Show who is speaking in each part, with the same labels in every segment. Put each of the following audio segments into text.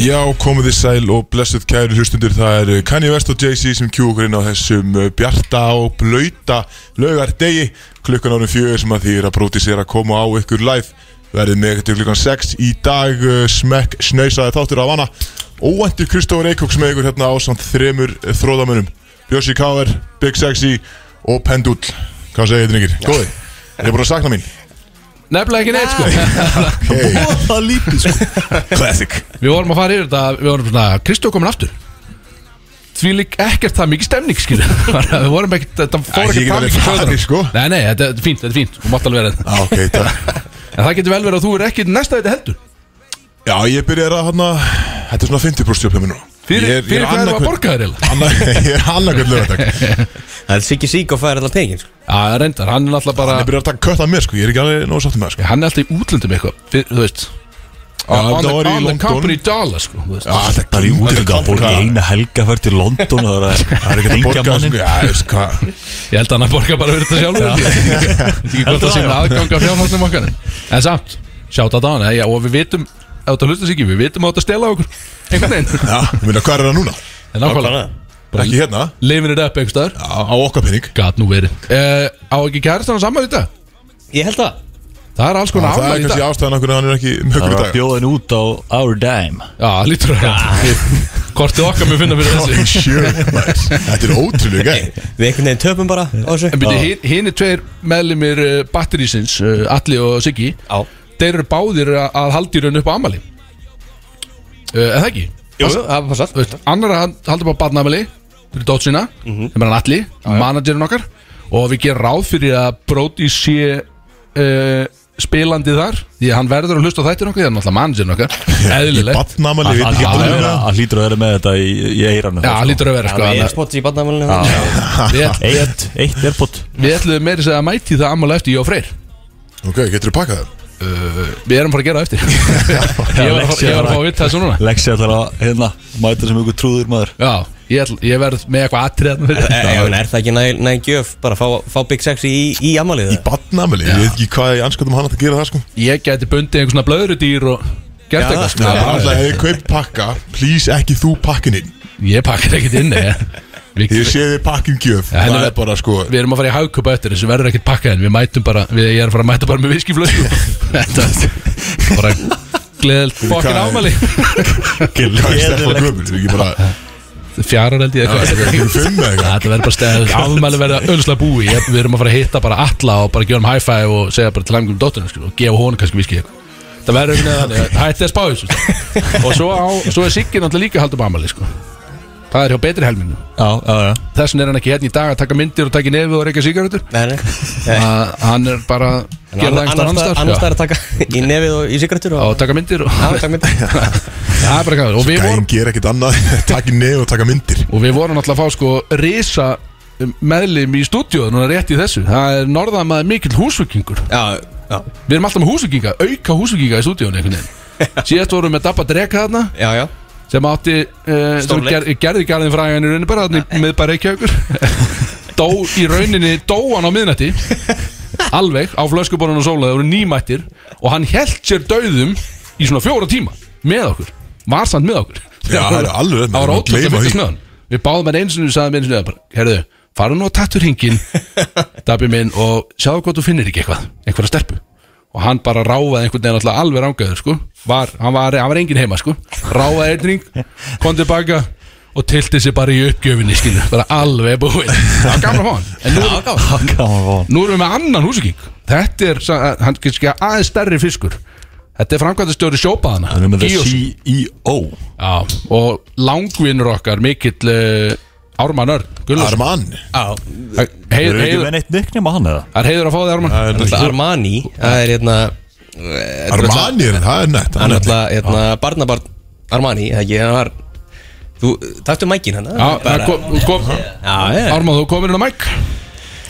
Speaker 1: Já, komið þið sæl og blessuð kæru hlustundur Það eru Kanye West og Jay-Z sem kjú okkur inn á þessum uh, bjarta og blauta laugardegi klukkan árum fjögur sem að því er að bróti sér að koma á ykkur live verðið með til klukkan 6 í dag uh, smekk snöysaði þáttur af hana óvendur Kristófur Eikóks með ykkur hérna á samt þremur uh, þróðamönnum Bjössi Káver, Big Sexy og Pendull Hvað segir þið drengir? Góði, er þið bara að sakna mín?
Speaker 2: Nefnilega ekki neitt sko
Speaker 1: Hey,
Speaker 3: Það lítið sko
Speaker 1: classic
Speaker 2: Við vorum að fara yfir þetta Við vorum svona Kristó komin aftur Því lík ekkert það mikið stemning skil Við vorum ekkert Þetta
Speaker 1: Æ,
Speaker 2: fór
Speaker 1: ég get
Speaker 2: ekkert fram
Speaker 1: alveg
Speaker 2: í
Speaker 1: farið,
Speaker 2: stöðunum.
Speaker 1: sko.
Speaker 2: Nei, nei, þetta er fínt Þetta er fínt Þú mátt alveg vera þetta
Speaker 1: Á, Ah, Ok, takk
Speaker 2: En það getur vel verið að þú er ekkert næsta þetta heldur
Speaker 1: Já, ég byrjar að hérna Þetta er svona 50% hjá mér nú
Speaker 2: Fyrir,
Speaker 1: Ég er- ég er
Speaker 2: fyrir hvað erum við
Speaker 1: annað
Speaker 2: að borga þér eiginlega?
Speaker 1: Anna, ég er annarkvöld lögadag Ég
Speaker 3: Það er Siggi Sigg og færi allan pengin sko
Speaker 2: Já, reyndar Hann er náttúrulega bara
Speaker 1: byrjar að taka kött af mér sko, ég er ekki alveg nóg sátt með það sko
Speaker 2: Hann er alltaf í útlöndum eitthvað fyrir- Þú veist On
Speaker 1: þetta
Speaker 2: the,
Speaker 1: var í
Speaker 2: on the
Speaker 1: London.
Speaker 2: company dollar sko þú veist.
Speaker 1: Já, þetta
Speaker 4: Það er í
Speaker 1: útlöndum
Speaker 4: útlöndum að fólki
Speaker 1: borga-
Speaker 4: eina helga fært til London og það er- það er ekkert engja
Speaker 1: Borga, sko,
Speaker 4: mannin
Speaker 1: já, ég veist hvað
Speaker 2: Ég held að hann að borga bara fyrir þetta sjálfur Ég veit ekki hvort
Speaker 4: Heldur
Speaker 2: það sé
Speaker 4: það,
Speaker 2: með
Speaker 4: já.
Speaker 2: aðgang af fjárhásnum okkar En samt, sjátt að það ja, Og við vitum, ef þetta hlustast ekki Við vitum að þetta stela okkur Einhvern veginn
Speaker 1: Já, ég meina, hvað er það núna?
Speaker 2: En ákvæmlega,
Speaker 1: Ekki hérna,
Speaker 2: lifin er upp einhverstaðar
Speaker 1: á, á okkar penning
Speaker 2: Gat nú verið uh, Á ekki kærastan að saman í dag?
Speaker 3: Ég held það
Speaker 2: Það er alls
Speaker 1: Já,
Speaker 2: konar
Speaker 1: Það
Speaker 2: afmæli
Speaker 1: er
Speaker 2: í
Speaker 1: kannski
Speaker 2: dag
Speaker 1: ástæðan okkur að hann er ekki með
Speaker 4: Það
Speaker 1: okkur
Speaker 4: er
Speaker 1: í
Speaker 4: að
Speaker 1: dag
Speaker 4: bjóða henni út á Our Dime
Speaker 2: Já, lítur að Kortið okkar mér finna fyrir
Speaker 1: Fucking
Speaker 2: þessu
Speaker 1: shit, maður. Þetta er ótrúlega gæ
Speaker 3: Við einhvern veginn töpum bara á þessu
Speaker 2: En byrju, hinn er tveir meðlumir uh, Batterísins, uh, Alli og Siggi
Speaker 3: Já
Speaker 2: Þeir eru báðir að, að haldi raun upp á ammali uh, En það ekki?
Speaker 3: Jú, jú, það passar
Speaker 2: Þú veist, annar að halda bara barnafæli fyrir dótt sína, mm
Speaker 3: Mhm.
Speaker 2: -hmm. sem er hann Alli managerinn okkar og við gerum ráð fyrir að Brody sé uh, spilandi þar því að hann verður að hlusta á þættir okkar því að hann er alltaf managerinn okkar eðlilegt,
Speaker 1: Batnamali, við ekki
Speaker 2: að-
Speaker 1: alveg
Speaker 2: að-
Speaker 1: hvað.
Speaker 4: Það hlýtur að vera með þetta í, í eiranu
Speaker 2: já, hann lítur að vera sko,
Speaker 3: Það er
Speaker 2: annars-
Speaker 3: spott í barnamælinu
Speaker 2: við, ætl-
Speaker 4: Eitt, eitt erbútt
Speaker 2: við ætluðum meiri segja að mæti það ammala eftir ég og Freyr
Speaker 1: Ok, getur þú pakkað það?
Speaker 2: uh, við erum fara að gera það eftir ég var að fá- ég var að fá að vita þessu núna
Speaker 4: Lexi ætlar að hérna mæta sem ykkur trúður maður
Speaker 2: já, ég, ætl, ég verð með eitthvað atrið
Speaker 3: Já, en Eh, er það ekki næg, næg gjöf bara fá, fá Big Sexy í, í amalið það?
Speaker 1: Batnamali, ég veit ekki hvað ég anskotum hann átti að gera það sko
Speaker 2: ég gæti bundið einhvern svona blöðrudýr og gert
Speaker 3: Já,
Speaker 2: eitthvað sko.
Speaker 1: Það er alltaf, ef ég kaup pakka, please ekki þú pakkin inn
Speaker 2: ég pakkar ekkert inn ég. Við-
Speaker 1: Ég sé þið pakkin gjöf,
Speaker 2: henni
Speaker 1: það
Speaker 2: ver-
Speaker 1: er bara sko
Speaker 2: Við erum að fara í hagköpa eftir þessu verður ekkert pakkað en við mætum bara, við, ég er að fara að mæta bara með viskiflösku Þetta er bara gleðild fokkin
Speaker 1: Hvað-
Speaker 2: ámali
Speaker 1: Hvað er stefn og gömul? Við ekki bara
Speaker 2: Fjarar held ég
Speaker 1: Það er
Speaker 2: eitthvað
Speaker 1: ekki um fimm eða eitthvað
Speaker 2: Þetta verður bara stæð, ámæli verða öllslega búi ég, Við erum að fara að hitta bara alla og bara gefa hann high five og segja bara til langum dótturinn skil, sko, og gefa honum kannski viski eitthvað Það verður einhvern veginn þannig að hætti að spá þessu sko. Og svo, á, svo er Siggi náttúrulega líka að halda upp ámæli sko. Það er hjá betri helminu
Speaker 4: Já, já, já
Speaker 2: Þess vegna er hann ekki hérna í dag að taka myndir og taka nefið og reyka sigarutur
Speaker 3: Nei, Eh, nei
Speaker 2: að hann er bara að gera Ah, það einhvern
Speaker 3: Annars
Speaker 2: annar
Speaker 3: annars
Speaker 2: starf
Speaker 3: það er að taka í nefið og í sigarettur
Speaker 2: sko. og
Speaker 3: og
Speaker 2: taka myndir og,
Speaker 3: Já, takk mynd
Speaker 2: það er bara gæður og við
Speaker 1: Gæn
Speaker 2: vorum
Speaker 1: ger ekkert annað Takk í nefn og taka myndir
Speaker 2: og við vorum alltaf að fá sko risa um, meðlim í stúdíóð núna rétt í þessu það er norðamaður mikill húsvikingur
Speaker 3: Já, já,
Speaker 2: við erum alltaf með húsvikinga, auka húsvikinga í stúdíónu einhvern veginn síðast vorum við með Dabba Dreka þarna
Speaker 3: já, já
Speaker 2: sem átti uh, sem ger,
Speaker 3: Stórleik.
Speaker 2: gerði garðin fræðin í rauninni bara þarna með bara ekki aukur dó í rauninni dó hann á miðnætti alveg á flöskuborun og sólaði voru nýmættir og hann held sér dauðum í svona fjóra tíma með okkur var samt með okkur
Speaker 1: Já, það er alveg rétt,
Speaker 2: það var
Speaker 1: maður
Speaker 2: ótrúlega
Speaker 1: gleyma
Speaker 2: fyrir
Speaker 1: því.
Speaker 2: snöðan við báðum hann eins og við sagðum eins og við bara, herðu, fara nú að tattu hringin Dabbi minn og sjáðu hvort þú finnir ekki eitthvað einhverja stelpu og hann bara ráfaði einhvern veginn alltaf alveg rángaður sko. var, hann, var, hann var engin heima sko. ráfaði einn ring, kom tilbaka og tilti sér bara í uppgjöfinni skilu, bara alveg búinn það var gaman að fá hann en nú, erum-
Speaker 4: Gaman von
Speaker 2: nú erum við með annan húsíking þetta er, sa- hann kannski aðeins stærri fiskur þetta er framkvæmdastjóri sjópaðana
Speaker 4: Hann er með
Speaker 2: Gíos.
Speaker 4: það
Speaker 1: E
Speaker 4: CEO
Speaker 2: Já, og langvinnur okkar mikill uh, Ármann Örn Gullarsson
Speaker 1: Arman
Speaker 3: Já,
Speaker 2: Heiður-
Speaker 4: Eru ekki
Speaker 2: heiður-
Speaker 4: með neitt nicknum á hann eða?
Speaker 2: Það er heiður að fá þig Ármann
Speaker 1: Það er náttúrulega-
Speaker 3: náttúrulega Armani Það er hérna
Speaker 1: Armani er það er nett
Speaker 3: Hann
Speaker 1: hann
Speaker 3: er
Speaker 1: er nett.
Speaker 3: alltaf, hérna, barnabarn Armani, það ekki, hann var Þú, taktu mækin hérna. hann
Speaker 2: Já, það kom, kom,
Speaker 3: Já, já
Speaker 2: Ármann, þú komir inn á mæk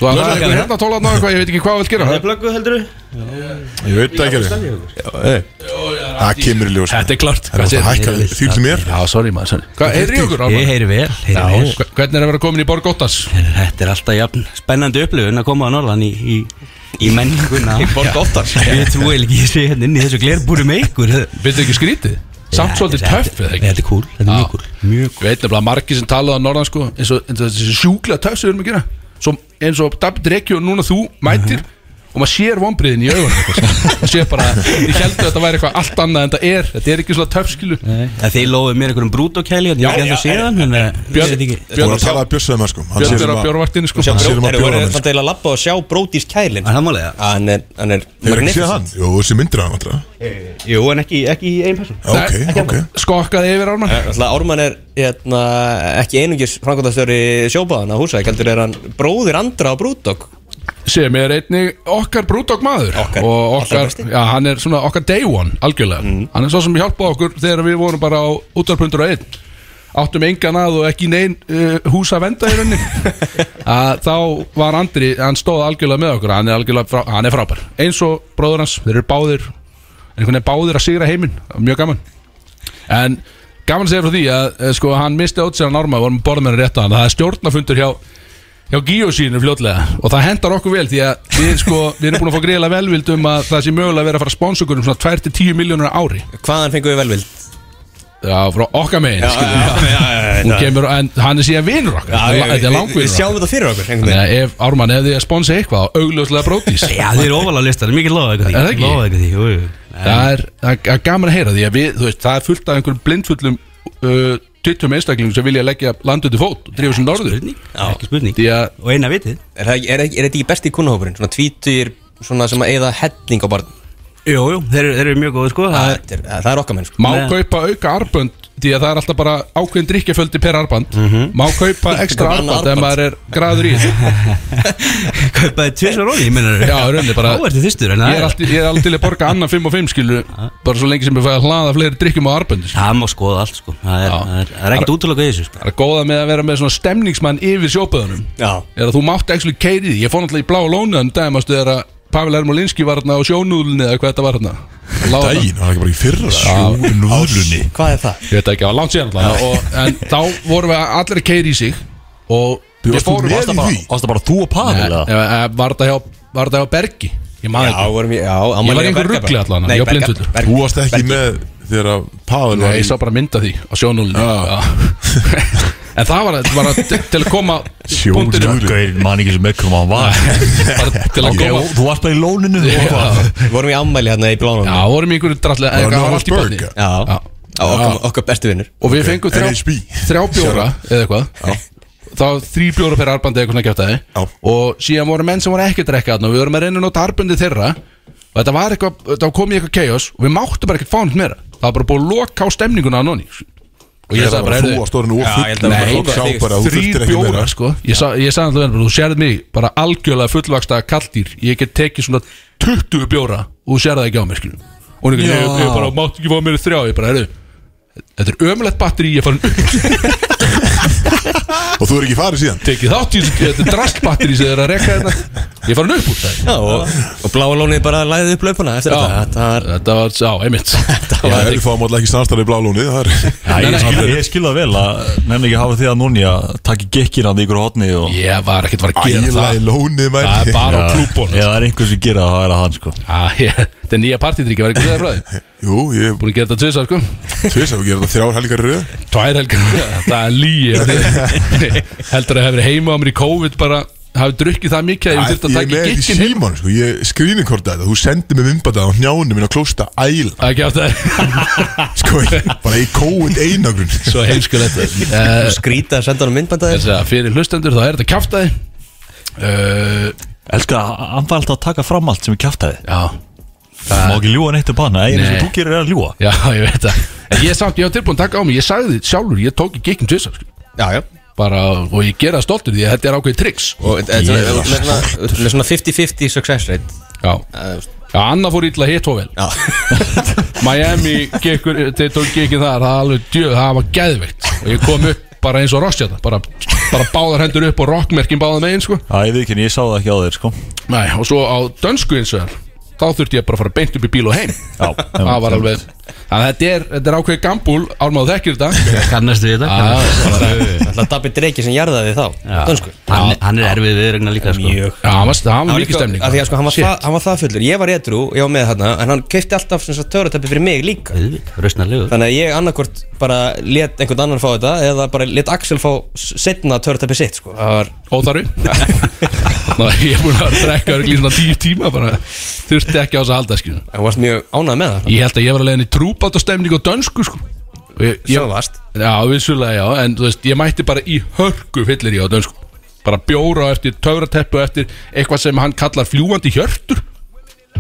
Speaker 2: Þú það er eitthvað hérna tólað ná eitthvað, ég veit ekki hvað þú vilt gera
Speaker 5: Blöggu heldur þú?
Speaker 1: Ég veit það ekki alveg. eh. Það kemur í ljós sko.
Speaker 2: Þetta er klart
Speaker 1: Það er náttúrulega hækkað því sem er
Speaker 2: Já, sorry maður, sorry Hvað, heyrðu í okkur
Speaker 5: Ég
Speaker 2: Ármann?
Speaker 5: heyri vel,
Speaker 2: Já,
Speaker 5: heyri vel
Speaker 2: hva- hvernig er að vera komin í Borg Óttas?
Speaker 5: Þetta er alltaf jafn spennandi upplifun að koma á norðan í, í, í menninguna
Speaker 3: Borg óttar
Speaker 5: Ég trúi eiginlega ekki að ég sé hérna inn í þessu glerbúri með ykkur
Speaker 2: Viltu ekki skrítið? samt svolítið töff eða
Speaker 5: Nei,
Speaker 2: ekki
Speaker 5: þetta er cool, þetta er
Speaker 2: Já.
Speaker 5: mjög cool Mjög
Speaker 2: Ég veit nefnilega margir sem talaði á norðan sko eins og, eins og þessi sjúklega töff sem við erum að gera Svo, eins og Dabbi Drekki og núna þú mætir
Speaker 5: Mhm.
Speaker 2: og maður sér vonbriðin í augunum eitthvað, sko. maður sér bara, ég held að þetta væri eitthvað allt annað en þetta er, þetta er ekki svona töff skilu
Speaker 5: Það þið lofið mér einhverjum brútokæli
Speaker 2: Já,
Speaker 5: Ég er ekki
Speaker 2: já,
Speaker 5: ennþá síðan en, eh, ég
Speaker 2: Björn,
Speaker 5: veit ekki.
Speaker 1: Þú voru
Speaker 2: Björn,
Speaker 1: að tala að bjössaðum sko Hann
Speaker 2: Björn
Speaker 1: sér um
Speaker 2: er á
Speaker 1: að-
Speaker 2: björnvaktinni sko
Speaker 1: Hann sér um að
Speaker 3: Eru
Speaker 1: bjóra
Speaker 3: verið
Speaker 1: hann
Speaker 3: þetta eiginlega að labba og sjá brótis kælin
Speaker 5: Er það málið, eða?
Speaker 3: Hann er, hann er
Speaker 1: Hefur ekki séð hann? Jú, þessi myndir hann alltaf
Speaker 5: Jú, en ekki, ekki í einn person
Speaker 1: Ok,
Speaker 2: Nei,
Speaker 1: ok
Speaker 2: skokkaði yfir ármann
Speaker 3: Alltaf Ármann er hérna, ekki einungis framkvæmdastöri sjóbaðan á húsæk heldur er hann bróðir andra á brúdokk
Speaker 2: sem er einnig okkar brúdokk maður
Speaker 3: Okkar,
Speaker 2: og
Speaker 3: allra
Speaker 2: okkar,
Speaker 3: besti. Mhm.
Speaker 2: já, hann er svona okkar day one algjörlega, hann er svo sem hjálpaði okkur þegar við vorum bara á útarpundur og einn áttum engan að og ekki neinn uh, hús að venda í rauninni að þá var Andri, hann stóð algjörlega með okkur, hann er algjörlega frá, hann er frábær eins og bróður hans, þeir eru báðir einhvern veginn báðir að sigra heiminn mjög gaman En gaman að segja frá því að eh, sko, hann misti átt sér að norma vorum borðið með hann rétt á hann það er stjórnafundur hjá, hjá Gíosínu fljótlega og það hendar okkur vel því að við, sko, við erum búin að fá greiðlega velvild um að það sé mögulega að vera að fara að sponsa okkur um svona 2-10 miljónur ári
Speaker 3: Hvaðan fengum við velvild?
Speaker 2: Já, frá okkar megin skilur við. Hún
Speaker 3: Hún
Speaker 2: kemur, En hann er síðan vinur okkar Þetta er- Þetta er
Speaker 3: Við
Speaker 2: langvinur okkar
Speaker 3: sjáum þetta fyrir okkur einhvern veginn.
Speaker 2: Þannig að ef Ármann hefði að sponsa eitthvað á augljóslega brótis
Speaker 5: Já, þið eru ofalega listar, mikið lofað ykkur því
Speaker 2: Er það ekki?
Speaker 5: Lofað ykkur því, jú, jú
Speaker 2: það er, það er- það er gaman að heyra því að við, þú veist, það er fullt af einhverjum blindfullum uh, tuttum einstaklingum sem vilja leggja landið til fót og drifa sem norður
Speaker 5: Spurning, ekki spurning
Speaker 2: Því að
Speaker 5: Og eina vitið
Speaker 3: Er það ekki- er ekki- er þetta ekki besti kunnahópurinn? Svona tvítur svona sem að eða helling á barn
Speaker 5: Jú, jú, þeir eru- þeir eru mjög góð, sko Það-
Speaker 3: Það er- það er okkar menn sko
Speaker 2: má
Speaker 5: Nei.
Speaker 2: kaupa auka arbönd því að það er alltaf bara ákveðin drikkjaföldi per arband
Speaker 1: Mhm.
Speaker 2: má kaupa ekstra
Speaker 3: Annað
Speaker 2: arband ef
Speaker 3: armband.
Speaker 2: maður er graður í þetta
Speaker 5: Kaupaði tvisvar óli, ég meina
Speaker 2: Já, í rauninni bara-
Speaker 5: Þá ertu þyrstur,
Speaker 2: ég er
Speaker 5: en það er
Speaker 2: alltaf- ég er alltaf til að borga annan 5 og 5 skilu bara svo lengi sem ég fæ að hlaða fleiri drikkjum á arbönd skilu.
Speaker 5: Það má skoða allt, sko Það er-
Speaker 2: Já.
Speaker 5: það er- það er ekkert útlöku í þessu, sko
Speaker 2: það er góða með að vera með svona stemningsmann yfir sjópaðunum
Speaker 3: Já
Speaker 2: er að þú mátt actually keiri því ég fór náttúrulega í blá lónan dæmastu þegar að Pavel Ermolinski var hérna á sjónúðlunni eða hvað þetta var hérna Lá þarna.
Speaker 1: Dægin, hann er ekki bara í fyrra Sjúnúðlunni
Speaker 3: Hvað er það?
Speaker 2: ég veit ekki, það var langt síðan alltaf og, en þá vorum við allir að keiri í sig og um
Speaker 1: Þú varst þú með í
Speaker 4: Varst það bara,
Speaker 1: því?
Speaker 4: varst það bara þú og Pavel
Speaker 2: Nei,
Speaker 4: eða?
Speaker 2: eh, var það hjá, var það hjá Bergi ég maður
Speaker 3: Já,
Speaker 2: ekki
Speaker 3: vorum ég, já,
Speaker 2: Ég var í einhverju rugli allan, ég var blindfullur.
Speaker 1: Þú varst ekki með þegar að Pavel
Speaker 2: Nei,
Speaker 1: var
Speaker 2: ég sá bara mynda því á sjónulni En það var, var að, til að koma
Speaker 1: Sjónúlunni.
Speaker 2: punktinum.
Speaker 4: Gauðir, man ekki sem ekkur hann var
Speaker 2: bara til að
Speaker 4: Ok,
Speaker 2: koma
Speaker 4: og Þú varst bara í lóninu þú og hvað?
Speaker 3: Vorum ég ámæli hérna í blánum
Speaker 2: Já, vorum í einhverju drallega
Speaker 1: Var
Speaker 2: en Það var
Speaker 1: Noah's
Speaker 2: allt í botni
Speaker 1: Burger?
Speaker 3: Já,
Speaker 2: Já.
Speaker 3: Á okkar- okkar bestu vinnur
Speaker 2: Og við fengum þrjá,
Speaker 1: NHB.
Speaker 2: þrjá bjóra eða eitthvað Þá þrý bjóra per arbandi eitthvað kjátaði
Speaker 1: Já.
Speaker 2: Og síðan voru menn sem voru ekki að drekka þarna og Við vorum að reyna að nota arbandi þeirra Og þetta var eitthvað, þetta kom í eitthvað chaos Og við máttum bara ekkert fá nýtt meira Það var bara búið að loka á stemninguna að nonni Og ég sagði bara,
Speaker 1: Þú
Speaker 2: heyrðu,
Speaker 1: varst orðin
Speaker 3: Já, ég
Speaker 1: ofull
Speaker 3: held að það var
Speaker 1: Fólk sá
Speaker 3: þrjú-
Speaker 1: bara að þú
Speaker 2: þrý
Speaker 1: þurftir ekki meira
Speaker 2: bjóra sko ég, sa, ég sagði alltaf ennum, þú sérð mig bara algjörlega fullvaksta kalldýr ég get tekið svona 20 bjóra og þú sérð það ekki á mér skilum og hún er ekki, ég, ég bara mátt ekki fá mér þrjá ég bara, heyrðu, þetta er ömulegt batteri ég fann
Speaker 1: Og þú er ekki farið síðan
Speaker 2: tekið þátt í þessu- þetta er drastbatteri sem er að rekka þetta ég fann upp úr það
Speaker 3: Já, og, og bláa lónið bara læðið upp laupana eftir þetta Þetta var
Speaker 2: þetta var, já, einmitt
Speaker 1: Já, það er fáum alltaf ekki samstarfið blálónið Það er
Speaker 4: Já,
Speaker 2: Nei,
Speaker 4: ég,
Speaker 2: nei.
Speaker 4: skil, ég skil það vel að nefnir ekki hafa því að núni að taki gekkin að ykkur hotni og
Speaker 2: ég var ekkert var að gera
Speaker 1: ægilega í
Speaker 2: það
Speaker 1: lónið
Speaker 2: það er
Speaker 1: mæli
Speaker 2: bara á
Speaker 4: Já,
Speaker 2: klúbón
Speaker 4: Ef það er einhver sem gera það, það er að hann sko
Speaker 2: Ah, þetta er nýja partydrykki, var ekki það frá þig
Speaker 1: Jú, ég er
Speaker 2: búin að gera þetta tvisar sko
Speaker 1: tvis að við gerum það þrjár helgar í röð
Speaker 2: Tvær helgar Það er líi Heldur að hefur heima á mér í COVID bara hafið drukkið það mikið að ég
Speaker 1: Ég er
Speaker 2: þurfti að taka
Speaker 1: með í
Speaker 2: gikkin heim
Speaker 1: síman, sko, ég skrýninkorda þetta Þú sendir mér mymbata á hnjánum minn á klósta æl
Speaker 2: Það er ekki aftur
Speaker 1: Sko, ég- bara í kóið einagrun
Speaker 2: Svo heimskulegt uh,
Speaker 3: skrítið að senda hann myndbandaðir
Speaker 2: Fyrir hlustendur þá er þetta kjáftæði uh,
Speaker 4: Elskar að hann var alltaf að taka fram allt sem ég kjátt hefði
Speaker 2: Já
Speaker 4: Má ekki ljúa neitt um hana, einu
Speaker 2: Nei.
Speaker 4: sem þú gerir er að ljúa
Speaker 2: Já, ég veit það En Ég er samt, ég var tilbúin að taka á mig Ég sagði þið sjálfur, ég tók í gikkin tvisar sko.
Speaker 3: Já, já
Speaker 2: Bara, og ég gera það stoltur því að þetta er ákveðið triks
Speaker 3: Og þetta er svona- með svona- með svona 50-50 success rate
Speaker 2: Já, Já Anna fór illa hitt og vel
Speaker 3: Já,
Speaker 2: Miami gekkur, þeir tók gekkin þar það er alveg djöð, það var geðveikt og ég kom upp bara eins og rostjata bara, bara báðar hendur upp og rockmerkin báðar megin sko.
Speaker 4: Já, ég veit ekki, ég sá það ekki á þér sko
Speaker 2: Nei, og svo á dönsku eins og þar þá þurfti ég bara að fara beint upp í bíl og heim
Speaker 4: Já,
Speaker 2: það var alveg Þannig að þetta er, þetta er ákveðið gambúl Ármáð þekkir þetta Ah,
Speaker 5: Kannast við þetta
Speaker 2: Já,
Speaker 5: kannast-
Speaker 3: Alltaf Dabbi Dreki sem jarðaði þá
Speaker 5: Já.
Speaker 3: Dönsku
Speaker 5: Hann hann er erfið viðregna líka sko.
Speaker 3: Mjög
Speaker 2: Já, hann var- hann var
Speaker 3: Hann var
Speaker 2: líka
Speaker 3: líka,
Speaker 2: stemning
Speaker 3: af því að sko, hann var,
Speaker 2: Shit.
Speaker 3: það, hann var það fullur, ég var edru, ég var með þarna En hann keipti alltaf sem sagt törutöppi fyrir mig líka
Speaker 5: Röstnarlegur
Speaker 3: Þannig að ég annarkvort bara let einhvern annan fá þetta Eða bara let Axel fá setna törutöppi sitt sko. Það var
Speaker 2: Óþarfi Ná, Ég er búin að drekka örgli svona tíu tíma bara Þurfti ekki á þess að halda skilur.
Speaker 3: Hann varst mjög ánægð með það
Speaker 2: Ég held að ég var að leiðin í trúbátastemning og dönsku sko. Og ég, ég,
Speaker 3: Svo varst
Speaker 2: Já, vissulega já En þú veist, ég mætti bara í hörku fyllir ég á dönsku Bara bjóra á eftir, töfrateppu á eftir Eitthvað sem hann kallar fljúandi hjörtur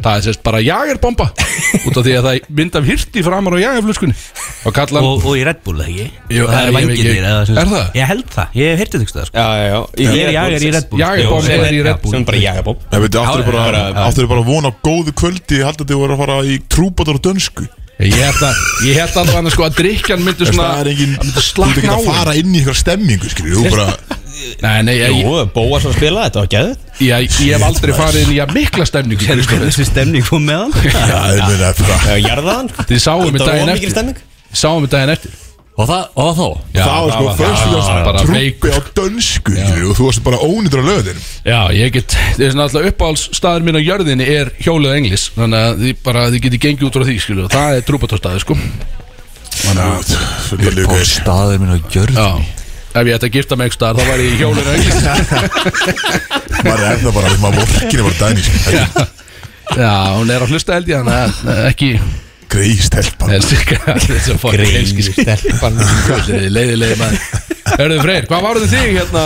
Speaker 2: Það er sérst bara jagerbomba Út af því að það mynda hirti framar á jagerflöskunni Og kallar hann
Speaker 5: og, og í Red Bull, eða ekki?
Speaker 2: Jú,
Speaker 5: það
Speaker 2: ég-
Speaker 5: er
Speaker 2: ég-
Speaker 5: vangirnir
Speaker 2: ég-
Speaker 5: eða sem sagt-
Speaker 2: Er það?
Speaker 5: Ég held það, ég hef heyrtið það sko.
Speaker 3: Já, já, já
Speaker 5: Ég er jagar í Red Bull
Speaker 2: Jagerbomb
Speaker 5: sko.
Speaker 2: er í Red Bull
Speaker 3: Sem bara jagabóp
Speaker 1: Ég veit, áttur
Speaker 5: Já,
Speaker 1: bara,
Speaker 5: já, já.
Speaker 1: áttu bara von á góðu kvöldi Ég held að þið voru að fara í trúbátur og dönsku
Speaker 2: Ég held að, ég held að hann sko að drikjan myndi
Speaker 1: Þess,
Speaker 2: svona
Speaker 1: Það er engin,
Speaker 2: hann
Speaker 1: þú
Speaker 2: myndi
Speaker 1: ert ekki
Speaker 2: slakna á
Speaker 1: að
Speaker 2: hann.
Speaker 1: fara inn í eitthvað stemmingu skilur, þú bara,
Speaker 2: Nei, nei, ég, ég,
Speaker 3: Jú, Bóas var að spila þetta, var gæðið
Speaker 2: ég, ég hef aldrei farið inn í að mikla stemningu
Speaker 5: Sérðu hvernig
Speaker 2: Kristoffer.
Speaker 5: þessi stemning kom með hann?
Speaker 1: já, ég meina, bara
Speaker 3: Já, jarðaðan
Speaker 2: Þið sáum mig
Speaker 3: Þetta var
Speaker 2: daginn
Speaker 3: of mikil
Speaker 2: eftir
Speaker 3: stemning.
Speaker 2: Sáum mig daginn eftir
Speaker 4: Og það, og það þá
Speaker 2: Já,
Speaker 1: Það var sko,
Speaker 2: já,
Speaker 1: fyrst
Speaker 2: bara
Speaker 1: trúbi
Speaker 2: veikur.
Speaker 1: á dönsku skilur, og þú varst bara ónýttur á löðinum
Speaker 2: Já, ég get, það er svona alltaf uppáhaldsstaður minn á jörðinni er hjólið englis Þannig að þið bara, þið getið gengið út frá því, skilju og Það er trúbatóstaður, sko
Speaker 1: Þannig
Speaker 4: Fór
Speaker 1: að
Speaker 4: staður minn á gjörð
Speaker 2: Já, ef ég ætti að gifta mig einhver staðar, þá var ég í hjólið englis
Speaker 1: maður er það bara, maður vorkir bara dæni Þetta er
Speaker 2: Já, hún er að hlusta held ég, þannig að eh, ekki
Speaker 1: greið stelpa
Speaker 2: leiðilegi maður Hörðu Freyr, hvað varðu þig hérna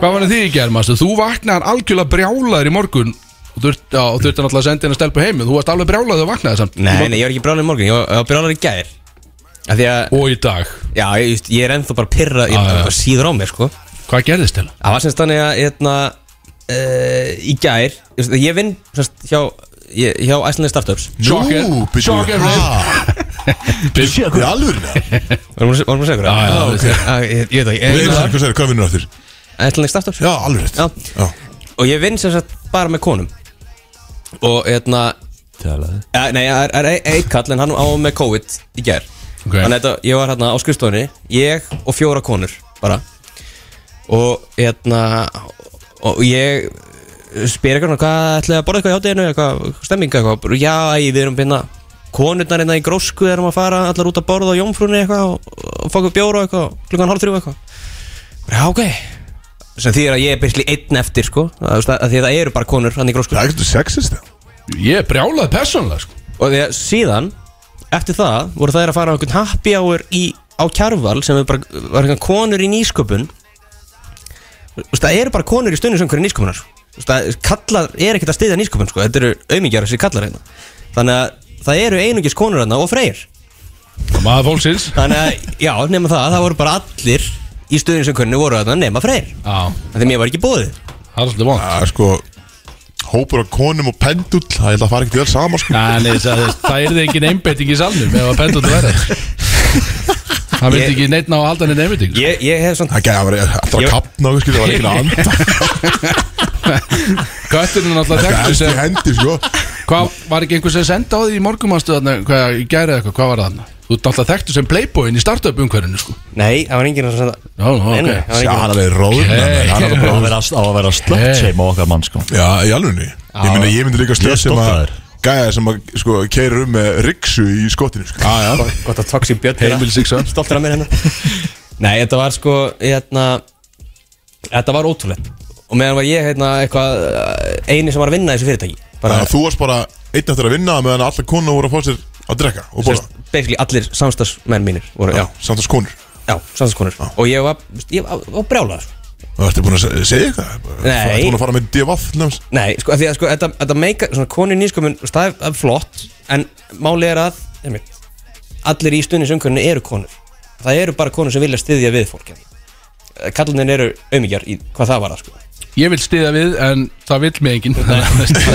Speaker 2: Hvað varðu þig í germastu? Þú vaknaðan algjörlega brjálaður í morgun og þurfti já, og þurfti náttúrulega að senda henni að stelpa heim en þú varst alveg brjálaður að vaknaði samt
Speaker 3: Nei, nei, ég var ekki brálaður morgun, ég var, ég var brálaður í gær Af því að,
Speaker 2: Og í dag,
Speaker 3: já, ég, just, ég er ennþá bara pyrra, ég
Speaker 2: Já, já.
Speaker 3: er síður á mér, sko
Speaker 2: hvað gerðist til?
Speaker 3: Það var semst þannig að, hérna, uh, í gær Ég, veist, ég vinn, semst, hjá, ég, hjá Æslandi Startups
Speaker 2: Sjokker.
Speaker 1: Nú, byrju,
Speaker 2: Sjokker,
Speaker 1: ha,
Speaker 2: Sjokk
Speaker 1: Í alvörinu
Speaker 3: Varum við að segja
Speaker 2: Já, já,
Speaker 3: hverja?
Speaker 2: Ah, ok.
Speaker 3: Ég ég veit
Speaker 1: Einu
Speaker 3: það
Speaker 1: sinni, Hvað segir, hvað vinnur aftur?
Speaker 3: ekki Æslandi Startups
Speaker 1: Já, alveg rétt
Speaker 3: Já.
Speaker 1: Já.
Speaker 3: Og ég vinn sem sagt bara með konum Og, hérna,
Speaker 4: Tjálaði.
Speaker 3: ja, nei, það er einn kall en hann á með COVID í gær
Speaker 2: Ok.
Speaker 3: Þannig að þetta, ég var hérna á skrifstofunni Ég og fjóra konur, bara og hérna og ég spyr eitthvað svona, hvað ætlaði að borða eitthvað í hátteginu eitthvað stemming eitthvað Bara, já æ, við erum hérna konurnar hérna í grósku erum að fara allar út að borða á jómfrunni eitthvað og, og fá okkur bjóra eitthvað klukkan hálf þrjú eitthvað Bara, já ok sem því að ég er byrjsli einn eftir sko að, þú veist, að, að því að það eru bara konur hann í grósku
Speaker 1: Það er ekkert sexist það
Speaker 2: Ég er brjálaður persónulega sko
Speaker 3: og því að síðan eftir það voru þær að fara á einhvern happy hour í, á kjarval sem er bara, var einhvern konur í nýsköpun Þú veist, það eru bara konur í stundisöngur í nýsköpunar Þú veist, það kallar er ekkert að styðja nýsköpun sko. þetta eru auðmingjar þessi kallar hérna þannig að það eru einungis konur hérna og freyr
Speaker 2: Maður fólksins
Speaker 3: þannig að já, nema það, það voru bara allir í stundisöngurinu voru hérna nema freyr
Speaker 2: Já,
Speaker 3: þannig að mér var ekki bóðið
Speaker 2: það er svolítið vant
Speaker 1: Það er sko Hópur af konum og pendull Það er að fara ekkert vel saman sko
Speaker 2: Nei, nei, það, það er það engin einbeiting í salnum ef að pendur þú verður Það vildi
Speaker 3: Ég-
Speaker 2: ekki neitt ná að halda neitt einbeiting sko.
Speaker 3: ég, ég hef svona
Speaker 1: Það gæði að vera alltaf að
Speaker 3: Ég-
Speaker 1: kapna og skilja, Það var ekkert að anda
Speaker 2: Kötturinn er alltaf
Speaker 1: Það
Speaker 2: þekktur
Speaker 1: er
Speaker 2: sem
Speaker 1: í hendi sko
Speaker 2: Hvað var ekki einhver sem senda á því í morgumanstu þarna, hvað, í gæri eitthvað, hvað var það þarna? Þú ert alltaf þekktu sem playboyin í startup umhverfinu, sko.
Speaker 3: nei, það var enginn að senda
Speaker 2: Já, ok.
Speaker 3: Nei, nei, það var
Speaker 1: Sjá
Speaker 3: enginn-
Speaker 1: hann alveg róðna
Speaker 2: Hey.
Speaker 1: Hann er
Speaker 4: Það á
Speaker 1: bara
Speaker 4: að vera, á að vera slögt seim á okkar mann sko
Speaker 1: Já, í alvörinu Ég meina, ég myndi líka
Speaker 4: Ég er
Speaker 1: stöð sem
Speaker 4: stolt af
Speaker 1: að
Speaker 4: þér.
Speaker 1: Gæja sem að sko Keir um með riksu í skotinu sko Já, já
Speaker 3: gott að tóksi björn
Speaker 2: Heimil sig sann.
Speaker 3: stoltur af mér hennar Nei, þetta var sko hérna, Þetta var ótrúlegt Og meðan var ég hérna, eitthvað eh, eini sem var að vinna í þessu fyrirtæki bara,
Speaker 1: Þú varst bara einn eftir að vinna meðan alla konur voru að fá sér að drekka og
Speaker 3: sérst,
Speaker 1: borða
Speaker 3: Basically allir samstagsmenn mínir voru, Já,
Speaker 1: Samt að konur
Speaker 3: já samstagskonur Og ég var, ég var, var brjálað sko.
Speaker 1: Það ertu búin að se- segja eitthvað?
Speaker 3: Nei.
Speaker 1: Ertu búin að fara með divaf til næmis?
Speaker 3: Nei, sko, af því að sko, þetta, þetta meika, svona konu nýskömmun, það er- það er flott En máli er að, einmitt, allir í stundins umkörinu eru konur Það eru bara konur sem vilja styðja við fólk Kallunin eru auðmíkjar í hvað það var að sko
Speaker 2: Ég vil stiða við, en það vil mig enginn.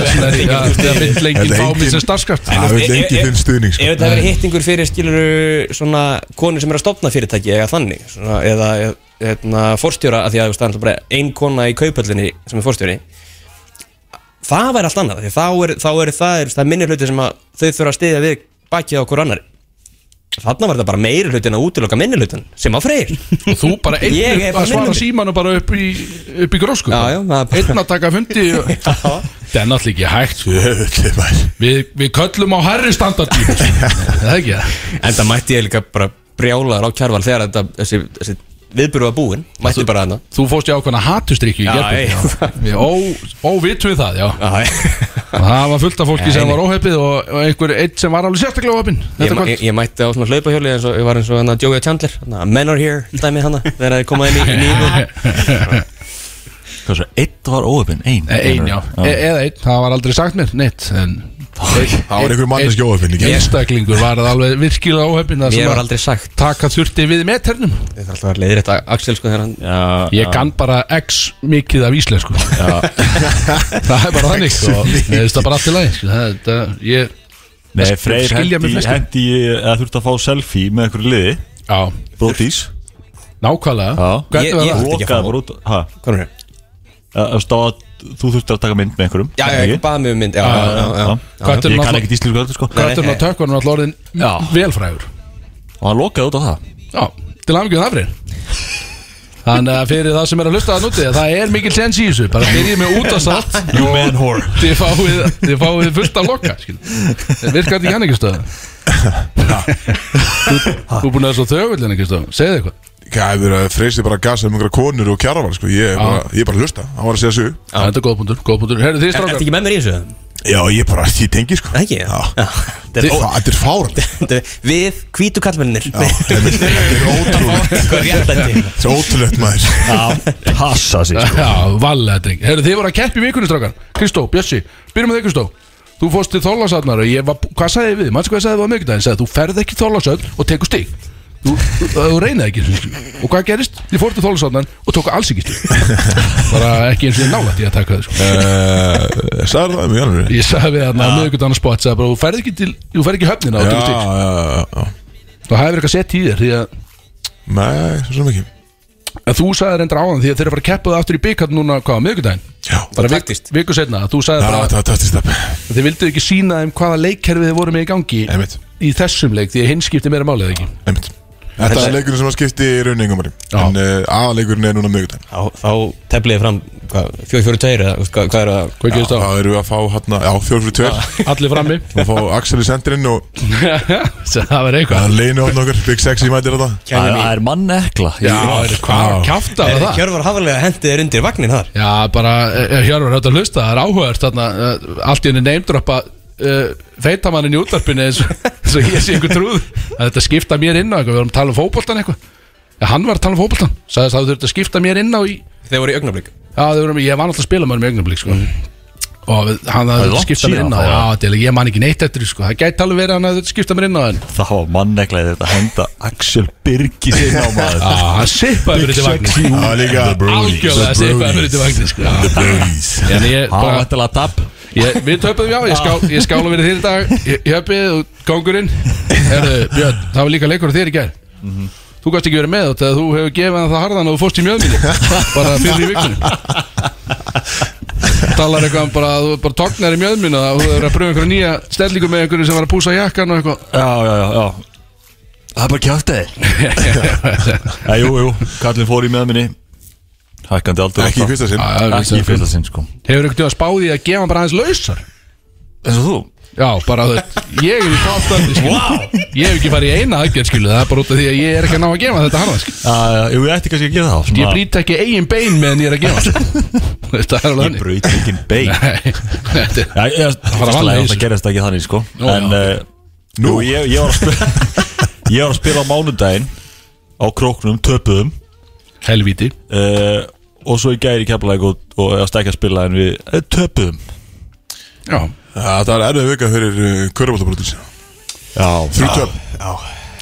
Speaker 2: Það vil enginn
Speaker 1: Þetta
Speaker 2: fá mig
Speaker 1: enginn-
Speaker 2: sem starfskraft.
Speaker 1: Það vil
Speaker 3: Ef-
Speaker 1: lengi
Speaker 3: ef-
Speaker 1: þinn stuðning
Speaker 3: Ef
Speaker 1: sko.
Speaker 3: þetta verið hittingur fyrir skiluru svona konur sem er að stopna fyrirtæki eða þannig svona, eða eðna, forstjóra af því að þú veist, það er náttúrulega bara ein kona í kaupöllinni sem er forstjóri það væri allt annað af því að þá er, þá er það, er, það er minni hluti sem að þau þurfa að styðja við bakið á okkur annari Þarna var þetta bara meiri hlutin að útiloka minni hlutin Sem að freyr
Speaker 2: og þú bara einn
Speaker 3: Ég er
Speaker 2: upp að
Speaker 3: bara
Speaker 2: svara
Speaker 3: minni.
Speaker 2: símanu bara upp í, upp í grósku
Speaker 3: Já, já, það er bara-
Speaker 2: einn að taka fundi og... það er náttúrulega ekki hægt sko.
Speaker 1: Jöfnli maður
Speaker 2: við, við köllum á herri standardí það er ekki það
Speaker 3: En það mætti ég líka bara brjálaður á kjærval Þegar þetta, þessi, þessi viðbyrðu var búinn Mætti bara þarna
Speaker 2: þú fórst í ákveðna hatustrykju í
Speaker 3: Já,
Speaker 2: gerðum við óvitum við það já.
Speaker 3: Já,
Speaker 2: og það var fullt af fólki
Speaker 3: Já,
Speaker 2: sem
Speaker 3: nei.
Speaker 2: var óheppið og, og einhver einn sem var alveg sérstaklega óheppin
Speaker 3: Ég,
Speaker 2: þetta
Speaker 3: ma-
Speaker 2: kvöld
Speaker 3: ég, ég mætti á svona hlaupahjóli eins og ég var eins og hann að Joey Chandler hana, Men are here, dæmi hana þegar þeir komaði inn í nýjum
Speaker 4: Hvað svo, eitt var óöfinn, ein
Speaker 2: Eh, ein já, e eða einn, það var aldrei sagt mér neitt en
Speaker 1: Það var einhver manneski óöfinn ekki
Speaker 2: einstaklingur var það alveg virkilega óheppin það
Speaker 3: Mér
Speaker 2: sem
Speaker 3: var
Speaker 2: að
Speaker 3: aldrei sagt
Speaker 2: taka þurfti við meternum
Speaker 3: Þetta er alltaf að leiðir þetta Axel sko þegar hann
Speaker 4: Já,
Speaker 2: Ég kann bara x mikið af íslensku Það er bara þannig sko. Mér finnst það bara allt í lagi sko. það, það, ég,
Speaker 4: Nei,
Speaker 2: það
Speaker 4: Freyr
Speaker 2: skilja mig
Speaker 4: hendi,
Speaker 2: flestir.
Speaker 4: hendi eða þurfti að fá selfie með einhverju liði
Speaker 2: Já,
Speaker 4: Brótís
Speaker 2: nákvæmlega
Speaker 4: Já.
Speaker 2: Hvernig
Speaker 3: Ég-
Speaker 2: var
Speaker 3: ég-
Speaker 2: það?
Speaker 3: þurfti ekki að fá-
Speaker 4: Lokaði bara út Ha,
Speaker 3: Hvað er það?
Speaker 4: að stáða Þú þurftir að taka mynd með einhverjum
Speaker 3: Já, já, ég
Speaker 4: ekki?
Speaker 3: baði mig um mynd Já,
Speaker 4: Já,
Speaker 3: já,
Speaker 4: já,
Speaker 3: já, já.
Speaker 4: já.
Speaker 2: Hvað er
Speaker 4: Ég kann
Speaker 2: náttúrulega-
Speaker 4: ekki íslensku öllu sko
Speaker 3: Nei, nei.
Speaker 2: Kötturinn á tökkunum alltaf orðin velfrægur
Speaker 4: Og hann lokaði út á það
Speaker 2: Já, til aðmyggjuð það fyrir Þannig að fyrir það sem er að hlusta það núti Það er mikil sens í þessu Bara byrjið með út að sátt
Speaker 4: You man whore
Speaker 2: Þið fáið, þið fáið fullt af loka skil. En Virkar þetta ekki hann ekki stöða Þú þú er búin að vera svo þögull en ekki stöða Segðu eitthvað
Speaker 1: Hvað er að freysi bara að gasa um einhverja konur og kjaravar sko. ég, er bara, ég er bara að hlusta, hann var að segja sögu
Speaker 2: Já, Þetta er góð punktur, góð punktur Herðu þið
Speaker 3: Ertu
Speaker 2: strákar
Speaker 3: ekki með mér í þessu?
Speaker 1: Já, ég bara, ég tengi sko
Speaker 3: Það Ekki?
Speaker 1: Já.
Speaker 3: já. Þetta er
Speaker 1: Ó,
Speaker 3: ó-
Speaker 1: Þetta er fáralt
Speaker 3: þetta er- Við hvítu kallmennir
Speaker 1: Þetta er- þetta er ótrúlegt Þetta er ótrúlegt maður
Speaker 4: Já, passa sig sko
Speaker 2: Já, valega dreng Herru, þið voru að keppi í vikunni, strákar Kristó, Bjössi, byrjum með þig Kristó Þú fórst til Þólasatnar og ég var, hvað sagði ég við? Manstu hvað ég sagði við á miðvikudaginn? Ég Sagði, þú ferð ekki Þólasatn og tekur stig Þú, þú, þú reynið ekki Og hvað gerist? Ég fór til Þólasatnar og tók alls ekki stig Bara ekki eins og ég nálætt ég að taka það sko.
Speaker 1: Eh, Sagðir það mjög alveg
Speaker 2: Ég sagði við hann á miðvikudaginn á spot sagði bara, Þú ferð ekki, til, þú ferð ekki í höfnina og
Speaker 1: Já,
Speaker 2: tekur stig
Speaker 1: já, já, já
Speaker 2: Þú hefur eitthvað sett í þér Því að
Speaker 1: Nei, svo sem ekki
Speaker 2: en þú sagði reyndar áðan því að þeir eru að fara að keppa það aftur í byggat núna, hvað, á miðvikudaginn?
Speaker 1: Já,
Speaker 2: Bara vik-
Speaker 3: taktist.
Speaker 2: viku setna, þú sagði bara
Speaker 1: Já, það var taktist upp
Speaker 2: Þið vildu ekki sína þeim hvaða leikkerfi þið voru með í gangi
Speaker 1: Einmitt.
Speaker 2: Í þessum leik, því að hinn skipti meira málið ekki
Speaker 1: Einmitt Þetta er leikurinn sem að skipti í rauningum
Speaker 2: Já.
Speaker 1: En uh, aðaleikurinn er núna mögutæn
Speaker 3: Þá, þá tefliði fram hvað, 442 eða þú veist, hvað, hvað er það?
Speaker 2: Hvað gerist þá?
Speaker 1: Það eru við að fá hérna, já, fjórfyrir tver
Speaker 2: Allir frammi
Speaker 1: Og fá Axel í sendirinn og eh,
Speaker 2: Það var eitthvað
Speaker 1: að leinu hann okkur Big Sexy mætir hérna. þetta
Speaker 4: Það það er mann ekla
Speaker 2: Já, er, hvað
Speaker 1: Já.
Speaker 2: kjátt af það?
Speaker 3: Hjörvar hafalega hendið er undir vagnin þar
Speaker 2: Já, bara, eh, Hjörvar, þetta hlusta, það er áhugavert þarna eh, Allt í henni neymdroppa uh, Feitamannin í útvarpinu eins og eins og ég sé einhver trúð að þetta skipta mér inn á eitthvað, við vorum að tala um fótboltan eitthvað Já, hann var að tala um fótboltan Sagðist að þú þurft að skipta mér inn á í
Speaker 3: Þeir voru í augnablík
Speaker 2: Já, þau voru, ég var alltaf að spila mörgum augnablík sko. og við- hann
Speaker 4: Mhm. Það er
Speaker 2: hafði
Speaker 4: langt
Speaker 2: skipta mér
Speaker 4: síðan
Speaker 2: inn á
Speaker 4: þá,
Speaker 2: já,
Speaker 4: já.
Speaker 2: þetta er alveg- ég man ekki neitt eftir því, sko. það gæti alveg verið að hann hafði skipta mér inn á en
Speaker 4: Það var mann ekla þetta að henda Axel Birgis inn á maður
Speaker 2: já, hann sippaði mér þetta vagnin
Speaker 1: Það er líka
Speaker 2: algjörlega sippaði mér þetta vagnin sko. Já.
Speaker 1: Brodies
Speaker 2: en ég,
Speaker 4: Það var
Speaker 2: bara,
Speaker 4: ættilega tap
Speaker 2: ég við töpuðum já, ég, ská, ég skála verið þér í dag Ég- Hjöppið og kongurinn Herðu, Björn, það var líka leikur á þér í gær þú gæst ekki verið með þetta þú hefur gefið hann það harðan og þú fórst í mjöðminni bara fyrir í vikunni talar eitthvað um bara, þú bara tognar í mjöðminna og þú hefur að pröfa einhverja nýja stellingu með einhverju sem var að púsa jakkan og eitthvað
Speaker 4: Já, já, já, já Það er bara kjáttið Já, jú, jú, kallin fór í meðminni Hækkandi aldrei
Speaker 1: Ekki í fyrsta sinn
Speaker 2: Já, já,
Speaker 4: Ekki í fyrsta sinn, sko
Speaker 2: Hefur einhvern veginn spáðið að gefa hann bara aðeins lausar?
Speaker 4: Eins og þú
Speaker 2: Já, bara þú veist, ég er í káttandi wow. Ég hef ekki farið í eina aðgerð skilu Það er bara út af því að ég er ekki að ná að gefa þetta harða skilu
Speaker 4: Já, já, jú, ég ætti kannski að gera það
Speaker 2: Ég brýt ekki eigin bein meðan ég er að gefa hann. Ah. Þetta er alveg
Speaker 4: Ég
Speaker 2: þannig
Speaker 4: brýt ekki bein Já,
Speaker 2: Nei, þetta er-
Speaker 4: ég, ég,
Speaker 2: var að
Speaker 4: fyrsta
Speaker 2: vanna í
Speaker 4: lagi,
Speaker 2: þessu.
Speaker 4: það gerist ekki þannig, sko
Speaker 2: Nú,
Speaker 4: En,
Speaker 2: já.
Speaker 4: eh, jú, ég ég var að spila Ég var að spila á mánudaginn Á króknum, töpuðum
Speaker 2: Helvíti
Speaker 4: uh, og svo í gæri keflaði og, og eðast ekki að spila en við eh, töpuðum
Speaker 2: Já,
Speaker 1: Já, Það er erfið vika fyrir uh, Körbóltabrótis
Speaker 4: Já,
Speaker 1: Þrjú töp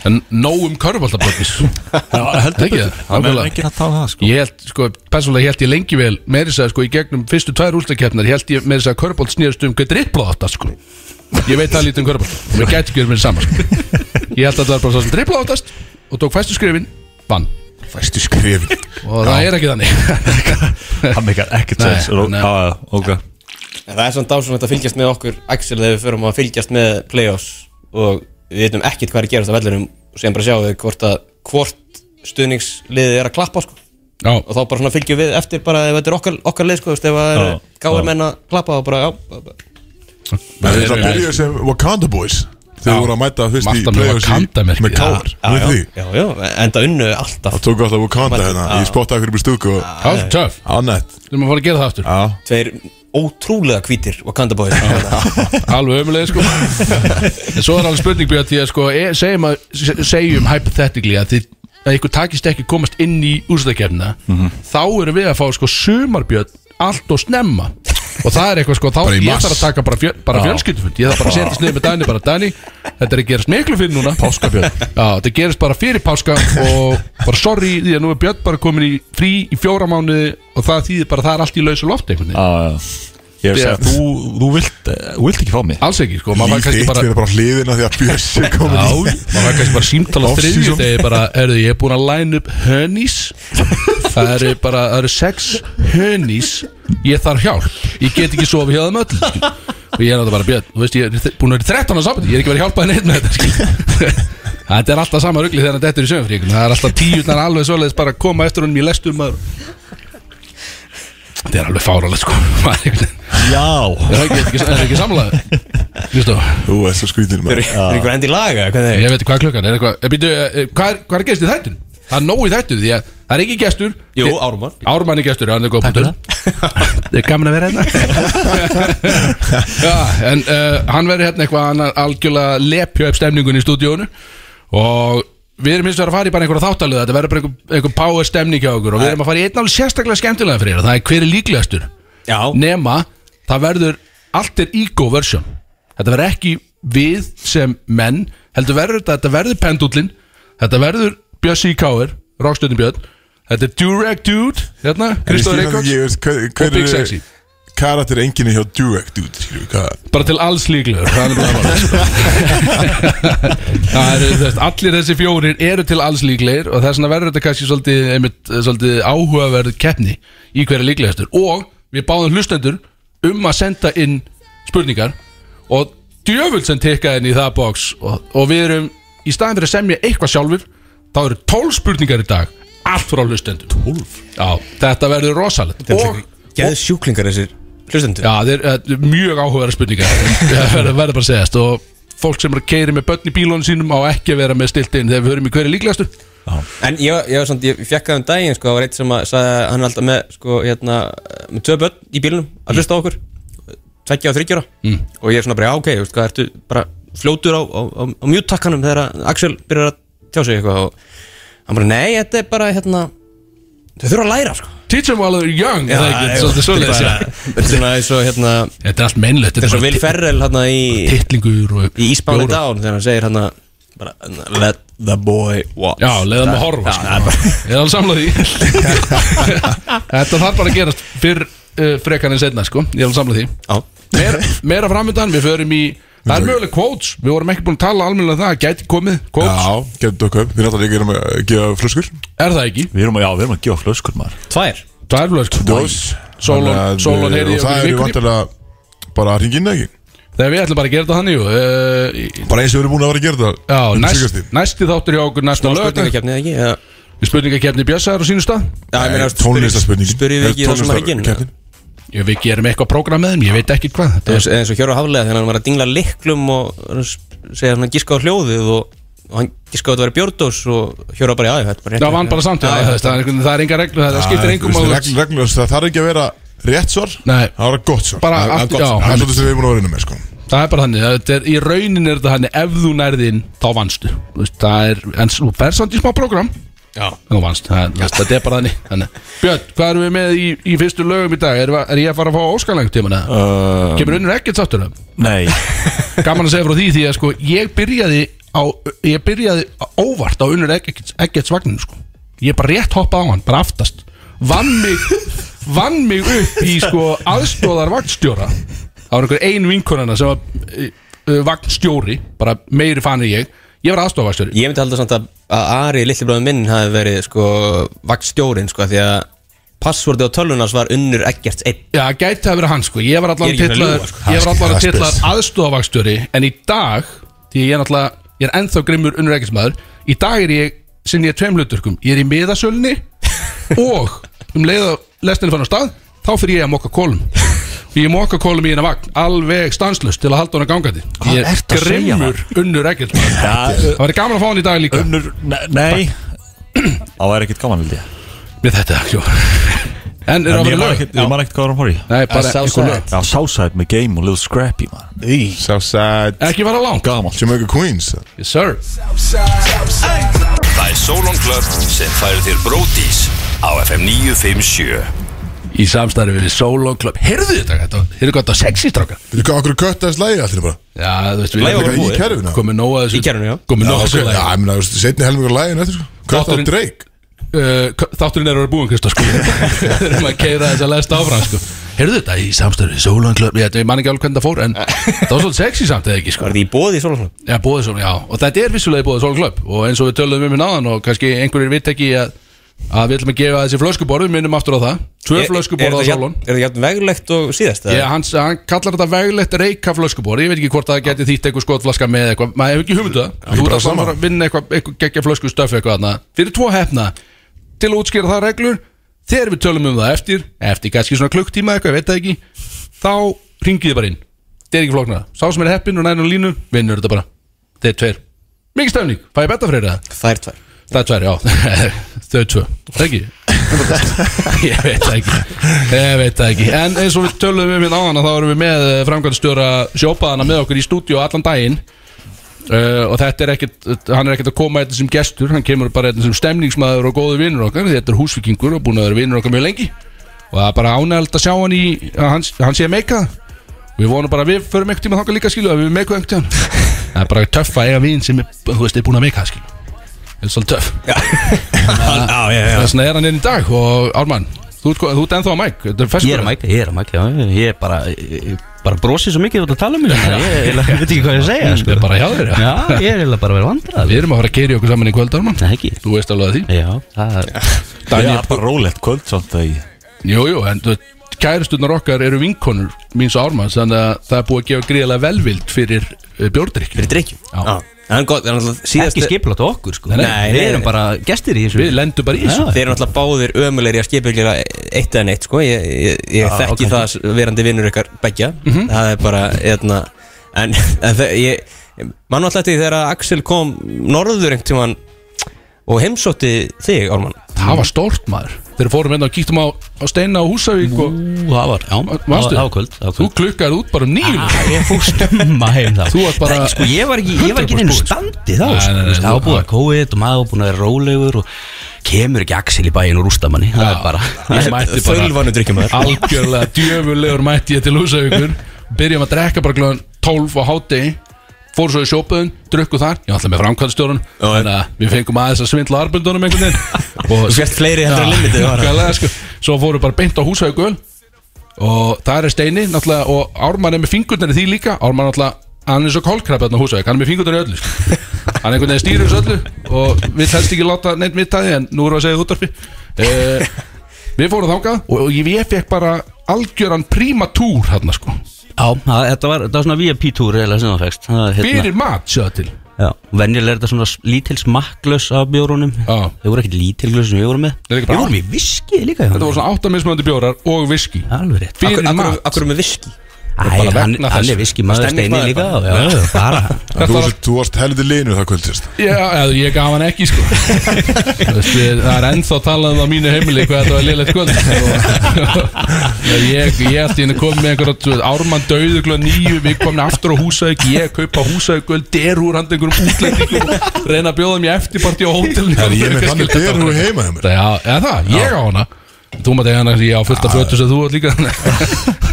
Speaker 2: en nóg um körfaldabrotis
Speaker 4: heldur
Speaker 2: Ekki
Speaker 4: betur
Speaker 2: það?
Speaker 4: Það
Speaker 2: Nákvæmlega.
Speaker 4: meðan enginn að tala um það sko
Speaker 2: Ég held, sko, persónulega held ég lengi vel meiri segja, sko, í gegnum fyrstu tvær úrslakeppnar held ég meiri segja að körbólt snýðast um hvað drippla átta, sko Ég veit það lítið um körbólt og við gæti ekki verið með saman, sko Ég held að það var bara svo sem drippla áttast og tók fæstu skrifin, vann
Speaker 1: Fæstu skrifin
Speaker 2: og það er ekki þannig
Speaker 4: Það meikar ekkert
Speaker 2: Nei,
Speaker 4: sens Ró-
Speaker 2: nei.
Speaker 4: Já, já, ok
Speaker 3: En það er svona dásunvægt að fylgjast með okkur Axel þegar við förum að fylgjast með playoffs og við veitum ekkert hvað er að gerast á vellinum og síðan bara sjáum við hvort að hvort stuðningsliðið er að klappa sko.
Speaker 2: Já,
Speaker 3: og þá bara svona fylgjum við eftir bara ef þetta er okkar, okkar lið sko, þú veist, ef það er
Speaker 4: Já,
Speaker 3: gáir
Speaker 4: já.
Speaker 3: menn að klappa og bara já, b- b-
Speaker 1: Það er
Speaker 2: erum
Speaker 1: það
Speaker 2: við-
Speaker 1: byrjuð sem Wakanda Boys Þegar
Speaker 2: Já.
Speaker 1: voru að mæta fyrst í
Speaker 2: Alltaf með
Speaker 1: play-offs í-
Speaker 2: Wakanda-merkið.
Speaker 1: með
Speaker 2: Já,
Speaker 1: káar Við því
Speaker 3: já, já, enda unnu alltaf
Speaker 1: Það tók alltaf Wakanda hérna Ég spottaði hverju búið stúku og
Speaker 2: það er töff
Speaker 1: Annett
Speaker 2: Við erum að fara að gera það aftur
Speaker 1: Já
Speaker 3: tveir ótrúlega hvítir Wakanda boys já,
Speaker 2: Alveg ömulega sko En svo er alveg spurning björn því að sko e, segjum, að, se- segjum hypothetically að þið að ykkur takist ekki að komast inn í úrstakefna
Speaker 1: Mhm.
Speaker 2: þá erum við að fá sko sumarbjörn allt og snemma og það er eitthvað sko, þá
Speaker 1: Bara í
Speaker 2: ég
Speaker 1: mars.
Speaker 2: þarf að taka bara, fjö, bara fjölskyldufund ég þarf bara að setja sniður með Dani, bara Dani þetta er að gerast miklu fyrir núna Páskabjörn Já, þetta gerist bara fyrir páska og bara sorry því að nú er Björn bara komin í frí í fjóra mánuði og það þýðir bara að það er allt í lausa lofti einhvern veginn
Speaker 4: Ah, Já, já. Ég hef
Speaker 2: Já.
Speaker 4: sagt, þú, þú vilt, eh, þú vilt ekki fá mig
Speaker 2: Alls ekki, sko, maður var
Speaker 1: Lítið
Speaker 2: kannski
Speaker 1: eitt
Speaker 2: bara
Speaker 1: fyrir bara hliðina því að Bjössi komin
Speaker 2: Já,
Speaker 1: í
Speaker 2: maður var kannski bara símtala á
Speaker 1: Off-season.
Speaker 2: þriðju degi bara, erðu, ég er búin að line upp hönís Það eru bara, það eru sex hönís Ég þarf hjálp Ég get ekki sofið hjá þeim öll skil. Og ég er náttúrulega bara, Björn, þú veist, ég er búin að vera í 13 á sambandi Ég er ekki verið að hjálpa henni neitt með þetta skil. Þetta er alltaf sama rugli þegar þetta er í sögumfríkun Það er alltaf tíunar alveg svoleiðis bara að koma eftir honum í lestum maður. Þetta er alveg fáralega sko Maður einhvern veginn-
Speaker 4: Já
Speaker 2: Er það ekki, ekki, er það ekki samlaði? Kristof
Speaker 1: Þú er svo skvítin
Speaker 3: þeir
Speaker 1: maður
Speaker 3: eru ykkur endi laga hvernig
Speaker 2: Ég veit ekki hvað klukkan er eitthvað, Eh, byrju, hvað, er, hvað er gest í þættun? Það er nóg í þættun því að það er ekki gestur
Speaker 3: Jú,
Speaker 2: Þið-
Speaker 3: Ármann.
Speaker 2: Ármann er gestur, já, hann er góð punktur Það er gaman að vera hérna Já, en uh, hann verður hérna eitthvað hann er algjörlega lepja upp stemningun í stúdíónu og við erum hins vegar að fara í bara einhverja þáttalið þetta verður bara einhver, einhver power stemning hjá okkur og við erum að fara í einn alveg sérstaklega skemmtilega fyrir þér það er hver er líklegastur
Speaker 3: já,
Speaker 2: nema það verður allt er ego version þetta verður ekki við sem menn heldur verður þetta, þetta verður pendullin þetta verður Bjössi í Káir Rockstöðin Björn, þetta er Durag Dude hérna, Kristóður Reykjavík og
Speaker 1: Reykjavík
Speaker 2: Big Sexy
Speaker 1: Karat er enginni hjá Durek dude, skilur, hvað-
Speaker 2: bara til alls líklegur það er bara bara, sko. Það eru, þú veist, allir þessi fjórir eru til alls líklegir og þess vegna verður þetta kannski svolítið, einmitt, svolítið áhugaverð keppni í hverja líklegastur og við báðum hlustendur um að senda inn spurningar og djöfull sem tekka inn í það box og, og við erum í staðin fyrir að semja eitthvað sjálfur þá eru 12 spurningar í dag allt frá hlustendum 12? Já, þetta verður rosalegt og
Speaker 3: geðu sjúklingar þessir hlustendur
Speaker 2: Já, þeir, uh, mjög áhugaverða spurningar Það verður verður bara að segjast Og fólk sem er að keiri með börn í bílónu sínum Á ekki að vera með stilt inn Þegar við höfum í hverju líklegastu
Speaker 3: En ég, ég, var samt, ég fekk það um daginn sko, það var eitt sem að sagði að hann er alltaf með sko, hérna, með tvö börn í bílunum að hlusta á okkur, tveggja og þryggjara mm. og ég er svona bara, já ok, þú veist hvað, ertu bara fljótur á, á, á, á mjúttakkanum þegar að Axel byrjar að tjá sig eitthvað og hann bara, nei, þetta er bara hérna, þau þurfa að læra sko.
Speaker 2: Teach them while they're young er það ekki? Svolítið svoleiðis, já.
Speaker 3: Þetta er svona eins og hérna,
Speaker 2: Þetta er allt meinlegt
Speaker 3: þetta er svo Will Ferrell hérna í,
Speaker 2: Tittlingur og
Speaker 3: í Ísbáni
Speaker 2: bjórar.
Speaker 3: Down þegar hann segir hérna bara, hérna, let the boy walk
Speaker 2: Já, leiðan með horfa sko. Ég er alveg samlað í Þetta þarf bara að gerast fyrr uh, frekar en setna sko. Ég er alveg samlað í
Speaker 3: Já.
Speaker 2: meira, meira framöndan, við förum í Það er möguleg quotes, við vorum ekki búin að tala almennilega um það, gæti komið, quotes,
Speaker 1: Já, getum dökka upp Við náttúrulega erum að gefa flöskur
Speaker 2: er það ekki?
Speaker 4: Við erum að, já, við erum að gefa flöskur maður
Speaker 3: Tvær
Speaker 2: Það er flösk
Speaker 1: Dós
Speaker 2: Sólon- Sólon heyri
Speaker 1: eh,
Speaker 2: ég
Speaker 1: Og það
Speaker 2: okkur í
Speaker 1: eru
Speaker 2: vikunni.
Speaker 1: vantilega bara að hringin ekki
Speaker 2: Þegar við ætlum bara að gera þetta þannig jú. uh, í-
Speaker 1: Bara eins og við erum búin að vera að gera það
Speaker 2: Já,
Speaker 1: um
Speaker 2: næst,
Speaker 1: síðkastið.
Speaker 2: næsti þáttur hjá okkur næsta lög
Speaker 3: spurningakefnið ekki eða-
Speaker 2: Spurningakefni Bjössar á sínu stað
Speaker 3: Já, ég meina,
Speaker 1: Nei, Tónlistarspurningin
Speaker 3: Spyrjum við ekki það sem að ekki
Speaker 1: Tónlistarkeppnin.
Speaker 2: Ég, Við gerum eitthvað prógram með þeim, ég veit ekki hvað Þetta
Speaker 3: eins, eins og Hjóra Haflega þegar hann var að dingla liklum og hann segja hann að giska á hljóðið og, og hann giska á að þetta væri bjórdós og Hjóra bara, já, þetta er bara
Speaker 2: Það vann bara samt já,
Speaker 3: Já, já,
Speaker 2: þú veist, Það er einhvern- það er enga reglur, það skiptir engum
Speaker 1: máli
Speaker 2: máli.
Speaker 1: Það þarf ekki að vera rétt svar
Speaker 2: Nei.
Speaker 1: Það var gott svar
Speaker 2: Bara
Speaker 1: Það er
Speaker 2: allt-
Speaker 1: gott
Speaker 2: já,
Speaker 1: svar. Það er svolítið sem við erum búin að vera innan með sko
Speaker 2: Það er bara þannig, þetta er, í raunin er þetta þannig Ef þú nærði inn, þá vannstu Þú veist, Það er, en þú fer samt í smá prógram
Speaker 3: Já.
Speaker 2: Þú vannst, það, þú veist, þetta er bara þannig, þannig Björn, hvað erum við með í, í fyrstu lögum í dag? Er, er ég að fara að fá óskalengt tíma? Uh, Kemur unnur ekkert sáttur það?
Speaker 4: Nei
Speaker 2: gaman að segja frá því því að sko ég byrjaði á, ég byrjaði óvart á unnur Eggerts vagninu sko ég bara rétt hoppaði á hann, bara aftast vann mig, vann mig upp í sko aðstóðar vagnstjóra það var einhver ein vinkonana sem var eh, eh, vagnstjóri bara meiri fann en ég, ég var aðstóðvagnstjóri
Speaker 3: Ég myndi halda samt að, að Ari, lillibróðum minn hafi verið, sko, vagnstjórin, sko, því að passvordi á tölunars var unnur ekkert einn
Speaker 2: Já, gæti að vera hann sko Ég var allan
Speaker 3: Ég er ekki að
Speaker 2: titlaður
Speaker 3: ljúga, sko.
Speaker 2: Ég var allan
Speaker 1: Það er
Speaker 2: titlaður
Speaker 1: spes.
Speaker 2: aðstofavakstjóri En í dag, því ég er náttúrulega ég er ennþá grimmur unnrækismæður í dag er ég, sinn ég tveim hluturkum ég er í miðasölni og um leið að lestinni fann á stað þá fyrir ég að mokka kólum ég mokka kólum í hennar vagn, alveg stanslust til að halda hana gangandi
Speaker 4: Hvað
Speaker 2: ég
Speaker 4: ertu að segja,
Speaker 2: grimmur unnur ekkert það væri gaman að fá hann í dag líka
Speaker 4: Unnur, ne- nei Það var ekkert gaman held ég
Speaker 2: við þetta ekki en er að
Speaker 4: En ég
Speaker 2: vera
Speaker 4: man
Speaker 2: lög
Speaker 4: ekkert- ég man ekkert hvað var að fara í
Speaker 2: nei, bara einhver lög
Speaker 4: Já, Southside með Game og Little Scrappy man
Speaker 1: Southside
Speaker 2: ekki fara langt
Speaker 4: Gaman
Speaker 1: Jamaica Queens
Speaker 2: yes sir
Speaker 6: Það er Solon Club sem færir þér bródís á FM 957
Speaker 2: í samstarfi við Solo Club heyrðu þetta, þetta heyrðu gott á sexy strákar
Speaker 1: Þú veit okkur köttaðist lægi allir bara
Speaker 2: já, þú veist, við
Speaker 3: Lagið var
Speaker 1: Líka
Speaker 3: bara
Speaker 1: í
Speaker 3: búið.
Speaker 1: kerfinu
Speaker 2: komið nóg að þessu
Speaker 3: Í kerfinu, já.
Speaker 2: komið
Speaker 1: Já,
Speaker 2: nóg að
Speaker 1: ok,
Speaker 2: þessu
Speaker 1: já,
Speaker 2: lagi.
Speaker 1: ég meina, þú veist, setni helmingur lægin eftir sko Köttað
Speaker 2: Þátturinn-
Speaker 1: Drake
Speaker 2: Uh, k- þátturinn er að vera búin, Kristó sko við erum að keira þess að lesta áfram sko heyrðu þetta í samstarfi við Solo Club ég, ég man ekki alveg hvernig það fór en það var svolítið sexy samt eða ekki sko
Speaker 3: Var þið í bóði í Sólfsson?
Speaker 2: Já, bóðið svona, já, og þetta er vissulega bóðið svona klöpp og eins og við töluðum um hérna áðan og kannski einhverjir vitt ekki að, að við ætlum að gefa þessi flöskuborð, við minnum aftur á það Tvö flöskuborð á sálun
Speaker 3: Er það jafn veglegt og síðast?
Speaker 2: Já, hann, hann kallar þetta veglegt reyka flöskuborð, ég veit ekki hvort það geti þýtt eitthvað skotflaska með eitthvað, maður hefur ekki hugmyndu það Þú ert
Speaker 1: bara
Speaker 2: alltaf að
Speaker 1: sama.
Speaker 2: fara að vinna eitthvað, eitthvað geggja flösku stöfi eitthvað þarna Fyrir tvo hefna, til að útskýra það reglur Þegar við tölum um það eftir, eftir kannski svona klukktíma eitthvað, ég veit það ekki Þá ringiði bara inn, þetta er ekki flóknara Sá sem er heppin og nænum línu, vinnur þetta bara Þeir tveir, mikið stöfning, fæ ég betta fyrir það
Speaker 3: Það er tvær
Speaker 2: Það er tvær, já, þau tvö Það ekki Ég veit það ekki Ég veit það ekki En eins og við tölum um hérna áðan að Þá erum við með framkvæmstjóra sjópaðana með okkur í stúdíu allan daginn uh, Og þetta er ekkit Hann er ekkit að koma eitthvað sem gestur Hann kemur bara eitthvað sem stemningsmaður og góði vinnur okkar Þetta er húsvikingur og búin að vera vinnur okkar mjög lengi Og það er bara ánægald að sjá hann í að Hann, hann sé að meika það Við vonum bara að við förum einhvern tíma þangað líka skilu að við meikum einhvern tíma Það er bara töff að eiga vin sem er, þú veist, er búin að meika það skilu Það er svolítið töff
Speaker 5: Já, já, já
Speaker 2: Þess vegna er hann inn í dag og Ármann, þú ert, sko, þú ert ennþá að mæk Þetta er ferskur.
Speaker 5: Ég er að mæka, ég er að mæka, já, ég er bara, ég, bara brosið svo mikið út að tala um mig Ég ég eiginlega veit ekki hvað ég að segja,
Speaker 2: Þetta
Speaker 5: sko
Speaker 2: er bara hjá þér
Speaker 5: Já, ég er eiginlega bara að vera vandrað
Speaker 2: Við erum að fara að keiri okkur saman í kvöld Ármann
Speaker 5: Nei, ekki
Speaker 2: Þú veist alveg að því
Speaker 5: Já, það er
Speaker 4: Það
Speaker 2: Daniel,
Speaker 4: er bara rólegt kvöld samt að ég
Speaker 2: Jú, jú, en þú veist, kæristunar okkar eru vinkonur míns og Ármanns Þannig að það er búið að gefa gríðlega velvild fyrir uh, bjórdrykk
Speaker 3: Fyrir drikkjum
Speaker 2: Já.
Speaker 3: Það er gott, það er náttúrulega síðast
Speaker 5: ekki skiplat á okkur, sko
Speaker 2: Nei, nei,
Speaker 5: Við
Speaker 3: nei,
Speaker 5: erum
Speaker 3: nei.
Speaker 5: bara gestir í þessu
Speaker 2: Við lendum bara í þessu
Speaker 3: Þeir eru náttúrulega báðir ömulegri að skipulgjöra eitt eða neitt sko Ég, ég, ég þekki það verandi vinnur ykkar begja
Speaker 2: Mhm.
Speaker 3: Það er bara, hérna En, en þe- ég, mann alltaf eftir því þegar að Axel kom norður einhvern tímann Og heimsótti þig, Ármann
Speaker 2: Það var stórt maður Þeir fórum hérna og kíktum á, á steina á Húsavík og
Speaker 5: Ú, það var, já,
Speaker 2: Manstu?
Speaker 5: það var Mm. kvöld Ah. það var
Speaker 2: Þú
Speaker 5: kvöld.
Speaker 2: klukkaði út bara um nýjum
Speaker 5: Á, Ég fór stumma heim þá
Speaker 2: Þú varst bara-
Speaker 5: Nei, sko, Ég var ekki, ég var
Speaker 2: 100%
Speaker 5: ekki einu
Speaker 2: búinn, sko.
Speaker 5: standi þá
Speaker 2: Nei,
Speaker 5: sko.
Speaker 2: nei, nei,
Speaker 5: Þú veist, Það var
Speaker 2: þú-
Speaker 5: búið að kóið og maður var búin að vera rólegur og kemur ekki Axel í bæin og rústa manni Það er bara
Speaker 2: Ég mætti bara
Speaker 3: Fölvanu drikkjumar
Speaker 2: algjörlega djöfulegur mætti ég til húsavíkur byrjum að drekka bara glöðan 12 á hátegi fór svo í sjópaðun, drukku þar ég var alltaf með framkvæmstjórun þannig að við fengum aðeins að svindla arbundunum einhvern veginn og
Speaker 3: Þú fjast fleiri heldur
Speaker 2: Já,
Speaker 3: en limitið var það.
Speaker 2: nákvæmlega, sko. svo fóru bara beint á húsavíkur og það er steini náttúrulega og Ármann er með fingurnir í því líka Ármann náttúrulega hann er svo kólkrabbi þarna á húsavík hann er með fingurnir í öllu sko. hann einhvern veginn stýrir þessu öllu og við helst ekki láta neitt mitt að því en nú erum við að segja það útvarfi uh, við fórum þangað og, og ég, ég fekk bara algjöran prímatúr hérna sko
Speaker 5: Já, það- þetta var, þetta var svona VIP-túr eða sem það fækst Það er, hérna-
Speaker 2: fyrir mat sjöða til
Speaker 5: Já, venjulega er þetta svona s- lítil smakklaus af bjórunum
Speaker 2: Já.
Speaker 5: Þau voru ekkert lítil glaus sem við vorum með
Speaker 2: Er ekki bara
Speaker 5: Við vorum í viski líka
Speaker 2: þetta voru svona áttamismöndi bjórar og viski
Speaker 5: Alveg rétt
Speaker 2: fyrir
Speaker 3: Akkur,
Speaker 2: mat
Speaker 3: akkur með viski
Speaker 5: Æ,
Speaker 2: bara
Speaker 5: hann,
Speaker 2: vegna
Speaker 5: hann
Speaker 2: þess.
Speaker 5: er viski maður steini
Speaker 3: Stemningsmaður
Speaker 5: líka Já, já, bara
Speaker 1: En Þú varst- þú varst heldur linu það kvöldist
Speaker 2: Já, eða ég gaf hann ekki sko Þú veist, við- Það er ennþá talað um á mínu heimili hvað þetta var liðlegt kvöld og, Ég, ég ætti henni kom með einhverja þú veist, Ármann döðu glöð nýju Við komin aftur á húsauk Ég kaupa húsauk Göl derúr handa einhverjum útlendingum Reyna að bjóða mér eftirparti á hótelni
Speaker 1: En ég er með þannig dyr nú heima hjá mér
Speaker 2: Já, eða það, ég á hana Þú maður degja hana, ég á fullt af fötu sem þú átt líka Þetta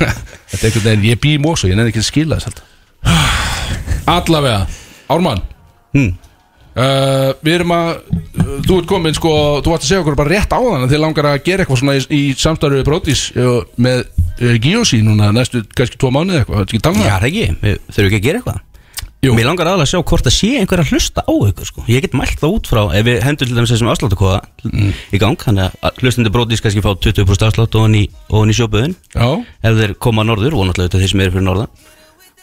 Speaker 2: er einhvern veginn, ég bý í mósu Ég nefnir ekki að skila þess alltaf Allavega, Ármann
Speaker 5: Hmm.
Speaker 2: Uh, við erum að þú ert komin sko, þú ætti að segja okkur bara rétt á þann að þið langar að gera eitthvað svona í, í samstarfið brótis uh, með uh, Giosi núna næstu kannski tvo mánuði eitthvað, þetta ekki tala um
Speaker 5: Já,
Speaker 2: það
Speaker 5: það ekki, við þurfum ekki að gera eitthvað
Speaker 2: Jú.
Speaker 5: Mér langar aðalega að sjá hvort það sé einhver að hlusta á ykkur sko. Ég get mælt það út frá Ef við hendur til dæmis þessum afsláttakóða í gang Þannig að hlustandi brótis kannski fá 20% afslátt og hann í, ofan í sjóbuðin
Speaker 2: Já,
Speaker 5: Ef þeir koma norður, vonatlega þeir sem eru fyrir norðan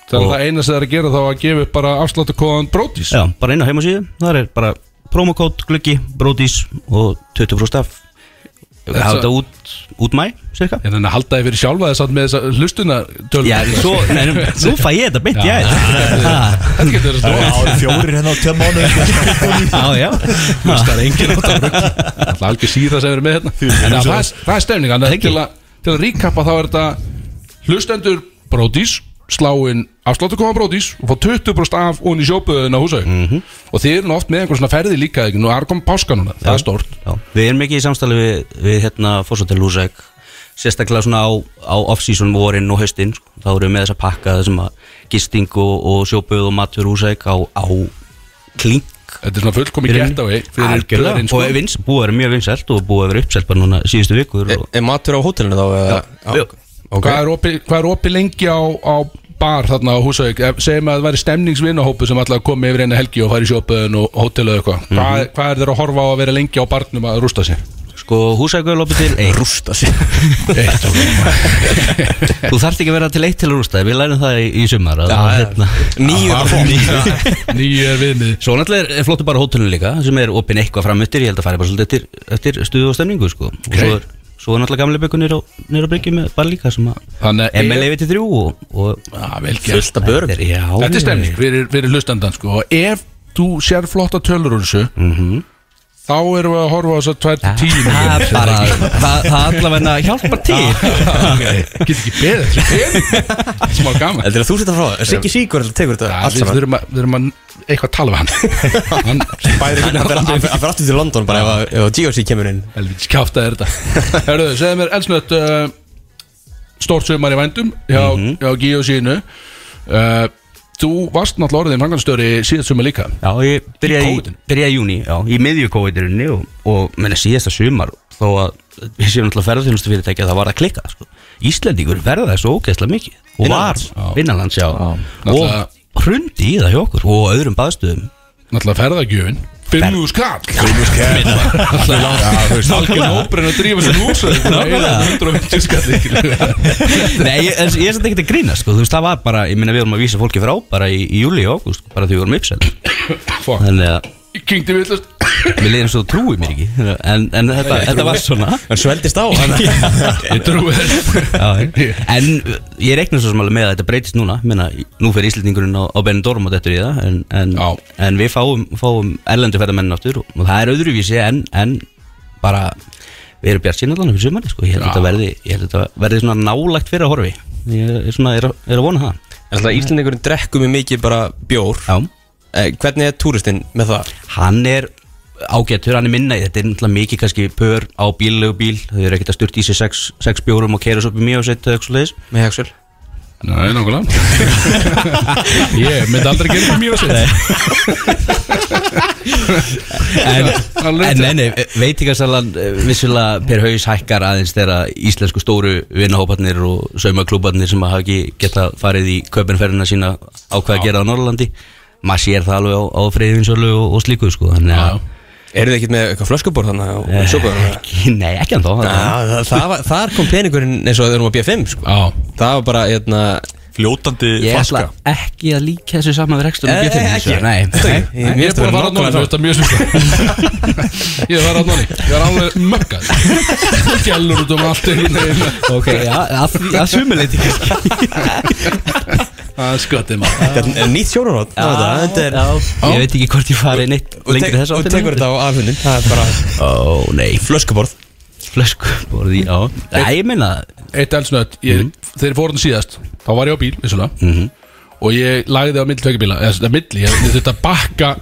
Speaker 2: Þannig að
Speaker 5: Og-
Speaker 2: það eina sem það er að gera þá að gefa upp bara afsláttakóðan brótis
Speaker 5: Já, bara inn á heimasíðu, það er bara promokót, gluggi, bródís og 20% af Það er þetta út, út mæ, cirka
Speaker 2: En þannig að halda þið fyrir sjálfa þess að með þess að hlustuna tölum
Speaker 5: Já, svo, nei, nú- nú fæ ég þetta beint, já
Speaker 2: Þetta getur verið stórt.
Speaker 4: Það eru fjórir hérna á tveim mánu
Speaker 5: Já, já
Speaker 2: Það er engin átt að rugga Alltaf algjör síða sem eru með hérna En það, það, er- það er stemning Þannig að til, að, til að ríkappa þá er þetta Hlustendur brótis Sláinn afsláttu koma brótis Og fá 20% af onni sjópuðin á húsau
Speaker 5: Mhm.
Speaker 2: Og þið eru nú oft með einhver svona ferði líka ekki? Nú er kom páska núna, það er stórt
Speaker 5: Já, við erum ekki í samstæli við, við hérna Fossatel Lúsæk sérstaklega svona á, á off-season vorinn og haustinn, sko. þá erum við með þess að pakka þessum að gisting og, og sjóböð og matur Lúsæk á, á klink
Speaker 2: Þetta er svona fullkomi gett á e- Fyrir sko.
Speaker 5: Algjörlega,
Speaker 2: plöðin
Speaker 5: og er vins, búið er mjög vinsælt og búið er uppselt bara núna síðustu vikur
Speaker 3: Er,
Speaker 5: og,
Speaker 3: er matur á hótelinu þá? eða- Já, ok
Speaker 2: Hvað er opið- hvað er opið lengi á, á bar þarna á Húsavík Ef- segjum að það væri stemningsvinnahópu sem alltaf komið yfir eina helgi og færi sjópaðun og hótel eða eitthvað hvað, hvað er þeir að horfa á að vera lengi á barnum að rústa sér?
Speaker 5: sko húsæk er lopið til eitt Rústa sér
Speaker 2: Eitt og
Speaker 5: Þú þarft ekki að vera til eitt til að rústa, við lærum það í, í sumar að, hérna,
Speaker 3: Nýju
Speaker 2: Ah,
Speaker 3: á fólk
Speaker 2: Nýju er viðmið
Speaker 5: Svo náttúrulega er- er flottu bara hótelinu líka sem er opinn eitthvað framöttir, ég held að fara bara svolítið eftir, eftir stuðu og stemningu sko. og svo er, svo er náttúrulega gamlega byggur nýra á bryggju með bara líka sem að
Speaker 2: Þannig að-
Speaker 5: ML lefi til þrjú og, og
Speaker 2: ah, vel gert.
Speaker 5: fullt af börn Þetta er- já.
Speaker 2: Þetta er stemning fyrir, fyrir hlustandan sko. og ef þú sér flotta tölur úr þessu þá erum við að horfa á þess að 2-10
Speaker 5: Ah, Það er
Speaker 2: miljónir.
Speaker 5: bara, það, það allavega hjálpar til
Speaker 2: Get ekki beðið þetta er smá gaman
Speaker 3: Þetta er að þú setja frá það Siggi Sigur tekur þetta
Speaker 2: Ja, við
Speaker 3: allt
Speaker 2: við
Speaker 3: saman
Speaker 2: þurfum að, við þurfum að eitthvað tala við hann Hann
Speaker 3: Bæri hann fer- hann fer hann fer aftur til London bara ef að- ef að GOC kemur inn
Speaker 2: helvits kjáft að þetta Hörðu, segðu mér elsnött uh, Stórt sumar í vændum Hjá, hjá Gíu sínu uh, Þú varst náttúrulega orðin franganstöri síðast sumar líka
Speaker 5: Já, ég byrjaði í,
Speaker 2: COVID-inu?
Speaker 5: byrjaði í júni, já, í miðju COVID-urinni og, og menna síðasta sumar þó að við séum náttúrulega ferðarþjónustu fyrirtækja það var að klikka, sko. Íslendingur verða þessu ógeðslega mikið og var
Speaker 3: Innanlands?
Speaker 5: innanlands, já,
Speaker 2: Náttúrulega-
Speaker 5: og hrundi í það hjá okkur og á öðrum baðstöðum
Speaker 2: Náttúrulega ferðagjöfin Fimmu skall Fimmu skall Algjörn óbrenn að drífa sér hús
Speaker 5: Nákvæmlega.
Speaker 2: 150 skall
Speaker 5: Nei, ég, en ég er þetta ekki að grína, sko, þú veist, það var bara, ég minna við vorum að vísa fólki frá bara í, í júli og ágúst, bara því við vorum uppsett
Speaker 2: Fuck
Speaker 5: þannig að
Speaker 2: Ég Kynkti villast
Speaker 5: við leiðum svo trúið mér ekki en, en þetta, þetta var svona
Speaker 3: Hann sveldist á hann
Speaker 2: Ég trúi
Speaker 5: Já,
Speaker 2: þess
Speaker 5: en uh, ég reikna svo sem alveg með að þetta breytist núna minna, nú fer Íslendingurinn á, á Benidorm og þetta er í það en, en,
Speaker 2: Já.
Speaker 5: en við fáum, fáum erlendu ferðamenn aftur og, og það er öðruvísi en, en bara við erum bjart sínallan fyrir sumari sko. ég,
Speaker 2: Já.
Speaker 5: held að þetta verði, ég held að þetta verði svona nálægt fyrir að horfi ég er, svona, er, að- er að vona það
Speaker 3: Alltaf Íslandingurinn drekkum við mikið bara bjór
Speaker 5: Já.
Speaker 3: Eh, Hvernig er túristinn með það?
Speaker 5: hann er ágættur, hann er minna í- þetta er náttúrulega mikið kannski pör á bíllegu bíl þau eru ekkert að sturt í sig sex, sex bjórum og keira svo upp í mjög og setja eitthvað leis
Speaker 3: Með Hexel?
Speaker 2: Nei, nákvæmlega Ég myndi aldrei gera
Speaker 5: um
Speaker 2: það mjög að segja
Speaker 5: en,
Speaker 2: alveg
Speaker 5: en nei, nei, veitingasalan eh, vissulega per haus hækkar aðeins þegar íslensku stóru vinnahóparnir og saumaklúbarnir sem að hafa ekki geta farið í köpinferðina sína á hvað að gera á Norrlandi maður sér það alveg á, á freyðinsölu og, og slíku sko þannig að
Speaker 3: Eru þið ekkert með eitthvað flöskubor þannig og
Speaker 5: Eh,
Speaker 3: sjókvöður?
Speaker 5: ekki- Nei, ekki ennþá það-
Speaker 3: Þar kom peningurinn eins og þeir eru á BFM sko.
Speaker 2: Já,
Speaker 3: Það var bara, hérna
Speaker 4: Fljótandi
Speaker 5: Ég ætla
Speaker 4: flaska
Speaker 5: ekki að líka þessu saman við rekstur
Speaker 3: Eh, eh, ekki.
Speaker 5: sko, Nei, nei
Speaker 2: Ég er búin að fara á nóni, þú veist að mjög svipa Ég er að fara á nóni, ég er alveg mökkað Gjallur út um allt einhvern veginn
Speaker 5: Ok, já, að, því- að sumuleiti
Speaker 2: Það er sköttið maður
Speaker 3: Þetta er nýtt sjónarhótt
Speaker 5: Ég veit ekki hvort ég farið neitt
Speaker 3: Og
Speaker 5: lengri
Speaker 3: tek-
Speaker 5: þess
Speaker 3: og tekur þetta á alfunnin Það er bara
Speaker 5: Ó, nei
Speaker 3: flöskuborð
Speaker 5: Flöskuborði, já Nei, ég meina
Speaker 2: Eitt elsnött,
Speaker 5: Mhm.
Speaker 2: mm. þegar ég fór hann síðast Þá var ég á bíl, vissulega Og ég lagði á milli tveikibíla Eða svona milli, ég, ég þurfti að bakka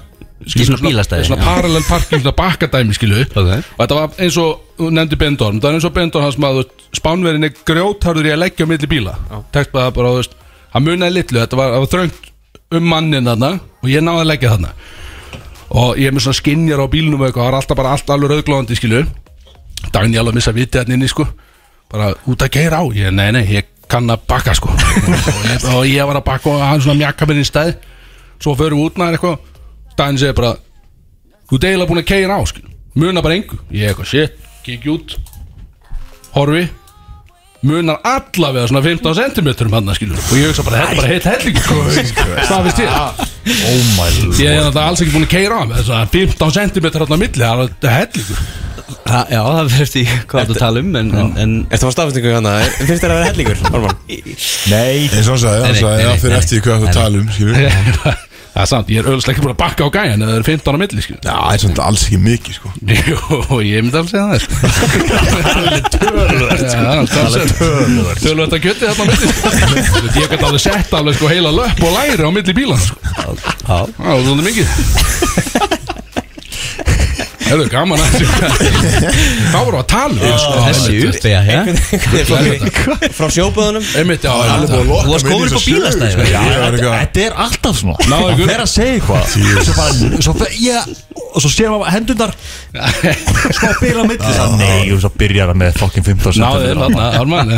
Speaker 2: skilur,
Speaker 5: svona bílastæði,
Speaker 2: Svona
Speaker 5: já.
Speaker 2: parallel parking, svona bakkadæmi skilu
Speaker 5: Ok.
Speaker 2: Og þetta var eins og, þú nefndi Bendorm Það var eins og Bendorm hans maður Spánverðin er grjótarður í að leggja á milli bíla Tekst bara bara, þú veist Hann munaði litlu, þetta var, það var þröngt um mannin þarna Og ég náði að leggja þarna Og ég er með svona skinjar á bílnum og eitthvað Það var alltaf bara allt alveg rauðglóðandi skilu Dagni alveg að missa vitið hann inni sko Bara út að geira á ég, Nei, nei, ég kann að baka sko og, ég, og ég var að baka og hann svona mjaka mér inn í stæð Svo förum við út maður eitthvað Dagni segir bara Þú ert eiginlega búin að keira á skilu Muna bara engu Ég eitthvað shit, kikki út Horfi munar allavega svona 15 cm um hann skilur og ég hugsa bara, þetta er bara heitt helling sko." hvað finnst ég?
Speaker 4: Oh my lord
Speaker 2: Ég er náttúrulega alls ekki búin að keira á með þess að 15 cm hérna á milli, það er þetta hellingur
Speaker 5: Það- Já, það verður eftir hvað þú ert að tala um En, en, en
Speaker 3: Er það var stafsningu hann að hérna? Finnst þér að vera hellingur, Norman?
Speaker 4: Nei
Speaker 1: eins og hann sagði, hann
Speaker 5: Nei, nei,
Speaker 1: sagði
Speaker 5: nei,
Speaker 1: það fyrir
Speaker 5: nei,
Speaker 1: eftir því hvað
Speaker 5: nei,
Speaker 1: þú tala um skilur við.
Speaker 2: Það er sant, ég er öðvist ekki búin að bakka á gæjan eða það er 15 á milli, skilur
Speaker 1: Já, það er svona alls ekki mikið sko
Speaker 2: Jú, ég myndi alveg segja það sko. Já, Það er tölvöld Tölvöld að kjöti þarna á milli sko. Ég gæti alveg sett alveg sko heila löpp og læri á milli bílan sko.
Speaker 5: Já.
Speaker 2: Það var svolítið mikið Það er gaman að Þá voru að tala um, sko,
Speaker 5: þessi
Speaker 2: einmitt.
Speaker 5: uppeyja já.
Speaker 3: Frá sjóböðunum
Speaker 2: Einmitt, já
Speaker 1: Alveg búið að
Speaker 5: Þú
Speaker 1: lokka
Speaker 5: varst
Speaker 1: mig inn í
Speaker 5: góður upp á
Speaker 1: þessa sögu,
Speaker 5: bílastæði,
Speaker 1: sko.
Speaker 5: já,
Speaker 1: Ég var
Speaker 4: Þetta
Speaker 1: eitthvað-
Speaker 4: þetta er alltaf svona
Speaker 2: Náðu
Speaker 4: Það
Speaker 2: ykkur.
Speaker 4: fer að segja eitthvað Svo bara Svo fer ég Og svo séum við hendurnar Svo byrja að milli svo, Nei Og svo byrjar það með fokkin 15
Speaker 2: Náðu þér þarna, Ármann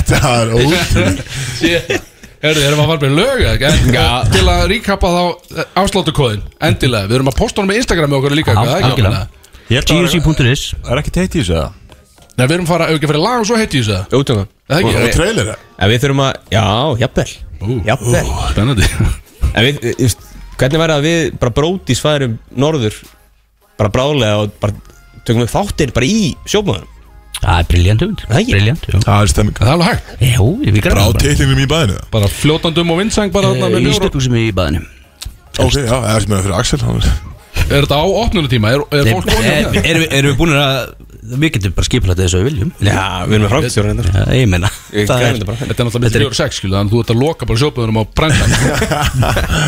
Speaker 1: Þetta er ótrúlega
Speaker 2: Herðu, erum að fara með lög eða ekki? En, Til að ríkappa þá afsláttukóðin Endilega, við erum að posta hann með Instagram með okkur líka
Speaker 5: Já,
Speaker 2: eitthvað, það er ekki
Speaker 5: algjörlega.
Speaker 2: ámæli?
Speaker 5: GUC.is
Speaker 4: Er ekki teitt í þessu eða?
Speaker 2: Nei, við erum að fara, ef við ekki að fara í lag og svo heiti ég þessu
Speaker 3: Útunga
Speaker 2: Það er
Speaker 1: Og
Speaker 2: ekki
Speaker 1: trailer það
Speaker 3: En við þurfum að Já, jafnvel
Speaker 2: Ú,
Speaker 3: Jafnvel
Speaker 2: ú, Spennandi
Speaker 3: En við við- þú veist, Hvernig væri að við Bara bróti svæðurum norður Bara brálega Og bara Tökum við þáttir Bara í sjóböðunum
Speaker 5: Það er briljant hugmynd
Speaker 3: Það ekki?
Speaker 5: Briljant, jú
Speaker 1: Það er stemming
Speaker 2: Það er alveg hægt
Speaker 5: Jú, ég vil
Speaker 1: Bara á
Speaker 5: græða
Speaker 1: teitlingum í bæðinu það?
Speaker 2: Bara fljótandum og vindsang bara þarna með
Speaker 5: Eh, Í
Speaker 2: bjór og-
Speaker 5: stökkúsum í baðinu
Speaker 1: Ok, já, það er sem er fyrir Axel hann er-
Speaker 2: Er þetta á opnunutíma? Er, er fólk
Speaker 5: eh,
Speaker 2: hérna?
Speaker 5: Erum
Speaker 2: vonið
Speaker 5: er, er, er við búin að Við getum bara skipla þessu að við viljum
Speaker 3: Já, við erum með frámstjóra hendur
Speaker 5: Já, Ég meina
Speaker 3: Ég
Speaker 5: það
Speaker 3: græði
Speaker 5: er-
Speaker 3: þetta bara.
Speaker 2: Þetta er náttúrulega mitt
Speaker 5: Þetta er-
Speaker 2: fjóru og sex skilu Þannig að þú ert að loka bara sjópaðunum á brendan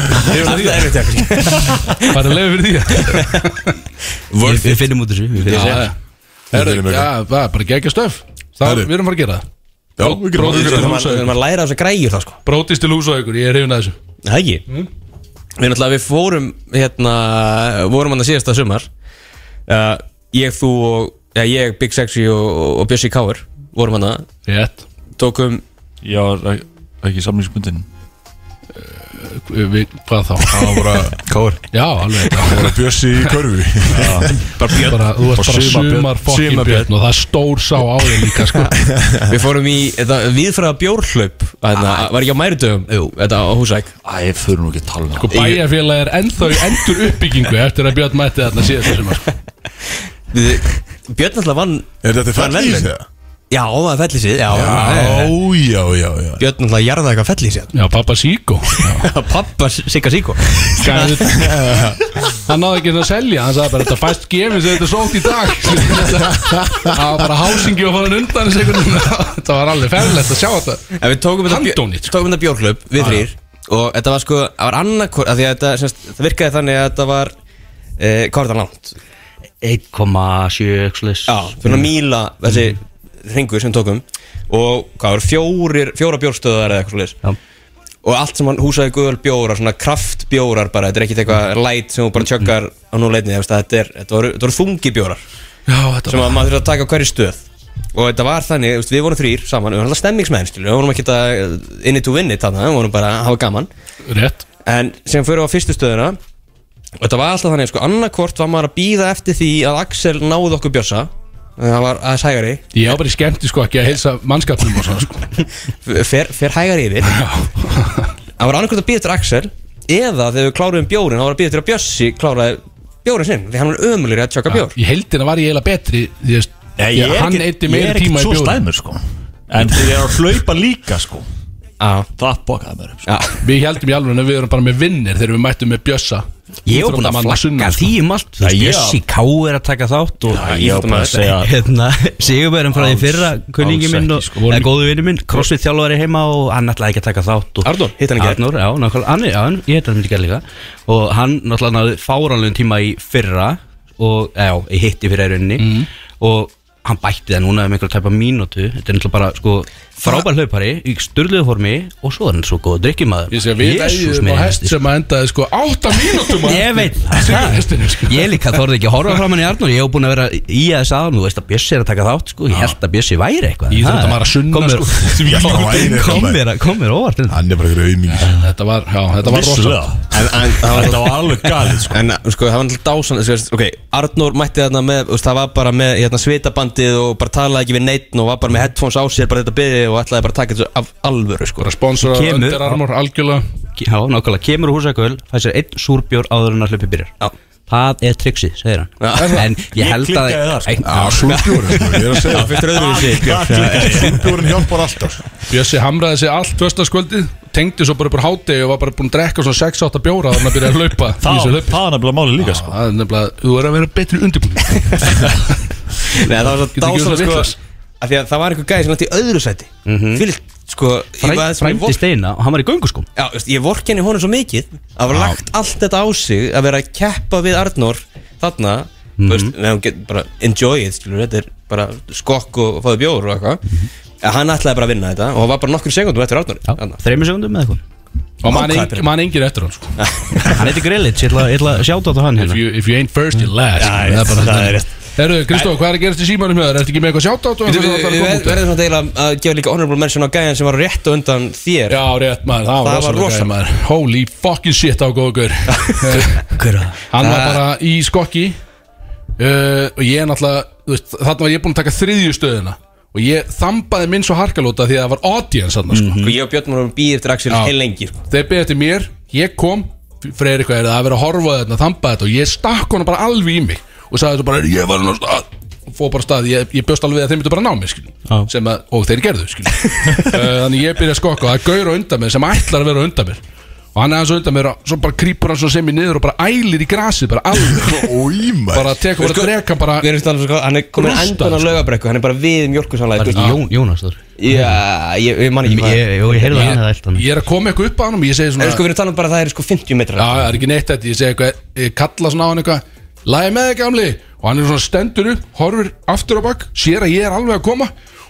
Speaker 3: Það er þetta
Speaker 2: Það er leið fyrir því
Speaker 5: Við við finnum út þessu Við
Speaker 2: Já,
Speaker 5: finnum
Speaker 2: já. Herðu,
Speaker 1: finnum
Speaker 2: já, það er bara geggja stöf Það er,
Speaker 1: Herðu.
Speaker 2: við erum að fara að gera það
Speaker 1: Já, við gerum
Speaker 2: Bróðir
Speaker 1: við
Speaker 2: til
Speaker 1: gerum
Speaker 3: Við
Speaker 1: það
Speaker 3: erum að læra þess að græjur það sko Mm.
Speaker 2: Brótist til húsaukur, ég er hefin að þessu
Speaker 3: Það ekki Við náttúrulega við fórum hérna Vorum hann að síðasta sumar uh, Ég, þú og ja, Ég, Big Sexy og, og Bjössi Káur Vorum hann að
Speaker 2: Rétt
Speaker 3: Tókum
Speaker 4: Já, er ekki- ekki samlýsbundin
Speaker 2: Við, hvað þá?
Speaker 1: Það var bara
Speaker 4: Káur
Speaker 2: Já, alveg
Speaker 1: Það var bjössi í körfu
Speaker 4: Bara björn
Speaker 2: bara, Þú ert bara
Speaker 4: sumarbjörn.
Speaker 2: sumar fokkin
Speaker 4: Sumarbjörn.
Speaker 2: björn Og það er stór sá á þig líka sko.
Speaker 3: Við fórum í þetta, viðfraða bjórhlaup hérna, Var ekki á mærutöfum Jú, þetta á húsæk
Speaker 4: Æ, fyrir nú ekki að tala um það.
Speaker 2: Bæjarfélag Sko, er ennþá í endur uppbyggingu Eftir að björn mætti þarna síðast þessum sko.
Speaker 3: Við- Björn náttúrulega vann
Speaker 1: Er þetta fæll í sig?
Speaker 3: Já, það er fellið síð Já,
Speaker 1: Já, já, já, já
Speaker 3: Björn náttúrulega jarða eitthvað fellið síð
Speaker 2: Já, pappa Síko
Speaker 3: Pappa Sigga Siggo
Speaker 2: Gæðið Hann náði ekki að selja, hann sagði bara Þetta fæst gefið sem þetta er sótt í dag Það var bara hásingi og farin undan þessu einhvern veginn. Þetta var alveg ferlegt að sjá þetta
Speaker 3: En við tókum þetta, bjó-
Speaker 2: Handónýtt, sko.
Speaker 3: tókum þetta bjórhlaup við þrýr og þetta var sko, það var annarkor að því að þetta, semst, það virkaði þannig að þetta var e, hvað var þetta langt?
Speaker 5: 1,7 slags
Speaker 3: Já, svona míla þessi hringur sem við tókum og hvað var fjórir, fjóra bjórstöðar eða eitthvað
Speaker 5: Já.
Speaker 3: svolítið og allt sem hann húsaði guðal bjórar, svona kraftbjórar bara, þetta er ekkit eitthvað light sem þú bara tjöggar á núleitni, þetta, er, þetta, voru, þetta voru þungi bjórar
Speaker 2: Já, þetta
Speaker 3: sem að maður þurfti að taka á hverju stöð og þetta var þannig, þú veist, við vorum þrýr saman við vorum alltaf stemmingsmenn, skilur, við vorum ekki að inni to win it þarna, við vorum bara að hafa gaman
Speaker 2: var rétt
Speaker 3: en sem fyrir á fyrstu stöðuna og þetta var alltaf þannig, sko, annarkvort var maður að býða eftir því að Axel náði okkur bjössa það var aðeins hægari
Speaker 2: Ég var bara í skemmti sko ekki að heilsa mannskapnum og svona sko
Speaker 3: f- fer, fer hægari yfir það var annarkvort að býða eftir Axel eða þegar við kláruðum bjórin, það var að býða eftir að bjössi kláraði bjórin sinn, því hann var ömulir að tjöka bjór
Speaker 2: Í heildina var ég eiginlega betri Því að
Speaker 4: Nei,
Speaker 2: því að hann
Speaker 4: ekkert-
Speaker 2: eitti meira tíma í
Speaker 4: Ég er ekkert svo
Speaker 2: bjóðum
Speaker 4: slæmur sko En þegar ég er að hlaupa líka sko
Speaker 3: Já.
Speaker 4: Það bókaði mér upp sko.
Speaker 3: Já.
Speaker 2: Við heldum í alveg að við erum bara með vinnir Þegar við mættum með bjössa
Speaker 5: Ég var búin að
Speaker 2: Íþróttamann
Speaker 5: flagga
Speaker 2: sunnan, sko.
Speaker 5: því um allt Þú veist,
Speaker 4: Já, já.
Speaker 5: Jessi K er að taka þátt og
Speaker 4: Ég var bara að segja
Speaker 5: hérna, Sigurbærum frá því
Speaker 4: Alls-
Speaker 5: fyrra kunningi
Speaker 4: alls
Speaker 5: minn
Speaker 4: ekki,
Speaker 5: og
Speaker 4: sko.
Speaker 5: eða góðu vinnu minn, crossfit þjálfari heima og hann ætlaði ekki að taka þátt og-
Speaker 3: Arnór, hitt hann í gær.
Speaker 5: Arnór, já, nákvæmlega, hann, er- já, hann- ég hitt hann í gerð líka og hann náttúrulega náði fáranlegum tíma í fyrra og, já, ég hitti fyrra í rauninni og hann bætti það núna um einhverja tæpa mínútu þetta er náttúrulega bara, sko frábær hlaupari í styrluðu formi og svo er hann svo góð drikkjumæður
Speaker 2: Ég sé að við veðjum á hest sem að endaði sko 8 mínútum á
Speaker 5: Ég veit það.
Speaker 2: Sigur hestinum sko
Speaker 5: Ég líka þorði ekki að horfa fram hann í Arnur Ég hef búin að vera í að þess aðan Þú veist að Bjössi er að taka þátt sko. Ég held að Bjössi væri eitthvað
Speaker 2: Ég þrjótt að maður að sunna
Speaker 5: Kom mér-
Speaker 2: sko
Speaker 1: Sem ég held að væri eitthvað.
Speaker 5: Kom mér- Kom mér óvart inn.
Speaker 1: Hann er bara ykkur auðmingi
Speaker 2: Þetta var, já, þetta var rosa
Speaker 4: En, en þetta var alveg galið sko.
Speaker 3: En sko, það var alltaf dásan þú veist, Ok, Arnór mætti þarna með þú veist, Það var bara með hérna, svitabandið og bara talaði ekki við neitt og var bara með headphones á sér bara þetta byrði og ætlaði bara að taka þessu af alvöru sko.
Speaker 2: Bara sponsor af
Speaker 5: Kemur.
Speaker 2: Under Armour algjörlega
Speaker 5: Já, nákvæmlega Kemur úr húsaköl Fæ sér einn súrbjór áður en að hlaupi byrjar
Speaker 3: Já.
Speaker 5: Það er triksi, segir hann En ég held að
Speaker 4: klikkaði þar, sko.
Speaker 5: Ein-
Speaker 1: Já, súrbjórn sko, Ég er að segja
Speaker 3: Fyrst rauður við sig
Speaker 1: Súrbjórn hjálpar alltaf
Speaker 2: Bjössi hamraði sig allt föstaskvöldið Tengdi svo bara upp úr hátegi og var bara búin að drekka svona 6-8 bjóra Þannig að byrja að laupa í
Speaker 4: Það
Speaker 2: þessu
Speaker 4: það
Speaker 2: laupi
Speaker 4: var nefnilega máli líka sko.
Speaker 2: Það er nefnilega, þú er að vera betri undirbúin
Speaker 3: Nei, það var
Speaker 2: Getur
Speaker 3: svo
Speaker 2: ekki verið
Speaker 3: dásan
Speaker 2: svo
Speaker 3: sko
Speaker 2: vitlaus.
Speaker 3: af Því að það var einhver gæði sem hætti í öðru sæti
Speaker 2: Mhm.
Speaker 3: Fyrir, sko ég var- sem ég
Speaker 5: Frændi
Speaker 3: vor-
Speaker 5: steina og hann var í sko. gönguskum
Speaker 3: Já, þú veist, ég vork henni honum svo mikið að hafa lagt allt þetta á sig að vera að keppa við Arnór þarna mm veist, Nei, hún get bara enjoy it, skilur Þetta er bara skokk og fáðu bjóður og eitthvað að Hann ætlaði bara að vinna þetta og hann var bara nokkur sekundum eftir Arnór þarna.
Speaker 5: Þreimur segundum með eitthvað
Speaker 2: Og mann
Speaker 3: Ákvæður.
Speaker 2: engir, man engir eftir hann sko
Speaker 5: Hann heiti Grelits, ég ætla- ég ætla að sjáta á hann
Speaker 2: If
Speaker 5: hérna
Speaker 2: you, if you ain't first, you last
Speaker 4: Já,
Speaker 2: Það er bara
Speaker 4: það er
Speaker 2: þannig.
Speaker 4: rétt.
Speaker 2: Herru, Kristó, hvað er að gerast í símanum hjá þér? Ertu ekki með eitthvað sjátátt og
Speaker 3: Við
Speaker 2: eitthvað að koma
Speaker 3: við-
Speaker 2: út?
Speaker 3: verðum svona deila að gefa líka honorable mention á gæðan sem var rétt á undan þér
Speaker 2: Já, rétt maður, það var
Speaker 3: Það var
Speaker 2: rosalega
Speaker 3: rosa.
Speaker 2: gæði maður Holy fucking shit á góður
Speaker 5: Hver að
Speaker 2: Hann var bara í skokki uh, Og ég náttúrulega þú veist, Þarna var ég búinn að taka þriðju stöðina Og ég þambaði minn svo harkalóta Því að það var audience þarna sko.
Speaker 3: Sko, Ég og Björn vorum býð eftir Axel
Speaker 2: Já.
Speaker 3: heil lengi sko.
Speaker 2: Þeir beðið eftir mér, ég kom Freyri hvað er það að vera að horfa á þarna Þamba þetta og ég stakk hana bara alveg í mig Og sagði þetta bara, "Heyrðu, ég var hann á stað Og fóð bara af stað, ég, ég bjóst alveg við að þeir myndu bara ná mig skilur,
Speaker 5: Já.
Speaker 2: sem að, Og þeir gerðu skilur. uh, Þannig ég byrja að skokka og það er gaur á undan mér Sem ætlar að vera á undan mér Og hann er aðeins á undan mér og svo bara krýpur hann svo sem í niður Og bara ælir í grasið, bara alveg
Speaker 1: Ímæl
Speaker 2: Bara tekur bara
Speaker 3: Sko,
Speaker 2: drekan bara
Speaker 3: Við erum stannum svo hann er komin
Speaker 2: Rústa,
Speaker 3: endan á
Speaker 2: Ah. sko.
Speaker 3: laugabrekku Hann er bara við
Speaker 5: Var
Speaker 3: mjölkursannlega
Speaker 5: þetta ekki Jón, Jónas þar?
Speaker 3: Já, ég, ég man ekki
Speaker 5: Ég,
Speaker 3: hvað
Speaker 5: ég, ég, ég heyrði að hann að elda hann
Speaker 2: Ég er að koma eitthvað upp á hann og ég segi svona
Speaker 3: En sko við erum talað um bara að það er sko 50
Speaker 2: Já,
Speaker 3: metrar
Speaker 2: það er ekki neitt þetta, ég segi eitthvað Ég kalla svona á hann eitthvað Læði með þig gamli Og hann er svona stendur upp, horfur aftur á bak Sér að ég er alveg að koma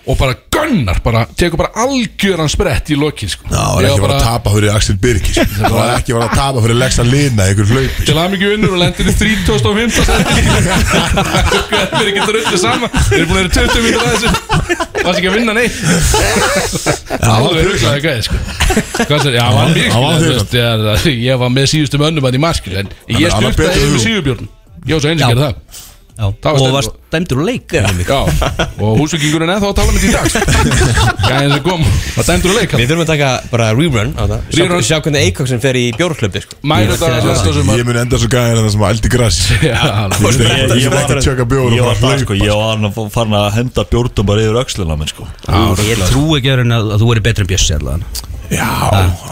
Speaker 2: Og bara gunnar, bara, tekur bara algjöran sprett í lokin sko.
Speaker 1: Já, það er
Speaker 2: Ég
Speaker 1: ekki bara að tapa fyrir Axel Birgis Það var ekki bara að tapa fyrir Lexa Lina í einhver hlaupi
Speaker 2: Til aðmyggju vinnur og lendir í 3005 Þetta er ekki dröndið sama Þeir eru búin að vera 20 mínútur að þessu Það er ekki að vinna neitt Alveg rugglaði gæði sko Hvað sér, já, hann var mjög
Speaker 1: hann var
Speaker 2: skil þú
Speaker 1: þurrkað.
Speaker 2: veist, ég er- Ég var með síðustum önnum hann í marskil En
Speaker 1: Hann-
Speaker 2: ég
Speaker 1: hann var
Speaker 2: stjórnaði
Speaker 1: betur en
Speaker 2: yfir
Speaker 1: þú.
Speaker 2: síðubjörn Ég var svo eins
Speaker 5: Já.
Speaker 2: að gera það
Speaker 5: Já,
Speaker 2: Það var
Speaker 5: og var dæmdur úr leik eða?
Speaker 2: Já, og húsvikingurinn ennþá að tala með því í dag sko. Gæðin sem kom, það dæmdur að leika
Speaker 3: Við þurfum að taka bara rerun á það Sjá,
Speaker 2: Rerun.
Speaker 3: sjá hvernig Eikoksen fer í bjórklubbi sko.
Speaker 2: Mælu þetta að lesta sem
Speaker 1: Ég mun enda svo gæðan en það sem að eldi græs
Speaker 2: að
Speaker 1: Ég ég- ég var ekki að tjöka bjóður
Speaker 4: Ég
Speaker 1: og
Speaker 4: var
Speaker 1: bara
Speaker 4: það sko,
Speaker 1: hlaupa
Speaker 4: ég var hann farin að henda bjórnum bara yfir öxlina minn sko
Speaker 5: Ég trú ekki að, að, að þú verið betri en Bjössi allavega
Speaker 1: Já,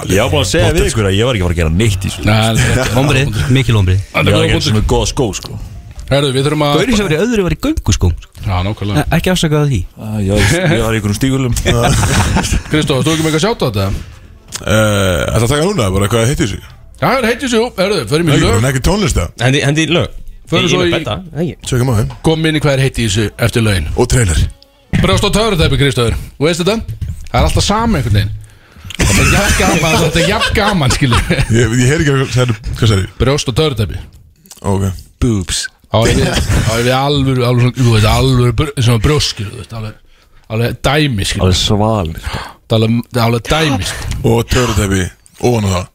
Speaker 4: Ég var bara að segja við ykkur að ég var ekki að fara að gera neitt í svo
Speaker 5: Vomrið, mikil vomrið
Speaker 4: Ég var að gera svona góða skó sko
Speaker 2: Herru, við þurfum að
Speaker 5: Gauri sem verið öðru var í gönguskóm sko.
Speaker 2: Já, nákvæmlega
Speaker 5: E- Ekki afsakaða því
Speaker 4: Ah, Ég var ég var í einhvern stígulum
Speaker 2: Kristóf, þú ekki með eitthvað sjátt á þetta?
Speaker 1: Þetta Eh, taka núna, bara hvað heitir þessu?
Speaker 2: Já, það heitir svo, herðu, förum í
Speaker 1: Það er
Speaker 2: lög
Speaker 1: ekki tónlist það
Speaker 3: Hendi, hendi í lög
Speaker 2: Förum
Speaker 3: Ég-
Speaker 2: svo
Speaker 3: ég er
Speaker 2: í-
Speaker 3: með betta, það ekki.
Speaker 1: Tjökum á þeim
Speaker 2: Komum inn í hvað er heitt í þessu eftir lögin
Speaker 1: Og trailer
Speaker 2: Brjóst á törutæpi, Kristóður Þú veist þetta? Það er alltaf sami einhvern veginn Þetta er jafn gaman, þetta er jafn gaman, skilur
Speaker 1: Ég ég heyri ekki hvað sagði- hvað sagði
Speaker 2: Brjóst á törutæpi
Speaker 1: Ok
Speaker 4: Boobs
Speaker 2: Þá er við, þá er við alvöru, alvöru, svona- þú veist, alvöru br- svona brjóst, skilur þú veist, alveg Alveg dæmi, skilur
Speaker 4: Alveg svalir
Speaker 2: Það er alveg, það er alveg dæmi, skilur
Speaker 1: Og törutæpi ofan á það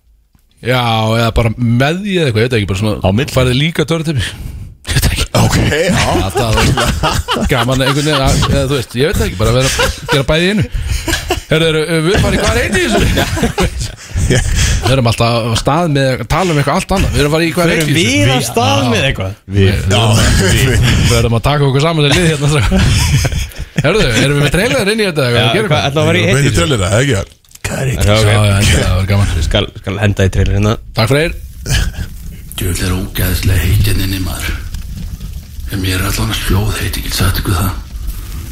Speaker 2: Já, eða bara með því eða eitthvað, ég veit ekki, bara
Speaker 4: Á
Speaker 2: svona
Speaker 4: milli.
Speaker 2: Færið líka törutæpi Ég veit ekki
Speaker 1: Ok, já
Speaker 2: Alltaf að það er gaman einhvern veginn að, eða, þú veist, ég veit það ekki, bara að vera gera bæði í einu Herðu, eru, við farið hvað reyti þessu? Við erum alltaf á stað með að tala um eitthvað allt annað Við erum farið í hvað reyti þessu?
Speaker 3: Við að stað með eitthvað
Speaker 2: Við erum að taka okkur saman til lið hérna strax. Herðu, erum við með trailer inn í þetta?
Speaker 3: Já,
Speaker 2: Hvað
Speaker 3: hvað
Speaker 2: gerum við?
Speaker 3: ætlaðu að vera í
Speaker 1: Veitir
Speaker 3: heitt í
Speaker 1: trailer það, ekki það?
Speaker 2: Já, já, já, það var gaman
Speaker 3: Skal, skal henda í trailer hérna
Speaker 2: Takk fyrir
Speaker 7: Djöfull er ógæðslega heitin inn í maður En mér er allan að sljóð heit Ég get sagt ykkur það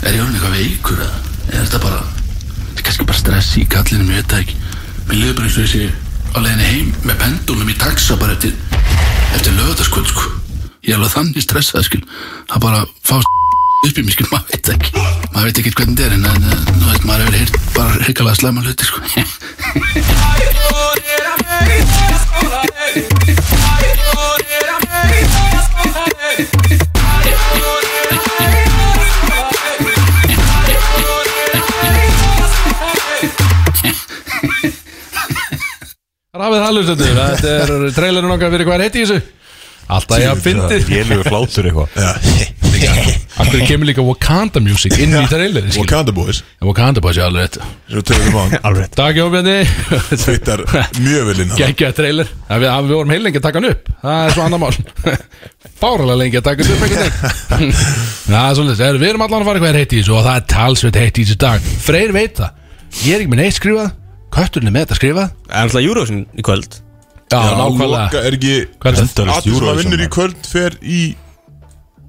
Speaker 7: Er ég orðin eitthvað veikur eða Eða er þetta bara Þetta er kannski bara stress í kallinu Mér veit það ekki Mér liður bara eins og ég sé Á leiðinni heim Með pendulum í taxa bara eftir Eftir lögðarskvöld sko Ég er alveg þannig stressað skil Það bara fá upp í mér, skil, maður veit ekki maður veit ekki hvernig þetta er en, en eh, þú veist, maður hefur heyrt bara hrikalega slæma hluti, sko
Speaker 2: Rafið Hallustendur, þetta er trailerinn okkar fyrir hvað er heiti í þessu Alltaf ég að fyndi
Speaker 4: Lélugur hlátur eitthvað
Speaker 2: Akkur kemur líka Wakanda music inn í trailerin skilur.
Speaker 1: Wakanda Boys
Speaker 2: Wakanda bæs ég alveg þetta
Speaker 1: Svo tökum við um hann
Speaker 4: Alveg
Speaker 2: Takk Jóbjörni
Speaker 1: Tvittar mjög vel inn á það.
Speaker 2: Gekkja trailer Það við, við vorum heil lengi að taka hann upp Það er svo annar mál Fáralega lengi að taka hann upp einhvern veginn Það er svolítið Þegar Við erum allan að fara hvað er heitt í þessu Og það er talsveit heitt í þessu dag Freyr veit það Ég er ekki með neitt skrifað Kötturinn er með þetta skrifað
Speaker 3: Það er alltaf Eurovision í kvöld
Speaker 2: Já,
Speaker 1: Já,
Speaker 2: nákvæmlega
Speaker 1: Loka er ekki
Speaker 2: Hvað er þetta?
Speaker 4: Endalaust
Speaker 1: Allir sem að
Speaker 4: Eurovision,
Speaker 1: vinnur í
Speaker 4: maður.
Speaker 1: kvöld fer í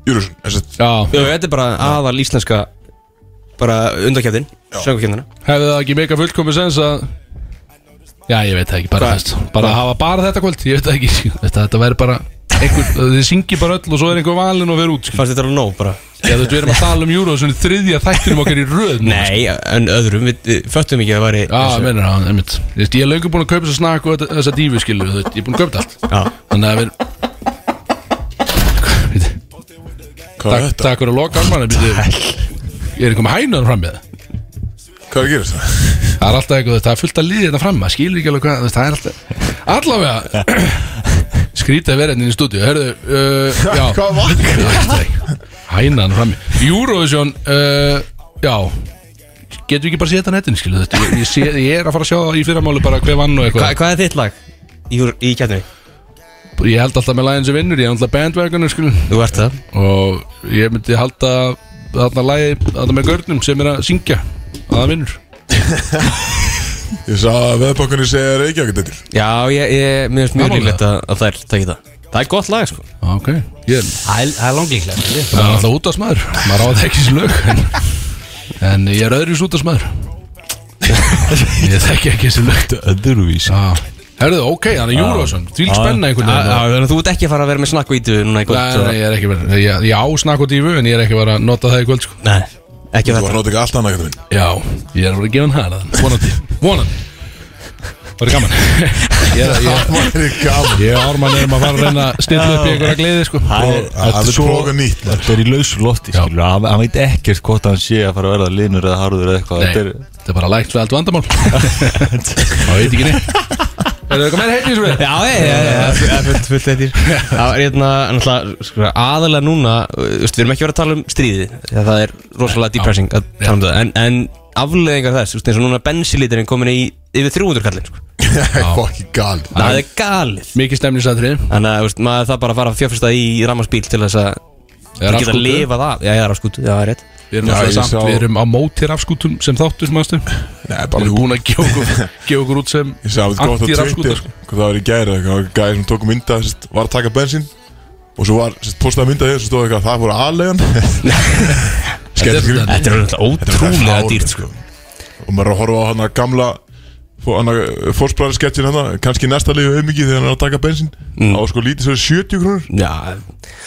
Speaker 1: Júrusun Þetta
Speaker 2: Já,
Speaker 3: Jú, þetta er bara aðal íslenska bara undakeftin, söngakeftina
Speaker 2: hefði það ekki meika fullkomis sens að Já, ég veit það ekki, bara þess Bara að hafa bara þetta kvöld, ég veit það ekki Þetta, þetta væri bara einhver, Þið syngi bara öll og svo er einhver valin og verið út skilur.
Speaker 3: Fannst þetta alveg nóg bara?
Speaker 2: Já, þú veit, við erum að tala um júru og svona þriðja þættinum okkar í röð núna,
Speaker 3: Nei, en öðrum, við, við föttum ekki að það væri
Speaker 2: Já, ég meinar það, einmitt Þú veist, Ég er löngu búin að kaupa þess að snakk og þetta- þessa dífu skilur þú veist, Ég er búin að kaupa þetta allt
Speaker 3: Já.
Speaker 2: Þannig að við
Speaker 1: Hvað er
Speaker 2: Takk-
Speaker 1: þetta?
Speaker 2: Takk fyrir að loka armarna býtu. Ég er einhver með hænaðan fram með það
Speaker 1: Hvað er að gera þetta?
Speaker 2: Það er alltaf eitthvað, það er fullt að líði þetta fram maður skilur ekki alveg hvað, þú veist, það er alltaf Allavega Skrítið að vera hérna inn í stúdíu Hörðu, uh, já
Speaker 1: Hvað var þetta?
Speaker 2: Ég veit það ekki. Hænan frammi Eurovision, uh, já Getur við ekki bara séð þetta á netinu, skilu þetta ég, ég, sé, ég er að fara að sjá það í fyrramáli bara hver vann og
Speaker 3: Hva,
Speaker 2: eitthvað
Speaker 3: Hvað er þitt lag í, úr- í keftinni?
Speaker 2: Ég held alltaf með lægin sem vinnur, ég er alltaf bandwagoner, skilu
Speaker 3: Þú ert það
Speaker 2: Og ég myndi halda þarna lægi, þarna með görnum sem er að syngja að það vinnur
Speaker 1: Ég sá að veðbókunni segja Reykjavík þetta
Speaker 3: Já, ég, ég mér finnst mjög
Speaker 2: Gaman
Speaker 3: líklegt að, að þær takja það Það er gott lag, sko
Speaker 2: Ok, ég
Speaker 5: Það er- það er langlíklega
Speaker 2: Það er alltaf útastmaður, maður á það ekki sem lög en, en ég er öðru útastmaður Ég þekki ekki sem lög
Speaker 4: Öðruvís
Speaker 2: ah. Herðu, ok, þannig Júrósson Því lík spenna einhvern veginn
Speaker 3: Já, já, þannig að Þú ert ekki að fara að vera með snakk og ítu núna í
Speaker 2: Nei,
Speaker 3: kvöld
Speaker 2: nei, ég er ekki verið Ég, ég á snakk og dífu en ég er ekki verið að nota það í kvöld sko.
Speaker 3: Nei, ekki
Speaker 1: Þú var
Speaker 3: þetta
Speaker 1: að nota ekki allt annað Katrín.
Speaker 2: Já, ég er að vera að gefa hann hana Vonandi, vonandi Það er gaman Ég, er- ég,
Speaker 1: Það er gaman
Speaker 2: ég ármann erum að fara að reyna að stilla upp í einhverja gleði sko.
Speaker 1: Það er prófa nýtt maður.
Speaker 4: Þetta er í lausu lofti,
Speaker 2: Já.
Speaker 4: skilur Hann hann veit ekkert hvort hann sé að fara að verða linur eða harður eða eitthvað
Speaker 2: Nei,
Speaker 4: Þetta er
Speaker 2: þetta er bara lægt við allt vandamál Það veit ekki neitt Er það eitthvað meira heitt í þessu við?
Speaker 3: Já, ég, ég, ég, ég, fullt, fullt eittir Það er hérna, en alltaf, sko, aðalega núna þú veist, Við erum ekki verið að tala um stríði Þegar það er rosalega depressing að tala um það En, en afleðingar þess, þú veist, eins og núna bensinlíturinn komin í yfir 300 kallinn sko.
Speaker 1: Fokkin gal
Speaker 3: Það er galið
Speaker 2: Mikið stemningsatrið
Speaker 3: Þannig að, þú veist, maður það bara að fara að fjárfesta í rammarsbíl Til þess að
Speaker 2: Er
Speaker 3: geta
Speaker 2: rafskútur?
Speaker 3: lifað af Já, ég er afskútu, já, það er rétt
Speaker 2: Við erum,
Speaker 1: Já,
Speaker 2: já,
Speaker 1: ég
Speaker 2: samt,
Speaker 1: sá-
Speaker 2: við erum á móti rafskútum sem þáttu sem aðstu
Speaker 1: Nei,
Speaker 2: Við
Speaker 1: bara
Speaker 2: erum
Speaker 1: hú
Speaker 2: búin að gefa okkur, gefa okkur út sem
Speaker 1: Ég sagði að þetta gott á
Speaker 2: anti-rafskúta sko.
Speaker 1: Twitter Hvað það var í gæri Hvað gæði sem tóku mynda sest, Var að taka bensín Og svo var sest, Postaði mynda þér Svo stóð eitthvað Það voru aðlegan Skellt
Speaker 2: Þetta er-
Speaker 1: skrýt
Speaker 3: Þetta er alveg ótrúlega dýrt sko.
Speaker 1: Og maður er að horfa á hana gamla Hana eh, fórspræðar sketchin hana Kanski næsta liðu auðmikið Þegar hann er að taka bensín mm. Á sko lítið svo 70 krónur
Speaker 3: Já,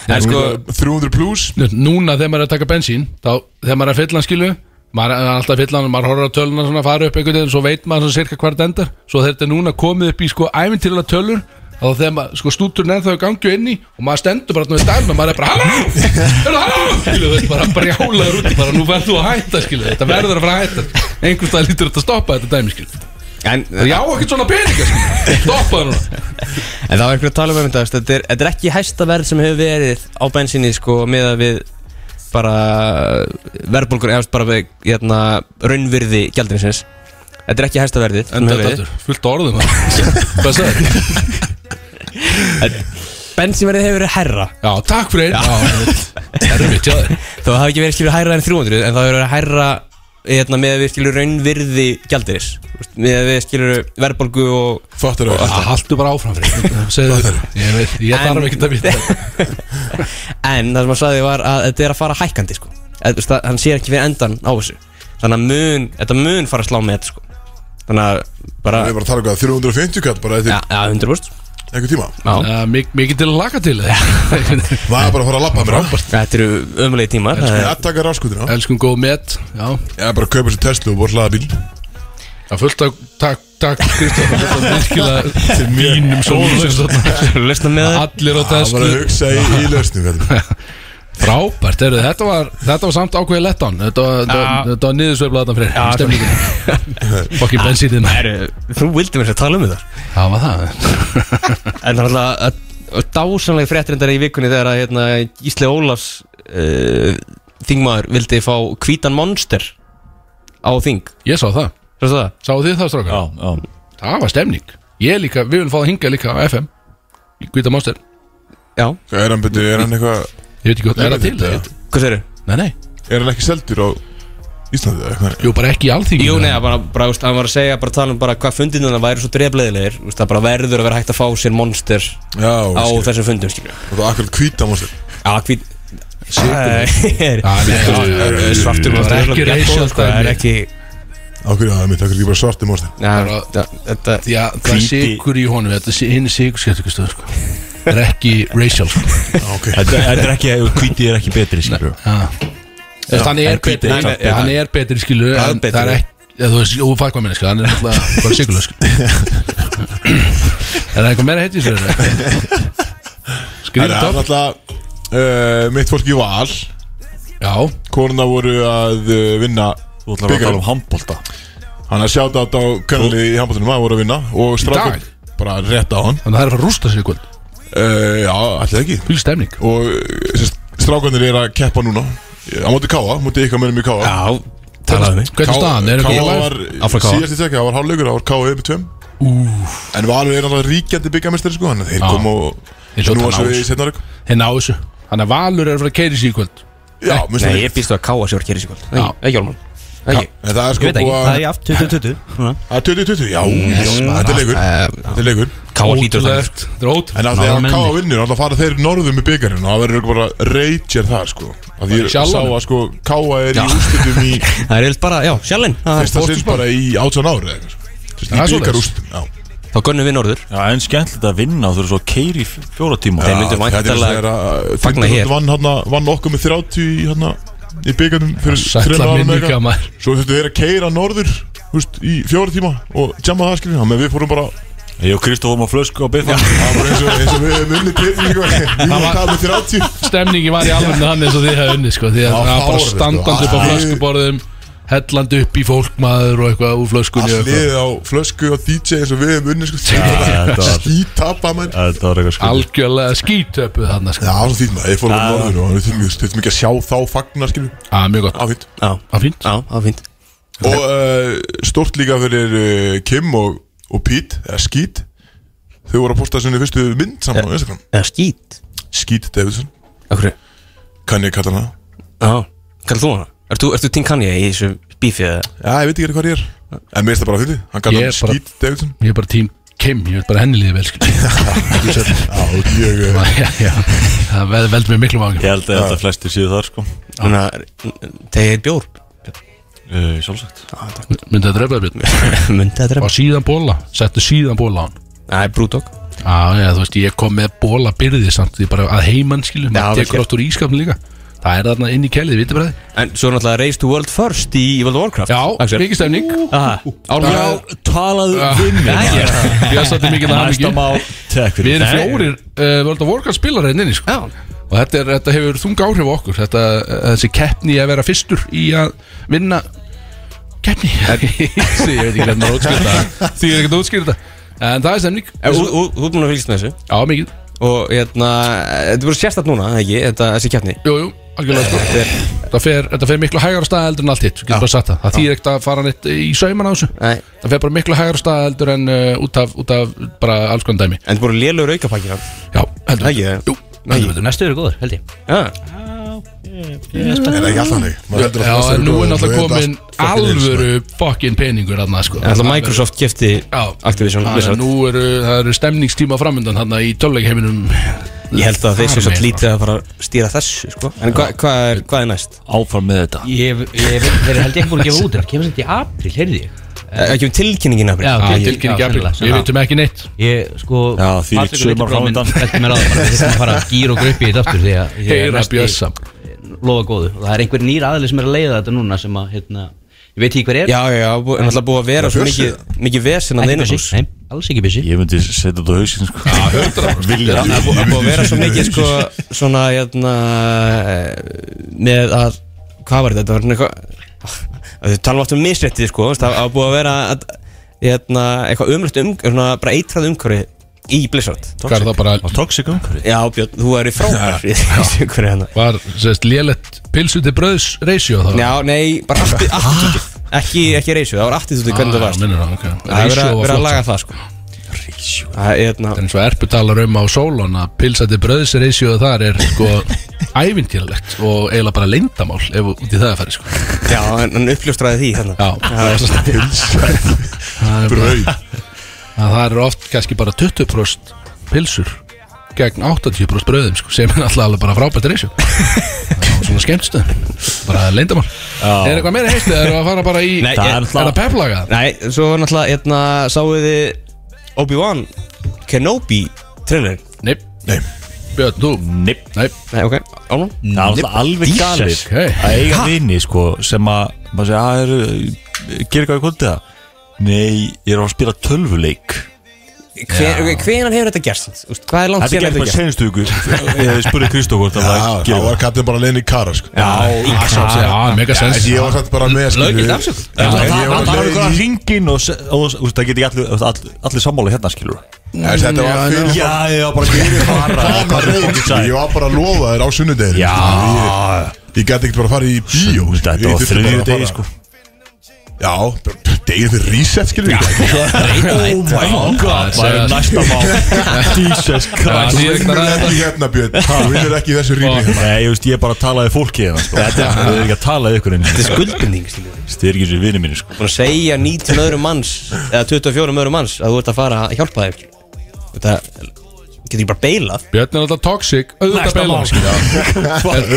Speaker 3: en sko
Speaker 1: 300 plus
Speaker 2: Núna þegar maður er að taka bensín þá, Þegar maður er að fylla hann skilu Maður er alltaf að fylla hann og maður horfður á töluna svona fara upp einhvern veginn Svo veit maður svona cirka hvert endar Svo þetta er núna komið upp í sko æfintilega tölur Þá þegar maður sko stúturinn er þau gangju inni Og maður stendur bara þannig dæma Maður er bara halló, er það halló Skilu þetta bara brjálaður út Bara nú verður þú að hætta skilu Þetta verður að fara að hætta Einhvers stað lítur þetta að stoppa þetta dæmi skilu
Speaker 3: En,
Speaker 2: Já, ekkert svona peninga skilu Stoppa það núna
Speaker 3: En það var einhverju að tala um einmitt að þetta er, þetta er ekki hæsta verð sem hefur verið á bensinni sko með að við bara eh, verðbólgur eða bara við hérna, raunvirði gjaldinsins Þetta er ekki hæsta verðið sem
Speaker 2: Enda
Speaker 3: hefur verið.
Speaker 2: þetta er fullt af orðum Hvað sagði
Speaker 3: Bensínverðið hefur verið hærra
Speaker 2: Já, takk fyrir Erfitt, já
Speaker 3: Þó það hefur ekki verið skilur hærra en 300 en það hefur verið hærra hérna, með að við skilur raunvirði gjaldins með að við skilur verðbólgu og
Speaker 1: Fattar þau
Speaker 2: Það haldu bara áfram fyrir Segðu Ég veit, ég þarf ekki að vita
Speaker 3: en það sem hann sagði var að þetta er að fara hækkandi sko Eð, veist, það, hann sér ekki fyrir endan á þessu þannig að mun, þetta mun fara að slá með þetta sko þannig að bara
Speaker 1: Við erum bara að tala um hvað 350 kall Bara
Speaker 3: Já,
Speaker 1: eftir
Speaker 3: já, 100%
Speaker 1: einhver tíma
Speaker 2: Uh, mikið til að laka til það
Speaker 1: Var bara að fara að labba mér á
Speaker 3: Þetta eru ömulegi tímar það
Speaker 1: Ég
Speaker 3: er-
Speaker 1: að taka rafskutina
Speaker 2: Elskum góð met Já,
Speaker 1: Ég er bara að kaupa þessu Tesla og voru hlaða bíl
Speaker 2: það fullt að Takk, takk, Kristoffer Þetta er virkilega
Speaker 1: Til mín
Speaker 2: mínum sólum
Speaker 3: Lausna með það
Speaker 2: Allir á
Speaker 1: Það var að
Speaker 2: þessu
Speaker 1: hugsa í, í lausnum hérna.
Speaker 2: Frábært, heyrðu, þetta var Þetta var samt ákveðið lettan Þetta var, þetta var, þetta var niðursveiflað þarna fyrir Stemningin Fokkin bensítið maður.
Speaker 3: Þú vildi mér að tala um þetta
Speaker 2: Það var það
Speaker 3: En það er uh, alltaf dásanlega fréttrindar í vikunni þegar að hérna, Ísli Ólafs uh, þingmaður vildi fá hvítan monster á þing
Speaker 2: Ég sá það
Speaker 3: Svo það?
Speaker 2: Sáðu þið það strákar?
Speaker 4: Já, já
Speaker 2: Það var stemning Ég líka, við viljum fá það hingað líka á FM Í Hvita Máster
Speaker 3: Já,
Speaker 1: Er hann betur, er hann eitthvað
Speaker 2: Ég veit ekki hvað er það til
Speaker 1: Þetta-
Speaker 2: ég veit-
Speaker 3: hvað segirðu?
Speaker 2: Nei, nei
Speaker 1: Er hann ekki seldur á Íslandi eða eitthvað?
Speaker 2: Jú, bara ekki í alþingi
Speaker 3: Jú, neða, bara, bara, úst, hann var að segja, bara tala um bara hvað fundinuna væri svo drefleðilegir úst, Það bara verður að vera hægt að fá sér monster
Speaker 1: Já,
Speaker 3: á
Speaker 1: skil.
Speaker 3: þessum fundum, skilju
Speaker 1: og það er akkurat hvíta monster
Speaker 3: Já, hvít Sigur Svartur
Speaker 2: Það er ekki racial
Speaker 3: Það er
Speaker 2: dæmi.
Speaker 3: ekki
Speaker 1: Akkur, já, mitt, akkur ekki bara svarti monster
Speaker 3: Já,
Speaker 2: Bara-
Speaker 3: það- þetta
Speaker 2: Já, það er sigur í honum Þetta er hinn sigur skemmtikastöð sko. Það er ekki racial sko.
Speaker 1: Já, ok
Speaker 4: Þetta þetta er ekki, hvítið er ekki betri skilur
Speaker 2: Þess, Hann er
Speaker 4: en hvíti
Speaker 2: betri
Speaker 4: er
Speaker 2: hann-
Speaker 4: samt betri.
Speaker 2: Hann er betri skilu
Speaker 3: er
Speaker 2: en
Speaker 3: betri.
Speaker 2: Það er ekki Já, þú veist, jú, fæk hvað minni, sko, hann er alltaf bara sigurlega, sko Er það eitthvað meira heitt í sér?
Speaker 1: Það er
Speaker 2: Skrýrt á
Speaker 1: alltaf uh, mitt fólk í val
Speaker 2: Já,
Speaker 1: Konuna voru að uh, vinna
Speaker 4: Þú ætlar að
Speaker 1: bikarinn.
Speaker 4: tala um handbólta
Speaker 1: Hann að sjáta þetta á kannalið í handbóltunum að voru að vinna og strákur
Speaker 2: dag?
Speaker 1: bara rétt á hann
Speaker 2: þannig að það er að fara að rústa sig í kvöld
Speaker 1: uh, Já, allir ekki
Speaker 2: Fylg stemning
Speaker 1: Og eh, sem sagt, strákarnir er að keppa núna Á móti Káa, móti ykkar mönnum í Káa
Speaker 3: Já, talaðu
Speaker 2: Hvernig er staðan? Er
Speaker 1: Káa
Speaker 2: ekki
Speaker 1: var
Speaker 3: Áfram KA.
Speaker 1: síðast í tekja, það var hálfleikur, það var Káa yfir tveim En Valur er alltaf ríkjandi byggamestari sko Þannig að þeir
Speaker 2: Já.
Speaker 1: kom og
Speaker 2: Þeir hljóta
Speaker 1: nú
Speaker 2: að
Speaker 1: að svo
Speaker 2: ná
Speaker 1: í
Speaker 2: þessu.
Speaker 1: setna rögg
Speaker 2: Þeir ná þessu Þannig að Valur er að fara að keiri sig í kvöld
Speaker 1: Já, minnst
Speaker 3: Nei,
Speaker 1: það
Speaker 3: ég býst þú að káa sér kýri
Speaker 2: Já.
Speaker 3: sig kvöld Ekki Hjálmar Ekki
Speaker 1: En það er sko
Speaker 5: Ég veit ekki,
Speaker 1: búið
Speaker 5: það er
Speaker 1: að
Speaker 5: í aft 2020 núna.
Speaker 1: Það er 2020, já, já, þetta er leikur
Speaker 2: eh,
Speaker 1: Þetta er leikur
Speaker 3: Káa hlýtur það
Speaker 2: Ótrúlegt Þetta er ótrúlegt
Speaker 1: En að þegar
Speaker 5: Ná,
Speaker 1: K.A.
Speaker 5: menni.
Speaker 1: vinnur, alltaf fara þeir norðum í byggarinn og það verður örugglega bara reytjar það sko að því ég sá
Speaker 2: sjálfan.
Speaker 1: að sko K.A. er í úrslutum í
Speaker 3: Það er eilt bara, já, sjálfinn Það er
Speaker 1: fyrsta sinn
Speaker 3: fórstis-
Speaker 1: bara í 18 ári eða eitthvað sko. Þú veist,
Speaker 2: Það er
Speaker 1: í
Speaker 2: svoleiðis.
Speaker 1: byggarústum já.
Speaker 3: Þá gönnum við norður
Speaker 4: Já, en skemmtilegt að vinna og þú eru svo keiri fjóra tíma
Speaker 3: Þeir myndu
Speaker 1: Já, þetta er eins og
Speaker 3: væntanlega
Speaker 1: þegar að
Speaker 3: fagna
Speaker 1: Tindastóll
Speaker 3: hér.
Speaker 1: vann, hana, vann okkur með 30 í, hana, í byggarnum fyrir
Speaker 2: Sætla
Speaker 1: þremur árum eða
Speaker 2: minninga
Speaker 1: eitthvað.
Speaker 2: maður
Speaker 1: svo þurftu þeir að keira norður þú veist, í fjóra tíma og jamma það skilja þannig að við fórum bara
Speaker 4: Ég og Kristof fórum á flösku á biffa
Speaker 1: það var eins og, eins og við hefum unnið til sko. við vorum að
Speaker 2: var-
Speaker 1: tala með 30
Speaker 2: Stemningi var í alveg hann eins og þið hefði unni sko Því að
Speaker 1: Það var
Speaker 2: það var bara
Speaker 1: fáránlegt, sko.
Speaker 2: standandi upp á
Speaker 1: Æ.
Speaker 2: flöskuborðum Hellandi upp í fólkmaður og eitthvað úr flöskunni og
Speaker 1: allt
Speaker 2: eitthvað.
Speaker 1: liðið á flösku og DJ eins og við hefum unnið sko
Speaker 4: var-
Speaker 1: skítapa menn
Speaker 4: Þetta var eitthvað sko
Speaker 2: Algjörlega skítöpuð hann sko
Speaker 1: Já, það var fýtt maður, ég fór um
Speaker 4: Já.
Speaker 1: norður og við þurfum- þurfum ekki að sjá þá fagnar skilju,
Speaker 2: Já, mjög gott
Speaker 1: á fýtt
Speaker 3: Já,
Speaker 2: Það er fínt
Speaker 3: já, það er fínt
Speaker 1: Og uh, stort líka fyrir uh, Kim og, og Pete, eða Skít Þau voru að posta sinni fyrstu mynd saman á Instagram
Speaker 3: Eða skít
Speaker 1: Skít Davidson,
Speaker 3: Akkur
Speaker 1: kann ég kalla hana
Speaker 3: Já, kallar þú hana? Ertu, ertu Tink Kanye í þessu bífið eða?
Speaker 1: Já, ég veit ekki hvað ég er En mér er það bara að fyndi, hann
Speaker 2: Ég
Speaker 1: kallar hann
Speaker 2: er bara-
Speaker 1: Skít Davidson
Speaker 2: Ég er bara tím Kim, ég veit bara henni liði vel skil
Speaker 1: Já, og ég, uh,
Speaker 2: Já, já. Það vel- veldur mér miklu vangi
Speaker 4: Ég held að þetta flesti séu þar sko
Speaker 3: Þannig að tegja eitt bjór
Speaker 4: Eh, Sjálfsagt
Speaker 2: Myndi að drepa það björn
Speaker 3: Myndi þetta
Speaker 2: Og
Speaker 3: reyna
Speaker 2: síðan bóla, settu síðan bóla á hann
Speaker 3: Það er brúdók
Speaker 2: Já, já, þú veist, ég kom með bóla byrði samt því bara að heimann skilur,
Speaker 3: Já,
Speaker 2: maður
Speaker 3: vel
Speaker 2: tekur
Speaker 3: gert.
Speaker 2: oft úr ískapin líka Það er þarna inn í kellið, vitið bara þið
Speaker 3: En svo er náttúrulega Race to World First í World of Warcraft
Speaker 2: Já,
Speaker 3: Axel.
Speaker 2: mikið stemning
Speaker 3: Aha, Álfur
Speaker 2: Já,
Speaker 4: talaðu um
Speaker 2: við mig. Ég er svolítið mikið að
Speaker 4: Næsta
Speaker 2: hafa
Speaker 4: mál
Speaker 2: Við
Speaker 4: Takk fyrir
Speaker 2: erum fjórir uh, World of Warcraft spilar hérna inni, sko
Speaker 3: Já.
Speaker 2: Og þetta, er, þetta hefur þunga áhrif á okkur þetta, eh, Þessi keppni í að vera fyrstur í að vinna Keppni Ég veit ekki hvernig maður útskýrta Því ég er ekkert að útskýrta En það er stemning
Speaker 3: En þú- þú- Þú er búin að fylgst með þessu
Speaker 2: Já, mikið
Speaker 3: Og hérna, þetta verður sérstætt núna, eða ekki, þetta, þessi keppni
Speaker 2: Jú, jú, algjörlega sko Þetta fer, þetta fer miklu hægar á stað heldur en allt hitt Við getum bara sagt það, það þýr ekkert að fara neitt í sauman á þessu
Speaker 3: Nei.
Speaker 2: Það fer bara miklu hægar á stað heldur en uh, út, af, út af bara alls konar dæmi
Speaker 3: En þetta voru lélugur aukapakki hann
Speaker 2: Já, heldur
Speaker 3: Ekki,
Speaker 2: betur.
Speaker 3: eh?
Speaker 2: Jú, heldur betur.
Speaker 5: Næstu eru góður, held ég
Speaker 3: Já,
Speaker 1: er það ekki alltaf hannig Maður heldur að
Speaker 2: Já,
Speaker 1: flestir
Speaker 2: en
Speaker 1: eru
Speaker 2: nú
Speaker 1: góðir,
Speaker 2: er náttúrulega
Speaker 1: svo þetta allt fucking
Speaker 2: komin
Speaker 1: eins, sko.
Speaker 2: alvöru fokkin peningur þarna sko
Speaker 3: en alltaf Microsoft kefti
Speaker 2: Já.
Speaker 3: Activision
Speaker 2: Þannig að
Speaker 3: Blizzard
Speaker 2: Nú eru, það eru stemningstíma framöndan þarna í tölvleikaheiminum
Speaker 3: Ég held að þeir séu svo
Speaker 2: Þar meira.
Speaker 3: lítið að fara að stýra þessu sko. En hvað hva er, hva er næst?
Speaker 4: Áfram með þetta
Speaker 5: Ég hef- ég hef- þeir eru held ég ekki búin að gefa út Þeir kemur sem þetta í april, heyrði ég
Speaker 3: Eh, ekki um tilkynningin
Speaker 5: Já,
Speaker 3: apríl
Speaker 5: ok.
Speaker 2: Það tilkynning
Speaker 5: Já,
Speaker 2: í apríl,
Speaker 5: sennilega,
Speaker 2: við
Speaker 5: já.
Speaker 2: vitum ekki neitt
Speaker 5: Ég sko
Speaker 4: Já, því
Speaker 5: Patrik
Speaker 4: sumar
Speaker 5: og Viktor bróðir minn
Speaker 4: framundan.
Speaker 5: Bentu mér á það bara Við þurfum að fara að gýra okkur upp í þetta aftur Því að því að
Speaker 2: Heyra
Speaker 5: næsti-
Speaker 2: Björsa
Speaker 5: Lofa góðu Og það er einhver nýr aðli sem er að leiða þetta núna Sem að, hérna Ég veit ekki hver er
Speaker 3: Já, já, já, bú- en alltaf búið að vera svo mikið, mikið vesinn að
Speaker 5: Ekki
Speaker 3: innan
Speaker 5: busy,
Speaker 3: hús
Speaker 5: nei, alls ekki busy
Speaker 4: Ég myndi setja þetta á hausinn sko Vilja
Speaker 3: Það er búið- það er búið að vera svo mikið sko, svona hérna eh, með að hvað var þetta, þetta var svona eitthvað að þið tala oft um misréttið sko þú veist, það var búið að vera að, hérna, eitthvað umrætt um, svona bara eitrað umhverfi í Blizzard
Speaker 2: Hvað er það bara
Speaker 4: Toxic umhverfi
Speaker 3: Já Björn, þú eru frábær í þessu umhverfi hérna
Speaker 2: Var sérst lélegt pilsu til bröðs reisjó þá
Speaker 3: Já, nei, bara aftur, aftur ekki, ekki reysu, það var aftur þú hvernig það
Speaker 2: Ah,
Speaker 3: var sko.
Speaker 2: minnir það, ok.
Speaker 3: það er verið
Speaker 2: Reisjó
Speaker 3: að-
Speaker 2: var
Speaker 3: verið að
Speaker 2: flott
Speaker 3: laga það sko Það er hérna
Speaker 2: Það er eins og erpu talar um á sólon að pilsandi bröðsreisjóðu þar er sko ævintýralegt og eiginlega bara leyndamál ef út í það er farið sko
Speaker 3: Já, en hann uppljóstraði því hérna
Speaker 2: Já, það er svo pilsandi bröð Það er oft kannski bara 20% pilsur gegn 80% bröðum sko sem er alltaf alveg bara frábært reisjó Svona skemmtstöð, bara leyndamál Er eitthvað meira heistu, erum við að fara bara í
Speaker 3: Nei,
Speaker 2: Er
Speaker 3: ég-
Speaker 2: er það peplaga?
Speaker 3: Nei, svo var náttúrulega, hérna, sáuð þið Obi-Wan Kenobi trailerinn
Speaker 2: Nei,
Speaker 1: Nei,
Speaker 2: Björn, þú?
Speaker 4: Nei,
Speaker 2: Nei,
Speaker 3: Nei, ok, ánum
Speaker 4: það er alltaf alveg
Speaker 2: Jesus,
Speaker 4: galið
Speaker 2: hey.
Speaker 4: Að eiga vini sko sem að maður segja, að er gerir eitthvað í kvöldið það? Nei, ég er að spila tölvuleik
Speaker 3: Hvenan hefur þetta gerst? Úst, hvað er langt
Speaker 4: Þetta
Speaker 3: síðan
Speaker 4: gerði
Speaker 3: hefur
Speaker 4: bara
Speaker 3: þetta gerst?
Speaker 4: senustu ykkur Ég hefði spurði Kristó hvort að
Speaker 1: já,
Speaker 4: það
Speaker 1: þá
Speaker 4: gerir
Speaker 1: var kaptinn bara leiðin í kara sko.
Speaker 2: Já, í kæra Já, Ah, mega
Speaker 1: En
Speaker 2: sens
Speaker 1: Ég var satt bara með skilur við.
Speaker 5: Löggilt afsökun.
Speaker 1: Já,
Speaker 4: Það
Speaker 1: en ég
Speaker 4: það-
Speaker 1: var
Speaker 4: það er
Speaker 1: leiðin
Speaker 4: eitthvað
Speaker 1: í-
Speaker 4: að ringin og se- og þú veist, það geti ekki allir- þú veist, all- allir sammála hérna skilur
Speaker 1: En Þetta var fyrir
Speaker 4: Já, ég var bara að gera fara
Speaker 1: Það var reynd, sko. Ég var bara að lofa þér á sunnudegir
Speaker 4: Já.
Speaker 1: Ég gæti ekkert bara að fara í bíó sko. Ég
Speaker 4: Þetta var
Speaker 1: þurfti bara
Speaker 4: þriðju
Speaker 1: að
Speaker 4: degi
Speaker 1: fara-
Speaker 4: sko
Speaker 1: Já, degið þið reset skilur
Speaker 4: Oh my god, það er næsta mál Jesus
Speaker 2: Já,
Speaker 4: Christ
Speaker 2: því er
Speaker 1: Þú
Speaker 2: ekki bara
Speaker 1: vinnur
Speaker 2: að
Speaker 1: ekki hérna Björn Þú vinnur ekki í þessu rými hérna.
Speaker 4: Nei, ég veist, ég bara talaði fólki hérna sko. Þetta er við erum ekki að tala við ykkur
Speaker 3: Þetta er skuldbinding, skiljum við
Speaker 4: Styrkir sér vinni mínu sko
Speaker 3: Búin að segja 19 öðrum manns Eða 24 öðrum manns Að þú ert að fara að hjálpa þeim Þetta getur ekki bara beilað
Speaker 2: Björn er alltaf toxic Auðvitað beila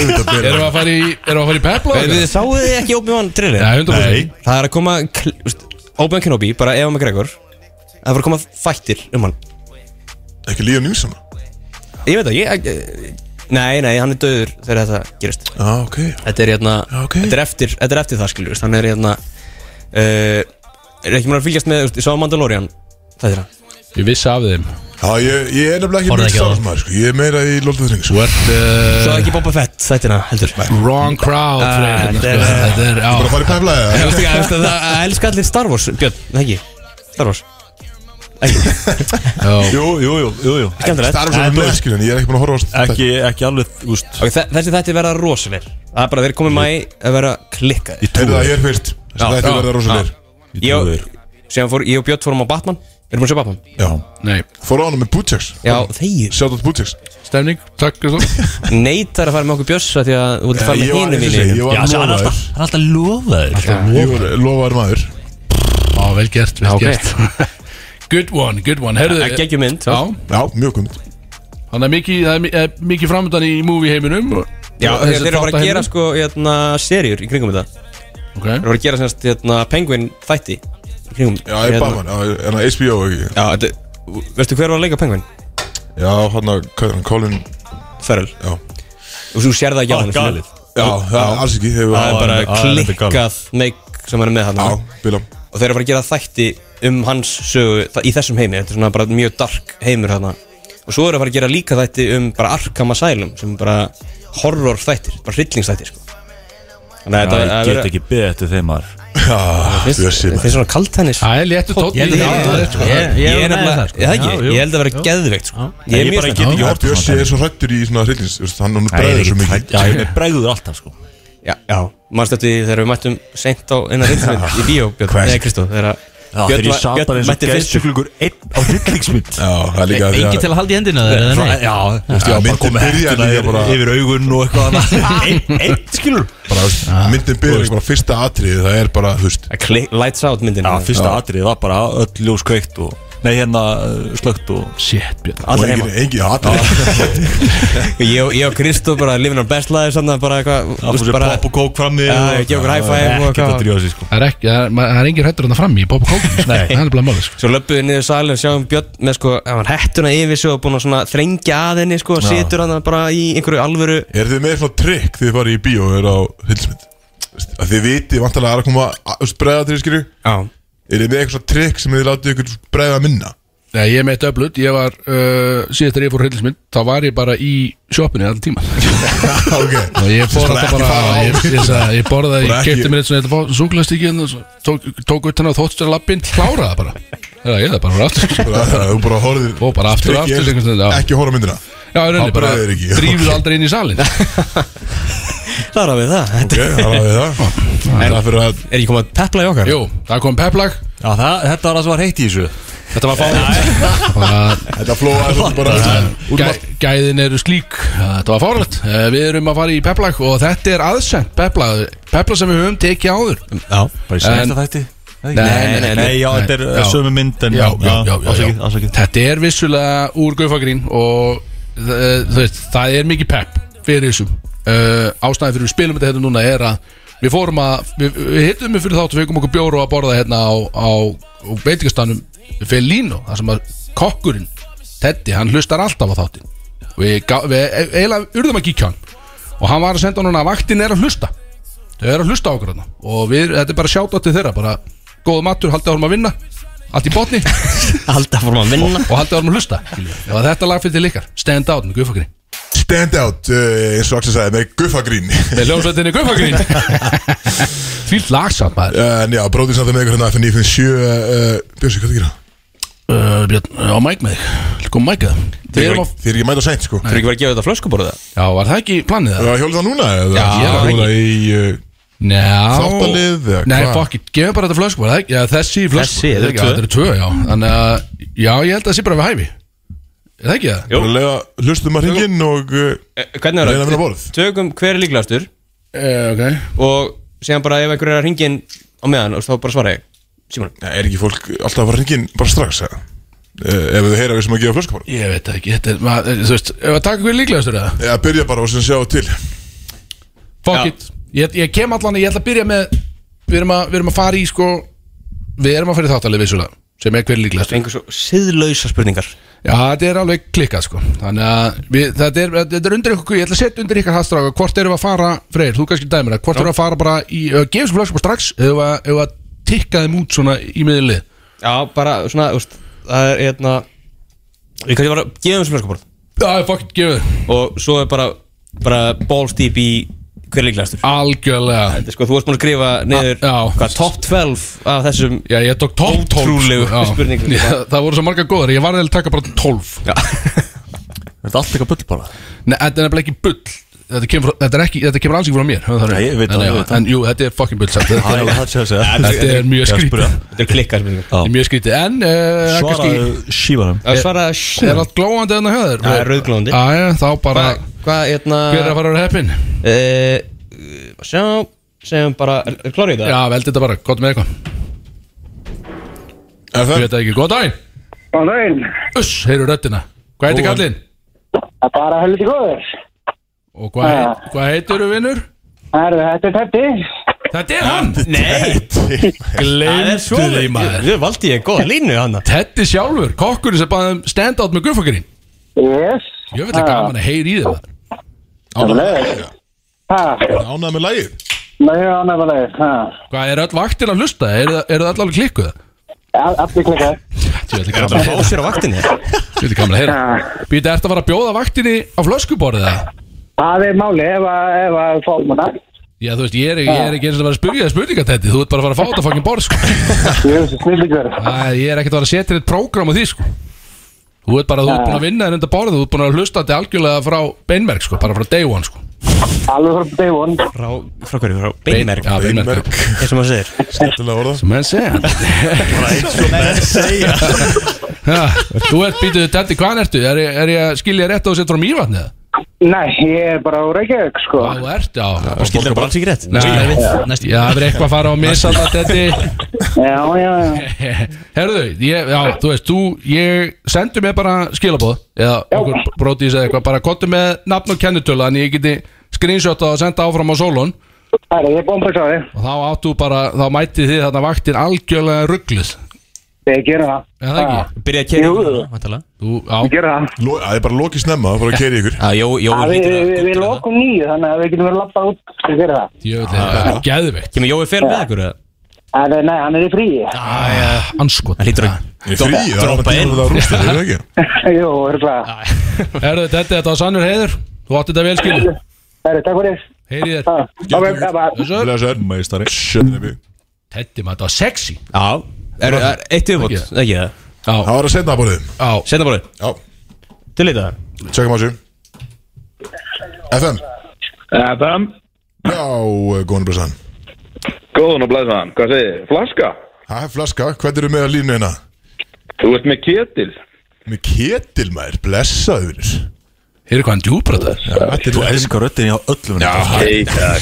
Speaker 2: Erum við að fara í Erum við að fara í pepla?
Speaker 3: Þið sáuð þið ekki Obi-Wan
Speaker 2: Nei,
Speaker 3: trailerinn?
Speaker 2: hundra
Speaker 4: Nei,
Speaker 3: Það er að koma kl- úst, Obi-Wan Kenobi, bara Eva McGregor Það er að koma þættir um hann
Speaker 1: Ekki líða njúsam
Speaker 3: Ég veit það, ég, ég Nei, nei, hann er döður þegar þetta gerist
Speaker 1: Já, ok
Speaker 3: Þetta er hérna
Speaker 1: ok.
Speaker 3: þetta, er eftir, þetta er eftir það skiljur Hann er hérna uh, Er ekki mér að fylgjast með þú veist, Ég sá Mandalorian Það er það
Speaker 2: Ég vissi af þeim
Speaker 1: Já, ég, ég er nefnilega ekki mjög
Speaker 5: Horfðu ekki á það.
Speaker 1: starfsmæður sko. Ég er meira í Lóldið Þrings
Speaker 2: Þú ert uh,
Speaker 3: Svo ekki Boba Fett Þættina heldur Nei
Speaker 2: Wrong crowd Freyr,
Speaker 3: Ah,
Speaker 2: sko.
Speaker 3: þetta er-
Speaker 2: Þetta er á
Speaker 1: Bara að fara í peflaði
Speaker 3: Það það- það elska allir Star Wars Björn, það ekki Star Wars
Speaker 2: já.
Speaker 4: jú, jú, jú, jú, jú.
Speaker 3: Skemmtilegt
Speaker 1: Starfsmæður er með skilur en Ég er ekki búin að horfa á þetta.
Speaker 4: Ekki, ekki alveg, úst
Speaker 3: Ok, þe- Þessi þætti verða rosalegir Það er bara að vera komið mæ Að vera klikkað
Speaker 4: Ég
Speaker 1: Heyrðu
Speaker 4: trúi
Speaker 1: það hér fyrst Þetta
Speaker 3: Já,
Speaker 1: er
Speaker 3: já,
Speaker 1: verið rosalegir
Speaker 4: Ég trúi þér.
Speaker 3: Sér fór Ég og Björn fórum á Batman Erum við að sjá Batman?
Speaker 1: Já
Speaker 2: Nei
Speaker 1: Fór á hana með Butchers
Speaker 3: Já, þeir
Speaker 1: Sjátt átt Butchers
Speaker 2: Stemning Takk Kristó.
Speaker 3: Neitar að fara með okkur Björsa Því að þú vildi fara með hinu mínu
Speaker 1: Ég var
Speaker 4: Já, það er
Speaker 1: lofaður
Speaker 4: alltaf, hann er alltaf lofaður
Speaker 1: Ég var lofaður maður
Speaker 2: Á vel gert Vel
Speaker 3: ok.
Speaker 2: gert Good one Good one Herðu
Speaker 3: Það geggjum mynd.
Speaker 2: Já
Speaker 1: Já, mjög komið
Speaker 2: Þannig að mikið Það er mi- eh, mikið framöndan í movie heiminum
Speaker 3: Já, þeir eru bara að gera
Speaker 2: sko
Speaker 3: sko hérna, serjur í kringum þetta Þeir eru bara að gera semst hérna, Penguin þætti í kringum hérna.
Speaker 1: Já, ég hérna, er Batman Já, er hann HBO ekki
Speaker 3: Já, þetta, veistu hver var að leika Penguin?
Speaker 1: Já, hann að hvað er hann, Colin
Speaker 3: Ferrell
Speaker 1: Já
Speaker 3: Og svo sér það ekki á hann
Speaker 4: galið
Speaker 1: Já, það er alls ekki Þegar
Speaker 3: Það er bara
Speaker 4: Já, það er enda
Speaker 3: klikkað meik sem hann er með hann
Speaker 1: Já,
Speaker 3: Og
Speaker 1: bila
Speaker 3: þeir eru bara að gera þætti um hans sögu þa- í þessum heimi Þetta er svona bara mjög dark heimur hann Og svo eru að fara að gera líka þætti um bara Arkham Asylum sem er bara horror þættir, bara hryllingsþættir sko. Þannig að þetta
Speaker 4: Ég
Speaker 3: að vera-
Speaker 4: get ekki beðið eftir þeim maður
Speaker 1: Já,
Speaker 3: Finnst-
Speaker 1: þú er síðan
Speaker 3: finnst svona kaltænis
Speaker 2: Það sko. er léttu tótt
Speaker 5: Ég- ég-
Speaker 4: sko.
Speaker 5: ég-
Speaker 3: Ég
Speaker 5: ég-
Speaker 3: er nefnilega,
Speaker 5: sko.
Speaker 3: ég það ekki,
Speaker 5: Já, jú.
Speaker 3: ég held að vera geðveikt sko. Ég er
Speaker 4: Ég
Speaker 3: mjög
Speaker 4: bara
Speaker 3: spennt
Speaker 4: get ekki
Speaker 1: Já,
Speaker 4: hort
Speaker 1: Bjössi er svo hrættur í svona hryllins þú veist, Hann hann bregður svo mikið
Speaker 4: Já, ég er bregður alltaf sko
Speaker 3: Já, já mannstu eftir því þegar við mættum seint á innan hryllingsmynd í bíó, Björn,
Speaker 1: Hvað?
Speaker 3: nei Kristó þegar að-
Speaker 4: Já, þegar ég
Speaker 3: var-
Speaker 4: sat bara eins og
Speaker 3: mætti fyrst-
Speaker 4: gæstuklugur einn á hryllingsmynd
Speaker 1: Já, það er líka
Speaker 5: Engi til að halda í hendina þér, eða nei?
Speaker 4: Já, þú
Speaker 1: Já,
Speaker 4: veist, ég var bara
Speaker 1: myndin
Speaker 4: komið
Speaker 1: byrjaði
Speaker 4: hendina
Speaker 1: líka
Speaker 4: yfir,
Speaker 1: bara-
Speaker 4: yfir augun og eitthvað annað Einn, einn, skilur
Speaker 1: bara, þú veist, myndin byrjar ekki bara fyrsta atriði það er bara, þú veist
Speaker 3: Að kli- Lights Out myndin hérna.
Speaker 4: Já, fyrsta atrið var bara öll ljós kveikt og Nei, hérna uh, slögt og
Speaker 2: Shit, Björn
Speaker 1: Og
Speaker 3: Allir heima
Speaker 1: engin, engin, allir
Speaker 3: Ég ég og Kristof bara lifin á bestlaði Sannig bara eitthvað þú
Speaker 4: Það
Speaker 3: veist,
Speaker 4: fór sér
Speaker 3: bara-
Speaker 4: pop og kók fram í
Speaker 3: Já, ég gef okkur high five og
Speaker 4: Ekki
Speaker 3: eitthvað.
Speaker 4: að drífa sig sko
Speaker 2: Það er ekki, það er- maður- það er engin hættur hann fram í Bob Kókin sko. Það er bara málið sko.
Speaker 3: Svo löppuðu niður salin og sjáum Björn með sko hann var hettuna yfir sig og búinn að svona þrengja að henni sko og situr hann bara í einhverju alvöru
Speaker 1: Er þið með svona trikk þegar þið farið í bíó og eru á hilsmynd? Að þið vitið vantarlega að er að koma að spreða til skilju
Speaker 3: Já
Speaker 1: Er þið með eitthvað svona trikk sem þið látið ykkur bregða minna?
Speaker 2: Nei, ég er með döflut Ég var, uh, síðast þegar ég fór hreilsmynd Þá var ég bara í sjoppinu allan tíma
Speaker 1: ok
Speaker 2: Og ég fór
Speaker 1: Skulum
Speaker 2: alltaf
Speaker 1: ekki
Speaker 2: bara
Speaker 1: fara á.
Speaker 2: Ég, ég, sagði- ég
Speaker 1: Bara
Speaker 2: borðaði, ég
Speaker 1: ekki-
Speaker 2: kefti mér eitt svona Þetta fór súklaðstíkin Tók, tók utan á þóttstur lappin Kláraði það bara Það er það bara var aftur
Speaker 1: Bara- bara- Þú bara horfir
Speaker 2: Og bara aftur og aftur, einhvern veginn, já.
Speaker 1: Ekki horfa á myndina
Speaker 2: Já, í rauninni
Speaker 1: Það
Speaker 2: bara
Speaker 1: bregður ekki.
Speaker 2: Drífið aldrei inn í salin
Speaker 3: Það er að við það
Speaker 1: Ok,
Speaker 3: Þetta
Speaker 1: það var við það Það fyrir að
Speaker 3: er ekki komið að pepla í okkar
Speaker 2: Jú, það kom peplag
Speaker 4: Já, það, þetta var það sem var heitt í þessu
Speaker 2: Þetta var fárlegt
Speaker 1: Þetta flóa er svolítið bara
Speaker 2: Gæ, Gæðin eru slík Þetta var fárlegt Eh, Við erum að fara í peplag Og þetta er aðsend peplag Peplag sem við höfum tekið áður
Speaker 3: Já
Speaker 4: Bara í
Speaker 2: En-
Speaker 4: senasta þætti
Speaker 2: Nei, nei, nei.
Speaker 4: Nei, já, þetta er
Speaker 2: Já.
Speaker 4: uh, sömu mynd en
Speaker 2: Já, já, já, já, já.
Speaker 4: Ásakið, ásakið
Speaker 2: Þetta er vissulega úr Gaufagrín Og eh, þú veist, það er mikið pepp Fyrir þessum uh, Ástæðan fyrir við spilum þetta hérna núna er að Við fórum að, við, við hittum við fyrir þátt og fengum okkur bjóru að borða hérna á, á, á veitingastanum Felino, þar sem að kokkurinn, Teddy, hann hlustar alltaf á þáttin Við, gá- við e- eiginlega urðum að kíkja á hann og hann var að senda hann að vaktin er að hlusta þau eru að hlusta á okkur hann og við, þetta er bara sjátt til þeirra bara góð matur, haldið árum að vinna allt í botni og
Speaker 3: Alltaf fórum að vinna
Speaker 2: haldið árum að hlusta og þetta lag fyrir til ykkar, stand out með guffagrín
Speaker 1: Stand out, eh, eins og Axel sagði, með guffagrín
Speaker 2: með ljónsveitinni guffagrín því lagsamt maður
Speaker 1: En já, bróðið samt með ykkur hérna FN 957 Björnsi, eh, hvað það gera?
Speaker 2: uh, Björn, á mæk með þig, kom mæk að þig Við erum á-
Speaker 1: Þið er ekki mæta seint, sko
Speaker 3: Þú er ekki verið að gefa þetta flöskuborða
Speaker 2: já, var það ekki planið það?
Speaker 1: Það hjólið það núna? eða?
Speaker 2: Já,
Speaker 1: Hjólið
Speaker 2: það
Speaker 1: það í eh,
Speaker 2: Njá
Speaker 1: Þáttalið, eða
Speaker 2: Nei,
Speaker 1: hvað?
Speaker 2: fokk, gefum bara þetta flösku var það ekki? Já, þessi í flösku
Speaker 3: Þessi, þetta eru
Speaker 2: Já,
Speaker 3: tvö.
Speaker 2: Þetta eru tvö, já Þannig að, já, ég held að það sé bara við hæfi Er það ekki það?
Speaker 1: bara lega hlustum að hringinn og eh,
Speaker 3: Hvernig
Speaker 1: Reyna að
Speaker 3: er
Speaker 1: vinna
Speaker 3: það?
Speaker 1: borð.
Speaker 3: Tökum hver er líklegastur
Speaker 2: Uh, ok
Speaker 3: og segja bara ef einhver er að ringin á meðan og þá bara svara ég Simon
Speaker 1: ja, Er ekki fólk alltaf að fara hringinn bara strax, eða? Eh, Ef þau heyra við sem að gefa flöskapar
Speaker 2: Ég veit það ekki, þetta er, maður, þú veist, ef að taka hverju líklegastur það?
Speaker 1: Eða byrja bara og sem sjá til
Speaker 2: Fuck
Speaker 3: Já.
Speaker 2: it ég, ég kem allan, ég ætla að byrja með Við erum að, við erum að fara í, sko Við erum að fara í þáttalið vissulega Sem er hverju líklegastur
Speaker 3: Engur svo siðlausa spurningar
Speaker 2: Já, þetta er alveg klikkað, sko Þannig að, við, þetta, er, þetta er undir ykkur Ég ætla að setja undir ykkar hastráka Hvort erum við að fara, Freyr, þú kannski dæmir það Hvort erum við að fara bara í, uh, gefum svo flöskum strax Ef að- ef að tikka þeim út svona í miðinlið
Speaker 3: Já, bara svona, þú veist Það er hérna Við kannski bara gefum þessu flöskuborð
Speaker 2: Já, fuck it, gefum þið
Speaker 3: og svo er bara, bara balls deep í hver er líklegastur
Speaker 2: Algjörlega
Speaker 3: Þetta er sko, þú varst búin að skrifa niður
Speaker 2: Ah, já.
Speaker 3: hvað, top 12 af þessum
Speaker 2: Já, ég tók 12
Speaker 3: Ótrúlegu
Speaker 2: Já.
Speaker 3: spurningar.
Speaker 2: Já, Það voru svo marga góðar, ég var eða að taka bara 12
Speaker 4: Þetta er allt eitthvað bull bara
Speaker 2: Nei, þetta er nefnilega ekki bull Þetta kemur, frá- þetta er ekki, þetta kemur alls ekki frá mér það er-
Speaker 4: Nei, ég veit
Speaker 2: en,
Speaker 4: það,
Speaker 2: já,
Speaker 4: ég veit það.
Speaker 2: En jú, þetta er fucking bull samt. Þetta
Speaker 4: Það er
Speaker 2: er-
Speaker 4: alveg það sé að segja
Speaker 2: Þetta er mjög
Speaker 4: Ég
Speaker 2: skrítið
Speaker 4: spurði.
Speaker 3: Þetta er klikkað spurningar
Speaker 2: Þetta er Mjög skrítið, en uh, kannski,
Speaker 4: Svaraðu símanum
Speaker 3: Það svara
Speaker 2: Er
Speaker 3: sjö
Speaker 2: allt glóandi hérna enn að höður?
Speaker 3: Það er rauðglóðandi
Speaker 2: Æja, þá bara
Speaker 3: Hvað, hvað, hérna
Speaker 2: Hver er að fara að vera heppin?
Speaker 3: Eh, Sjá, segjum bara, er, er klárið það?
Speaker 2: Já, veldi þetta bara, gott með eitthvað
Speaker 1: Er
Speaker 2: Ég
Speaker 1: það?
Speaker 2: veit það ekki, góð daginn
Speaker 8: Góðan daginn.
Speaker 2: Uss, heyrðu röddina Hvað heitir
Speaker 4: Góðan.
Speaker 2: kallinn?
Speaker 8: Það er bara helviti góður.
Speaker 2: Og hvað
Speaker 8: Ah.
Speaker 2: heit- hvað heitirðu vinnur?
Speaker 8: Herðu, þetta er Teddy.
Speaker 2: Þetta er hann!
Speaker 3: Nei Gleimtu
Speaker 2: því, maður.
Speaker 3: Þau valdi ég góða línu hana
Speaker 2: Teddi sjálfur, kokkurinn sem bæði um stand-out með guffagrín
Speaker 8: Yes.
Speaker 2: Ég veit að
Speaker 8: Ah.
Speaker 2: gaman að heyri í þér maður.
Speaker 1: Ánægð með
Speaker 8: Nei.
Speaker 1: lagið?
Speaker 8: Ha,
Speaker 1: Ánægð með lagið?
Speaker 8: maður hefur ánægð með leið. Ha,
Speaker 2: Hvað er öll vaktin að hlusta? Er, er það öll alveg klikkuð?
Speaker 8: Al- allir klikkar.
Speaker 2: Ég veit að gaman að
Speaker 3: Fá sér á vaktinni
Speaker 2: Ég veit að gaman að heyra Býta, ertu að fara að bjóða vaktinni á flöskuborðið það?
Speaker 8: Það er máli ef að, ef að um fólk manna.
Speaker 2: Já, þú veist, ég er, ég er ekki eins og að vera að spyrja það spurninga Teddi Þú ert bara að fara að fá þetta fokkin borð, sko
Speaker 8: Ég er þessi snillingur.
Speaker 2: Æ, Ég er ekkert að fara að setja þitt prógram á því, sko Þú ert bara, þú ert búin að vinna þér undir borðið Þú ert búin að hlusta þetta algjörlega frá beinmerk, sko Bara frá day one, sko
Speaker 8: Alveg frá day one.
Speaker 3: Frá, frá hverju, frá beinmerk
Speaker 2: Já,
Speaker 1: Einmerk,
Speaker 2: beinmerk
Speaker 3: eins og maður segir
Speaker 1: skemmtilega orða
Speaker 2: Menn segja Já, Þú ert býtuð Teddi, hvaðan ertu? Er, ég- er ég að skilja rétt á þess frá mývatnið?
Speaker 8: Nei, ég er bara á Reykjavík, sko.
Speaker 2: Á ert, já
Speaker 3: Það skildi hann bara alls ekki rétt
Speaker 2: Nei, já, það er eitthvað að fara á misallat þetta
Speaker 8: Já, já, já.
Speaker 2: Herðu, ég, já, þú veist, þú, ég sendi mér bara skilaboð eða okkur brótís eða eitthvað, bara kottu með nafn og kennitölu en ég geti screenshotað og senda áfram á sólun og
Speaker 8: Það er, ég er bómbað sáði.
Speaker 2: þá áttu bara, þá mætið þið þarna vaktin algjörlega ruggluð
Speaker 8: Ég gerum það.
Speaker 2: eða ekki?
Speaker 3: Byrja að keri
Speaker 8: Jú.
Speaker 3: ykkur
Speaker 2: Þú,
Speaker 8: Ah. Ég
Speaker 2: já,
Speaker 8: gerum það.
Speaker 1: Lo- Það er bara lokið snemma, það er bara að keira ykkur
Speaker 3: Jó, jó,
Speaker 8: Já, við, við, við, við lokum nýju, þannig að við getum verið að lappa út. Ég gerum það.
Speaker 2: ég veit það, er geðveikt
Speaker 3: Kemur Jói fyrir með ykkur eða?
Speaker 8: En eh, nei, hann er í fríi.
Speaker 2: anskot
Speaker 3: Það lítur að
Speaker 1: Í frí, það er bara tíma fyrir það að rústa, það er ekki
Speaker 8: Jú, örgulega.
Speaker 2: Herðu, þetta, þetta var sannur heiður þú átti þetta vel skilu,
Speaker 8: Það er, takk fyrir.
Speaker 2: heyrið
Speaker 8: Ha,
Speaker 2: þér
Speaker 8: Ok, bye bye.
Speaker 2: Blessaður.
Speaker 1: Blessaður, meistari Shit.
Speaker 2: Þetta maður, þetta var sexy
Speaker 3: Já Er er eitt yfirbót,
Speaker 2: Ekki
Speaker 3: ekki það?
Speaker 1: Það var að setna að borðið
Speaker 2: Já,
Speaker 3: Senda bara
Speaker 1: Já,
Speaker 3: Til lítið það
Speaker 1: tjekkum á þessu FM
Speaker 9: Adam,
Speaker 1: Já, eh, góðan blessaðan
Speaker 9: góðan og blæðan, hvað segir þið? Flaska?
Speaker 1: Hæ, flaska, hvernig eru með að línu hérna?
Speaker 9: Þú ert með ketil
Speaker 1: Með ketilmær, blessaður
Speaker 2: heyrið hvað hann djúbröð það er
Speaker 4: Þú elskar röddinn á öllum Já,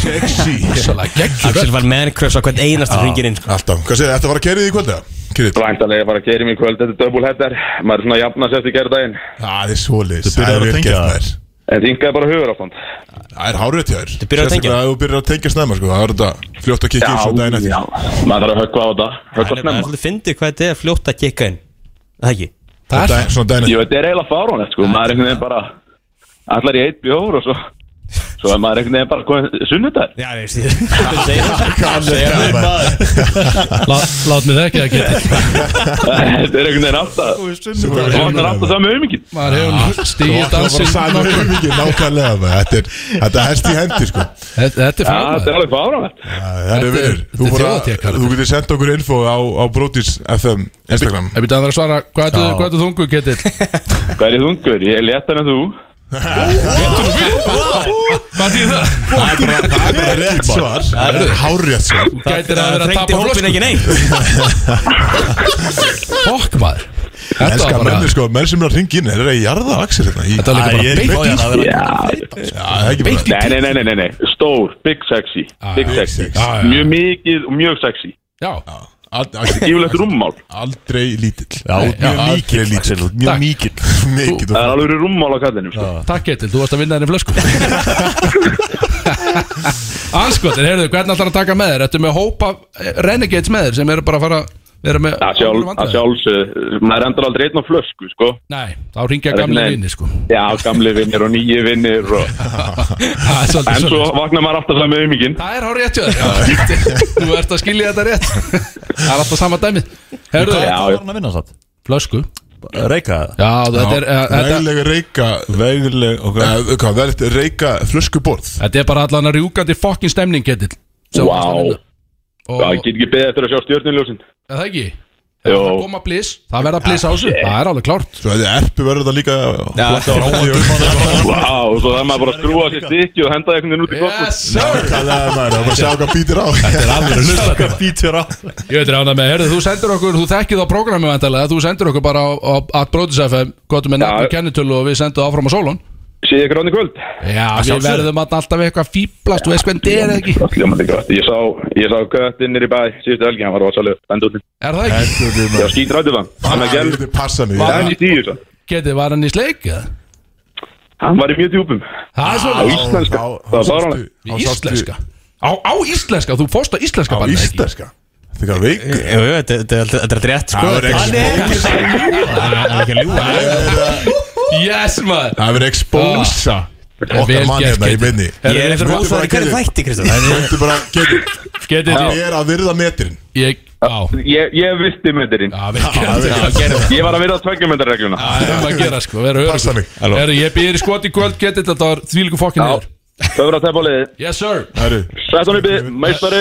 Speaker 1: Sexy
Speaker 2: Svolítið geggjur
Speaker 3: Axel var manncröfs á hvern einasta hringin inn sko.
Speaker 1: Alltaf, hvað segir þið, þetta var að keira því í kvölda? Kerið,
Speaker 9: Væntanlega bara að keiri mig í kvöld, þetta er döbulhettar Maður er svona að jafna sér eftir gerðdægin
Speaker 1: það er svoleiðis
Speaker 4: Þú
Speaker 1: Það er
Speaker 4: byrjar að
Speaker 1: vel
Speaker 4: tengja
Speaker 1: gert,
Speaker 4: það.
Speaker 1: maður.
Speaker 9: En þingaði bara hugur ástand
Speaker 1: Það er hárið hjá þér Þú
Speaker 3: byrjar að tengja.
Speaker 1: Sérstaklega að þú byrjar að tengja snemma, sko Það er þetta fljótt að kikki upp svo daginn eftir
Speaker 9: Maður þarf að höggva á þetta, höggva
Speaker 3: Það er
Speaker 9: snemma
Speaker 3: svolítið fyndið hvað þetta er fljótt að kikka inn Það ekki
Speaker 1: Svo daginn- Svona daginn eftir
Speaker 9: Jú, þetta er eiginlega fáránlegt, sko Maður er einhvern veginn bara Allar í eitt bjóður og svo Svo er maður einhvern veginn bara komið sunnudagur
Speaker 3: Já, veist ég Þú segir það Segir
Speaker 1: Kannan,
Speaker 3: það
Speaker 1: maður.
Speaker 2: Lát mig það ekki að geta
Speaker 9: Þetta er einhvern veginn alltaf
Speaker 1: Þú
Speaker 9: Það er alltaf saman umingin
Speaker 2: Maður hefur stíðið dansinn
Speaker 1: Það er mikið nákvæmlega maður. Þetta er- Þetta er hest í hendi sko
Speaker 2: Þetta þetta er
Speaker 9: Þetta
Speaker 2: fæðan
Speaker 9: er alveg fáránlegt
Speaker 1: Það er
Speaker 2: Þetta er-
Speaker 1: vinnur Þú
Speaker 2: þetta er
Speaker 1: bara-
Speaker 2: þjóðatíð, Karl.
Speaker 1: þú getur sendt okkur info á, á Brotis FM Instagram
Speaker 2: Ég byrja að vera að svara, hvað ertu- hvað ertu þungu, Ketil?
Speaker 9: Hvað er ég þungur? Ég er léttan en þú
Speaker 2: Hvað þýð það?
Speaker 1: Það er bara rétt svar Það er hárrétt svar
Speaker 2: Gætir að vera að
Speaker 3: Þrengdi
Speaker 2: tapa
Speaker 3: hópin
Speaker 2: flösku
Speaker 3: ekki neitt
Speaker 2: Fokk maður Þetta
Speaker 1: Elskar
Speaker 2: var bara
Speaker 1: mennir sko, menn sem er að ringa inn Þeir eru að jarða axir hérna í-
Speaker 2: Þetta var líka
Speaker 4: Æ,
Speaker 2: bara
Speaker 4: ég er
Speaker 2: beint í
Speaker 4: bójan að vera
Speaker 9: Já,
Speaker 1: Já, það er ekki
Speaker 2: sko.
Speaker 1: bara
Speaker 9: Nei, nei, nei, nei, nei, nei, stór, big sexy Big
Speaker 2: big
Speaker 9: sexy,
Speaker 2: sexy. Já, já.
Speaker 9: mjög mikið og mjög sexy
Speaker 2: Já,
Speaker 1: Ald- aldrei-
Speaker 9: Yfirlegt rúmmál,
Speaker 1: Aldrei lítill
Speaker 4: Já, mjög
Speaker 1: aldrei
Speaker 4: mikill Axel, þú ert Mjög
Speaker 2: Takk.
Speaker 4: mikill
Speaker 1: Mikið
Speaker 9: það er
Speaker 1: og-
Speaker 9: alveg rúmmál á kallinum sko.
Speaker 2: takk Ketil, þú varst að vinna henni flösku Anskotin, heyrðu, hvernig ætlar að taka með þér? Þetta er með hópa eh, renegades með þér sem eru bara að fara vera með
Speaker 9: Að sjálf, að sjálfsögðu, maður endur aldrei einn á flösku, sko
Speaker 2: Nei, þá ringja gamli
Speaker 9: Nei.
Speaker 2: vini sko
Speaker 9: Já, gamli vinnir og nýji vinnir og...
Speaker 2: Það er svolítið
Speaker 9: En svo
Speaker 2: svolítið.
Speaker 9: vaknar maður alltaf saman með umíkinn
Speaker 2: Það er hár rétt hjá þér Já. Þú ert að skilja þetta rétt Það er alltaf sama dæmið Herðu,
Speaker 4: Það
Speaker 9: Já, já.
Speaker 4: var hann að vinna satt
Speaker 2: flösku
Speaker 4: Reika það
Speaker 2: Já, þetta er, eh, þetta,
Speaker 1: Veglega reyka Veglega, ok Hvað, verðt reyka flöskuborð
Speaker 2: þetta er bara allan að rjúkandi fokkin stemning Ketil sem
Speaker 9: Vá.
Speaker 2: varst að vinna. Og,
Speaker 9: Það get ekki beðið eftir að sjá stjórnuljósin
Speaker 2: er það ekki?
Speaker 9: Jó. Ah,
Speaker 2: Það koma blís, það verða blís á þessu Það er alveg klárt
Speaker 1: Svo þetta erpi verður það líka Þetta var óvænt um hana.
Speaker 9: Vá, og svo það er maður bara að skrúa sér stykki og henda einhvern veginn út í kokku
Speaker 2: Yes, sir
Speaker 1: Það er maður, það er bara að sjá hvað býtir á Þetta er alveg að hlusta hvað býtir á
Speaker 2: Ég veit rána með, herðu, þú sendur okkur, þú þekkið á prógrammi vantarlega, þú sendur okkur bara á, á at Brotis.fm, gotum með nafn og kennitölu og við sendum áfram á sólun
Speaker 9: Sé ég gráðin í kvöld?
Speaker 2: Já, við verðum alltaf eitthvað fýblast, þú veist hvernig þetta er eða ekki
Speaker 9: Það hljómaði grátt Ég sá, ég sá göttinn nýri bæ síðustu helgi, hann var rosalega bendutinn
Speaker 2: Er það ekki?
Speaker 9: Ég var skítrættu það, hann er gerð
Speaker 1: Þetta er passa mig
Speaker 9: Það er ekki tíu svo
Speaker 2: Getið, var hann í sleik? eða?
Speaker 9: sko. Hann var í mjög djúpum
Speaker 2: Það er
Speaker 9: Á
Speaker 2: svona
Speaker 9: íslenska, það var fáránlegt
Speaker 2: Íslenska Á, á íslenska, þú fórst á íslenska
Speaker 1: Á
Speaker 2: barnið, ekki?
Speaker 1: íslenska Þetta er
Speaker 4: Eh,
Speaker 1: veik
Speaker 3: Jú, jú, þetta þetta er alltaf- þetta er alltaf rétt sko
Speaker 1: Það verður expose
Speaker 3: Það er ekki að ljúga
Speaker 2: Yes
Speaker 1: eh,
Speaker 2: maður Ah.
Speaker 1: Það verður expose
Speaker 2: Vel
Speaker 1: Okkar mann
Speaker 2: gert,
Speaker 1: hérna í
Speaker 2: Ketill.
Speaker 1: minni
Speaker 3: Ég er eftir
Speaker 1: Mundu
Speaker 3: rósaður
Speaker 1: bara
Speaker 3: í hverju
Speaker 1: Ketill.
Speaker 3: þætti, Kristján
Speaker 1: Þú ertu bara Ketil
Speaker 2: Getið,
Speaker 1: Það
Speaker 2: ég-
Speaker 1: er að virða metrin
Speaker 2: ég, á
Speaker 9: Ég, ég visti myndirinn
Speaker 2: Já, vel gert. um
Speaker 9: Ég var að vera á tveggjumyndarregluna
Speaker 2: Það er um að gera sko, vera
Speaker 1: Passa
Speaker 2: örugur
Speaker 1: mig.
Speaker 2: Herru, ég býðir skot í kvöld, getið, þetta var þvílíku fokkin
Speaker 9: Já.
Speaker 2: yfir
Speaker 9: Töfra tepp á liði
Speaker 2: Yes sir
Speaker 1: Herru,
Speaker 9: 13 uppið, meistari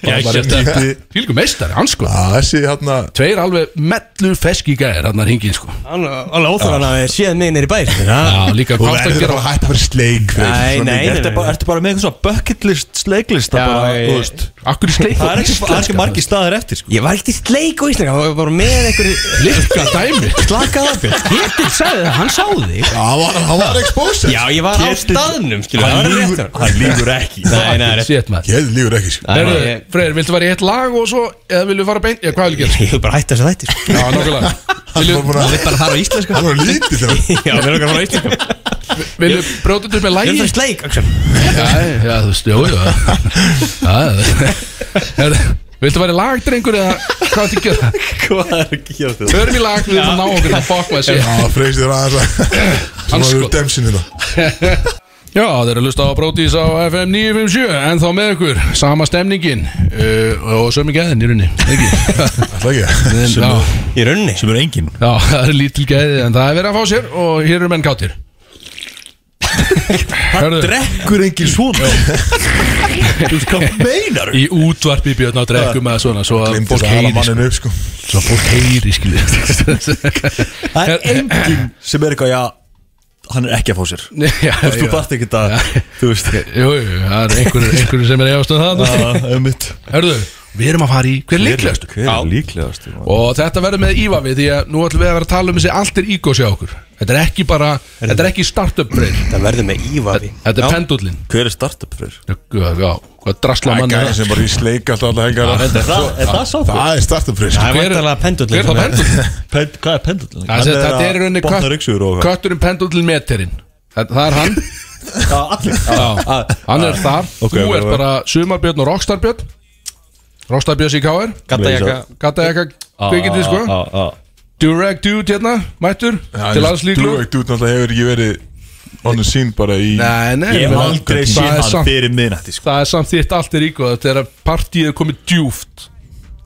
Speaker 2: Gækjast Fylgum meistari, hann sko
Speaker 1: Að Þessi hérna
Speaker 2: Tveir alveg mellu feski gæðir hann er hingin sko
Speaker 3: Alveg óþáðan að séð mig neyri bæri
Speaker 2: Já, líka
Speaker 1: Þú
Speaker 2: hvað það
Speaker 1: verður
Speaker 2: gera
Speaker 1: bara að hætta að vera sleik Freyr.
Speaker 3: Nei,
Speaker 1: Svona
Speaker 3: nei,
Speaker 1: mikið.
Speaker 3: nei,
Speaker 4: Ertu bara, ertu bara með eitthvað svona bucket list, sleiklist
Speaker 3: Já,
Speaker 4: bara,
Speaker 3: ég-
Speaker 4: þú veist
Speaker 2: Akkur í sleik
Speaker 4: Það er ekki, það er ekki margi staðir eftir sko.
Speaker 3: Ég var ekkert í sleik á Íslanda Það var bara með einhverju
Speaker 2: Lykka dæmi
Speaker 3: Slakað af þér
Speaker 4: sko.
Speaker 3: Getur sagði það, hann sá þig
Speaker 1: Já, Hann var- hann var exposed
Speaker 3: Já, ég var á staðnum, skilur Það var rétt hjá honum.
Speaker 4: Hann lífur ekki
Speaker 3: Nei, nei, rétt
Speaker 2: Sétt maður
Speaker 1: Ég lífur ekki sko.
Speaker 3: Nei,
Speaker 2: Herðu,
Speaker 3: nei, ég-
Speaker 2: Freyr, viltu fara í eitt lag og svo eða vilju fara beint, já hvað vil ég gera
Speaker 3: Ég vil bara hætta þessu þætti sko.
Speaker 2: Já, nokkulega Vilju,
Speaker 1: Hann var bara
Speaker 3: Bara fara á íslenska
Speaker 1: Hann var lítið þegar
Speaker 3: Já, við erum ekki að fara á íslenska
Speaker 2: vilju bróta upp með
Speaker 3: Ég
Speaker 2: lagi
Speaker 3: er það í sleik, Axel
Speaker 2: Já, já, þú veist, jú, jú Já, Herðu, Viltu fara í lag, drengur, eða hvað þetta að gera?
Speaker 4: Hvað er ekki hér þetta?
Speaker 2: Förum í lag, við erum að ná okkur að fokk maður sér
Speaker 1: Já, freysið þér aðeins að Hann var
Speaker 2: Andskot.
Speaker 1: úr demsin hérna
Speaker 2: Já, þeir eru að hlusta á Brótis á FM 957 En þá með ykkur, sama stemningin uh, Og sömu gæðin í runni Ekki
Speaker 1: Það ekki
Speaker 2: en, já,
Speaker 3: Í runni
Speaker 4: Sem er engin
Speaker 2: já, það eru lítil gæði En það er verið að fá sér og hér eru menn kátir Hörðu,
Speaker 4: Drekkur engin svona Þú veist hvað meinar
Speaker 2: í útvarpi björn á drekkum eða svona Svo að
Speaker 1: Glimtið
Speaker 2: fólk
Speaker 1: það að
Speaker 2: heyri sko,
Speaker 1: manninu upp sko
Speaker 2: Svo að fólk heyri skilur
Speaker 4: Það er engin sem er eitthvað, já Hann er ekki að fá sér Þú veist, þú
Speaker 2: Jú,
Speaker 4: bætt ekki það Þú veist
Speaker 2: jú, það er einhverjum einhver sem er efast um það
Speaker 4: Já, einmitt.
Speaker 2: Hörðu, við erum að fara í hver er líklegast
Speaker 4: Hver er líklegast?
Speaker 2: Og þetta verður með Íva við því að nú ætlum við að vera að tala um þessi alltir ígós hjá okkur Þetta er ekki bara, þetta er ekki startup breyr
Speaker 3: Það verður með ívafi
Speaker 2: Þetta er pendullin
Speaker 4: Hver er startup fyrir?
Speaker 2: Já, já, hvað drasla
Speaker 1: Það er
Speaker 2: mann er
Speaker 1: gæðin sem bara í sleik alltaf alla helgar
Speaker 4: Er það sá þú?
Speaker 1: Það er startup freys
Speaker 3: Það er
Speaker 2: Hver-
Speaker 3: vantarlega
Speaker 2: Hver er
Speaker 3: pendullin
Speaker 2: það pendullin?
Speaker 4: Pend- Hvað er pendullin?
Speaker 2: Það er- Þetta er í rauninni
Speaker 4: Botnar yksugur og
Speaker 2: kött- kötturinn pendullin meterinn Það það er hann,
Speaker 4: Já, allir
Speaker 2: já, hann er þar
Speaker 4: Ok,
Speaker 2: Þú
Speaker 4: ok,
Speaker 2: ert
Speaker 4: ok.
Speaker 2: bara sumarbjörn og rockstarbjörn Rockstarbjörn í KR
Speaker 3: Gattajaka
Speaker 2: Gata eitthvað kvikið því sko
Speaker 4: sko
Speaker 2: Durag dude hérna, mættur Til alls líklu
Speaker 1: Þú veit náttúrulega hefur ekki verið Honum sín bara í
Speaker 2: Nei, nei,
Speaker 4: Ég
Speaker 2: ég
Speaker 4: hef
Speaker 2: meina,
Speaker 4: aldrei
Speaker 2: það
Speaker 4: séð
Speaker 2: er
Speaker 4: hann
Speaker 2: samt-
Speaker 4: fyrir miðnætti sko
Speaker 2: það er samt þitt allt er ígóð þetta er að partíið er komið djúft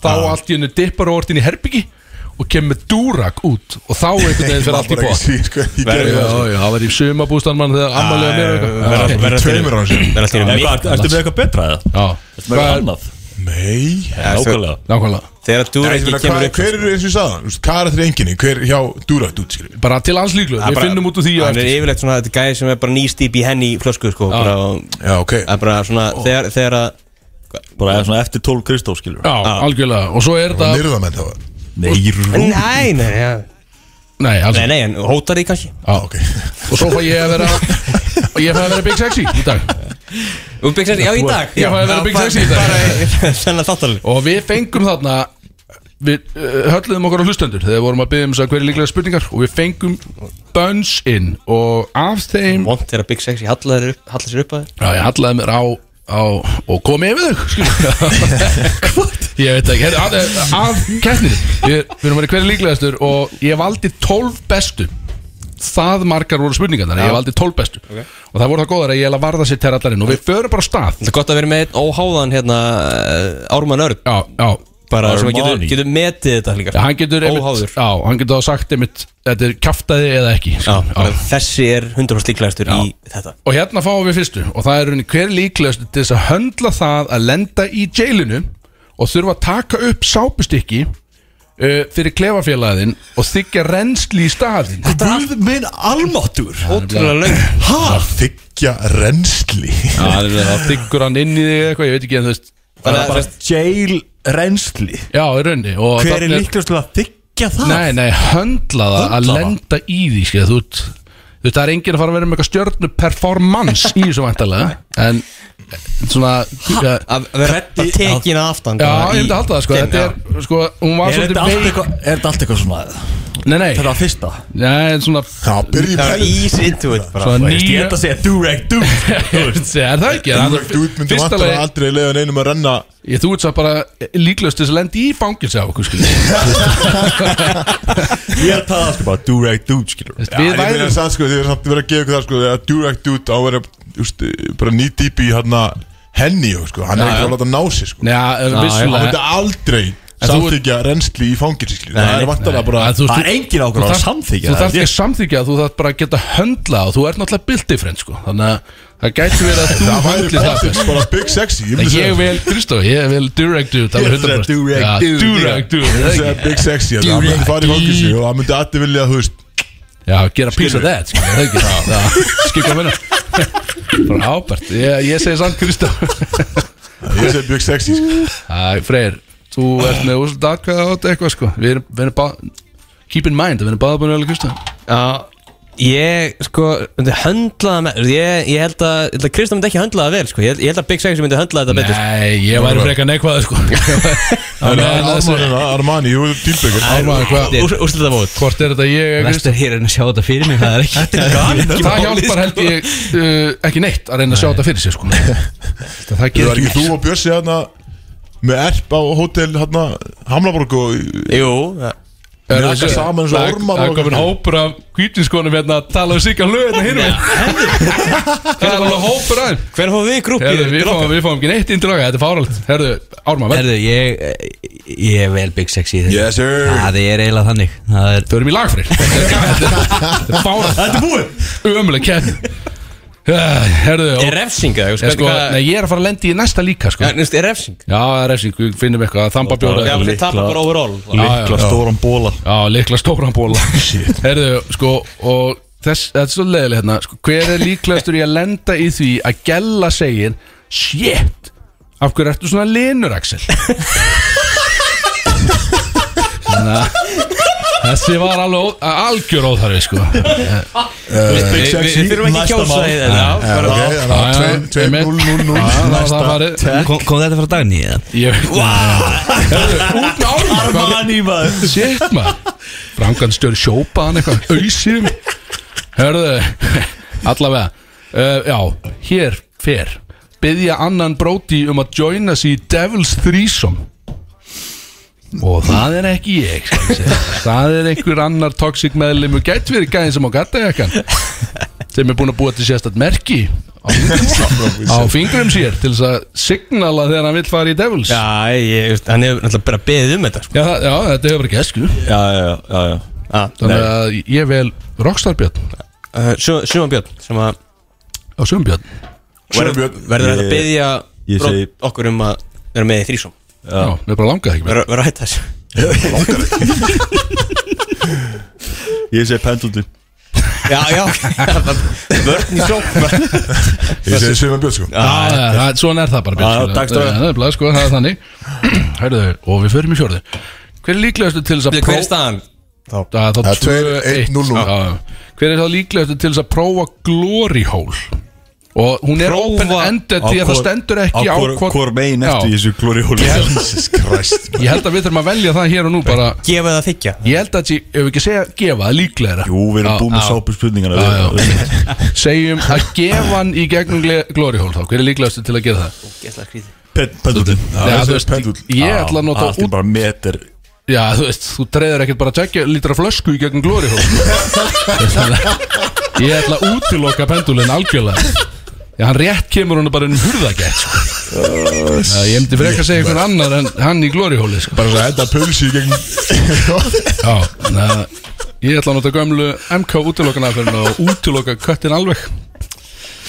Speaker 2: þá allt í hennu dippar orðin í herbyggi og kemur dúrak út og þá einhvern veginn fyrir allt í bótt
Speaker 1: bótt
Speaker 2: Já, já, það var í sumabústan mann þegar ammalega mér og eitthvað.
Speaker 4: Verða- verða-
Speaker 1: Í tveimur ára sér
Speaker 3: Það er alltaf í
Speaker 4: Eða
Speaker 3: mig
Speaker 4: hvað, Ertu með eitthvað betra eða?
Speaker 2: Já,
Speaker 4: Með
Speaker 2: Hvað
Speaker 4: eitthvað
Speaker 2: er-
Speaker 4: annað?
Speaker 1: Nei
Speaker 4: Já, Nákvæmlega
Speaker 2: nákvæmlega
Speaker 3: Þegar
Speaker 1: Nei, ég
Speaker 3: Durek
Speaker 1: meina,
Speaker 3: kemur
Speaker 1: hvað-
Speaker 3: upp
Speaker 1: Hver eru eins og ég sagðan? Hvað er þetta enginni? Hver hjá Dúrætt útskriði?
Speaker 2: Bara til alls líklu, við
Speaker 3: bara-
Speaker 2: finnum út úr því á
Speaker 3: Hann er
Speaker 2: eftir.
Speaker 3: yfirlegt svona Þetta gæði sem er bara nýstýp í henni í flösku sko bara og-
Speaker 1: Já, ok
Speaker 3: Það er bara svona Þegar Þegar að
Speaker 4: Bara eða svona eftir 12 Kristó skilur
Speaker 2: Já, algjörlega, og svo er
Speaker 1: Það
Speaker 2: þetta
Speaker 1: nyrða menn það var
Speaker 4: Nei, rú
Speaker 3: Nei, nei, já.
Speaker 2: Nei, alls
Speaker 3: nei,
Speaker 2: ekki.
Speaker 3: nei, en hótar því kannski
Speaker 1: Já, ok
Speaker 2: Og svo fæ ég að vera Og ég fæ að vera Big Sexy í dag
Speaker 3: Þú byggsast, já, í dag
Speaker 2: Ég fæ að vera Big Sexy í dag
Speaker 3: dag Senna þáttalinn
Speaker 2: Og við fengum þarna Við uh, hölluðum okkar á hlustendur Þegar við vorum að byggja um þess að hverju líklega spurningar Og við fengum bönns inn Og af þeim
Speaker 3: Vont þegar Big Sexy hallar þér upp- hallar sér upp að þér
Speaker 2: Já, ég hallaði mér á, á Og komið yfir þau skilur. Ég veit ekki heyrðu, Af, af keppnir Við við erum að vera hverju líklegastur Og ég valdi 12 bestu Það margar voru spurningar Þannig að ég valdi 12 bestu Og það voru það góðar að ég hef að varða sér til allarinn Og við förum bara á stað
Speaker 3: Það er gott að vera með einn óháðan hérna eh, Ármann Örn
Speaker 2: Já, já
Speaker 3: bara sem að getur,
Speaker 4: Armani.
Speaker 3: getur metið þetta líka
Speaker 2: Já, hann getur
Speaker 3: Óháður.
Speaker 2: já, hann getur þá sagt einmitt, þetta er kjaftaði eða ekki
Speaker 3: já,
Speaker 2: sko.
Speaker 3: bara, þessi er 100% líklegastur í þetta
Speaker 2: og hérna fáum við fyrstu og það er raunin hver líklegast til þess að höndla það að lenda í jailinu og þurfa að taka upp sápustykki uh, fyrir klefafélagiðin og þykja rennsli í staðin
Speaker 4: Guð minn almáttur
Speaker 3: ótrúlega löng
Speaker 1: Að þykja rennsli
Speaker 2: það þykkur hann inn í þig eða eitthvað, ég veit ekki en þú veist
Speaker 4: Það
Speaker 3: Bara-
Speaker 4: er bara jail reynsli
Speaker 2: já, í rauninni og
Speaker 4: Hver er
Speaker 2: þarna
Speaker 4: líklegast til að þykja það?
Speaker 2: Nei, nei, höndla það að
Speaker 4: Höndla það?
Speaker 2: lenda í því skil, þú, ert- þú veist, það er enginn að fara að vera með eitthvað stjörnu performance í þessu vantarlega en svona ja,
Speaker 3: að vera bara tekin að aftan
Speaker 2: Já,
Speaker 3: bara
Speaker 2: ég
Speaker 3: í-
Speaker 2: myndi að halda það sko, þetta
Speaker 3: Já.
Speaker 2: er, sko, hún var
Speaker 4: Er þetta
Speaker 2: svolítið
Speaker 4: allt
Speaker 2: veik
Speaker 4: eitthvað Er þetta allt eitthvað svona
Speaker 2: Nei, nei,
Speaker 4: Þetta er að fyrsta
Speaker 2: nei, en svona,
Speaker 1: Það byrjum
Speaker 3: það er
Speaker 1: með
Speaker 3: ease into it bara
Speaker 2: svona
Speaker 4: Ég
Speaker 2: nýja
Speaker 4: ætla að segja Durag Dug Þú veist
Speaker 2: Er það ekki? Það er
Speaker 1: Dúrætt út myndi
Speaker 2: Fyrsta
Speaker 1: vantar
Speaker 2: lagi-
Speaker 1: aldrei leiða neinum að renna
Speaker 2: Ég þú ert svo bara líklaust þess að lendi í fangilsi á okkur skil
Speaker 4: Ég er að tala sko bara Durag Dug skilur
Speaker 1: Já,
Speaker 2: Við
Speaker 1: en ég meina
Speaker 2: værum
Speaker 1: það sko, þið er samt verið að gefa ykkur það sko að Durect út á að vera just, bara ný dýpi í hann henni og sko, hann er ekki að láta ná sig sko
Speaker 2: Já,
Speaker 1: hann myndi
Speaker 2: vissulega
Speaker 1: aldrei
Speaker 2: þú-
Speaker 1: samþykja reynsli í fangilsi það er vantarlega bara
Speaker 2: Að þú-
Speaker 4: Það er engin ákveð að
Speaker 2: þarft- Þú
Speaker 4: samþykja
Speaker 2: þarf
Speaker 4: það
Speaker 2: ekki að samþykja, þú þarf bara að geta höndla og þú ert náttúrulega bildifrend sko Þannig að Það gæti verið að þú
Speaker 1: Það væri
Speaker 2: höndlist
Speaker 1: bara-
Speaker 2: það
Speaker 1: bara big sexy Ég myndi
Speaker 2: En Ég
Speaker 1: segja-
Speaker 2: vel Kristó, ég vel Durag Dude alveg
Speaker 4: Ég ætla
Speaker 2: 100%.
Speaker 4: að Durag
Speaker 2: Ja,
Speaker 4: Dude,
Speaker 2: Durag Dude
Speaker 1: Ég myndi
Speaker 2: er það ekki?
Speaker 1: segja big sexy að Það myndi fara í fólkissi og það myndi allir vilja þú veist
Speaker 2: Já, gera piece of that skilur, það ekki Já, skilur hvað minna Bara ábært, ég, ég segi samt Kristó
Speaker 1: Ég segi big sexy sko.
Speaker 2: Æ, Freyr, þú ert með úrslut atkvæða á þetta eitthvað sko Við erum, við erum bara Keep in mind, við erum báða búin að velja Kristó
Speaker 3: Já, ég sko myndi höndla það með ég, ég held að, ég held að Kristján myndi ekki höndla það vel sko. ég, held- ég held að Big Sexy myndi höndla þetta betur sko.
Speaker 2: Nei, ég væri frekar neikvæða sko
Speaker 1: En
Speaker 2: Þannig að þessi
Speaker 1: Armani, Armani, jú, dýlbyggur
Speaker 2: Ármann, hvað-
Speaker 3: Úr, Úrslita mót
Speaker 2: Hvort er þetta ég eða Kristó?
Speaker 5: Vestur hér en að sjá þetta fyrir mig Það er ekki Þetta er
Speaker 2: Það
Speaker 5: sko.
Speaker 2: hjálpar held ég uh, ekki neitt að reyna að sjá þetta fyrir sér sko Það
Speaker 1: Þú
Speaker 2: gerir
Speaker 1: er ekki
Speaker 2: ekki
Speaker 1: þú og Bjössi hérna með erp á hótel hérna Hamlaborg og
Speaker 3: Jú, það-
Speaker 2: Er
Speaker 1: Mjaka
Speaker 2: þessi-
Speaker 1: saman eins og
Speaker 2: Það-
Speaker 1: ormar
Speaker 2: Það er
Speaker 1: og-
Speaker 2: komin hópur af kvítinskonum hérna að tala um sig að lögna hérna Það er alveg hópur aðeins
Speaker 3: hvenær fáum við í grúpp
Speaker 2: Herðu, við fáum, við fáum ekki neitt inn til okkar, þetta er fáralt Herðu, Ármann, verð
Speaker 5: Herðu, ég, ég er vel Big Sexy í þessu
Speaker 1: Yes sir
Speaker 5: Það er eiginlega þannig Það er
Speaker 2: Þau erum í lagfrið Þetta er fáralt Þetta er búið Ömuleg kepp Herðu,
Speaker 3: Er
Speaker 2: og,
Speaker 3: refsing eða?
Speaker 2: en sko, nei, ég er að fara að lendi í næsta líka sko.
Speaker 3: Er, nefnst, er refsing?
Speaker 2: Já, það er refsing, við finnum eitthvað að þamba bjóra
Speaker 3: Já, við
Speaker 4: Litla-
Speaker 3: tapar bara overall
Speaker 2: Já,
Speaker 4: Likla
Speaker 2: já.
Speaker 4: stóran bóla
Speaker 2: Já, líkla stóran bóla Herðu, sko, og þess, þetta er svo leiðileg hérna sko, Hver er líklegastur í að lenda í því að Gella segir Shit, af hverju ertu svona linur, Axel? Na, Hérna, þessi var alveg ó- algjör óþarfi, sko
Speaker 1: Big
Speaker 3: Við
Speaker 1: sexy
Speaker 3: við þurfum ekki að kjósa í þetta Já,
Speaker 1: Já,
Speaker 3: bara-
Speaker 1: ok, hérna, þannig
Speaker 2: Já, já,
Speaker 1: að 2-0-0-0
Speaker 2: Já, það var það farið
Speaker 5: Kom, kom þetta frá dagni eða?
Speaker 2: Ég veit Herðu, út með Ármann Armani maður Shit maður Frangan stjóri sjópa hann eitthvað Auðsýrum Herðu Allavega uh, Já, hér fer Byðja annan bróti um að joina sig í Devil's Threesome Og það er ekki ég skal ég segja. Það er einhver annar toxic meðlum og gætt verið gæðin sem á gattajakkan sem er búin að búa til sérstætt merki á, á fingrum sér til þess að signala þegar hann vill fara í Devils
Speaker 3: Já, ég, veist, hann hefur náttúrulega bara beðið um þetta sko.
Speaker 2: Já, það- já þetta hefur ekki esku
Speaker 4: Já, já, já, já
Speaker 3: Já,
Speaker 2: Þannig að ég vel Rockstar Björn
Speaker 3: uh, Sjö- Sjöman Björn sem að
Speaker 2: á Sjöfum Björn
Speaker 3: verður verður þetta að byggja
Speaker 4: ég segi-
Speaker 3: okkur um að vera með í þrísom
Speaker 2: Já, mér bara langaði ekki meira.
Speaker 3: vera vera að hætta þessu
Speaker 4: Ég segi pendlutin
Speaker 3: Já, já Vörn í sjóma
Speaker 1: Ég segi Sveima Björn sko
Speaker 2: Já, já, það- Svona er það bara
Speaker 4: Já,
Speaker 2: Björn
Speaker 4: takk,
Speaker 2: skilur.
Speaker 4: Dóri.
Speaker 2: Það er nefnilega, sko, það er þannig Hörðu, og við förum í fjörðu Hver er líklegastu til þess að
Speaker 3: Hver er
Speaker 2: prófa
Speaker 3: staðan?
Speaker 2: Það er þá
Speaker 1: Það er
Speaker 2: 2-1
Speaker 1: 2-1-0-0.
Speaker 2: Já, já. Hver er þá líklegastu til þess að prófa Glory Hole Og hún er
Speaker 3: Prófa
Speaker 2: open-ended því að það stendur ekki á hvort-
Speaker 4: Hvor megin eftir
Speaker 2: Já.
Speaker 4: í þessu glóri hóli
Speaker 1: Jesus Christ
Speaker 2: Ég held að við þurfum að velja það hér og nú bara
Speaker 3: Gefa það þykja
Speaker 2: Ég held að, ég- ef við ekki segja gefa, það er líklegra
Speaker 4: Jú, við erum
Speaker 2: Já,
Speaker 4: búin með
Speaker 2: já.
Speaker 4: sápu spurningana
Speaker 2: Já, já. Segjum að gefa hann í gegnum gle- Glory Hole þá Hver er líklegastu til að gera það?
Speaker 4: Pendlutin
Speaker 2: Já,
Speaker 1: þessi
Speaker 2: þú veist,
Speaker 1: pendull.
Speaker 2: Ég ætla að nota
Speaker 4: Allt er
Speaker 2: út
Speaker 4: bara meter
Speaker 2: Já, þú veist, þú treyður ekkert bara að tjekka lítra flösku í gegnum glóri Ég ætla að útiloka pendulinn algjörlega Já, hann rétt kemur hún bara inn um hurðagætt sko. Já, Ég myndi frekar að segja einhvern annar en hann í glórihóli sko.
Speaker 1: Bara svo enda pulsi í gegn
Speaker 2: Já, na, ég ætla að nota gömlu MK útilokana og útiloka köttin alveg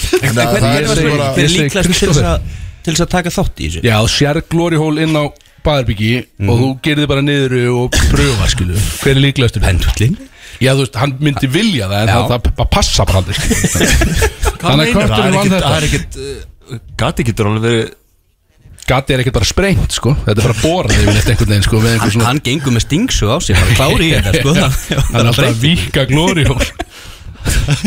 Speaker 1: Þannig að það er
Speaker 2: segi-
Speaker 1: bara
Speaker 5: Hver
Speaker 2: ég
Speaker 5: er
Speaker 2: segi
Speaker 5: líklegast til þess
Speaker 2: Kristófer.
Speaker 5: að til þess að taka þátt í þessu?
Speaker 2: Já, þú sér glórihól inn á baðarbyggi og þú gerir þið bara niður og pröfa, skilu Hver er líklegastur?
Speaker 5: Pendlin
Speaker 2: Já, þú veist, hann myndi vilja það en
Speaker 5: Já.
Speaker 2: það, það bara passa bara aldrei Þannig að
Speaker 5: um
Speaker 4: Það
Speaker 2: kvörtunum
Speaker 4: er
Speaker 2: vann
Speaker 4: ekkert-
Speaker 2: þetta
Speaker 4: það er ekkert uh, Gati getur alveg verið
Speaker 2: Gatti er ekkert bara sprengt, sko Þetta er bara borað yfir neitt einhvern veginn, sko með einhver
Speaker 5: hann,
Speaker 2: svona,
Speaker 5: hann gengur með stingsu á sig Hann klári í þetta sko Það-
Speaker 2: Hann er alltaf að vika glórihól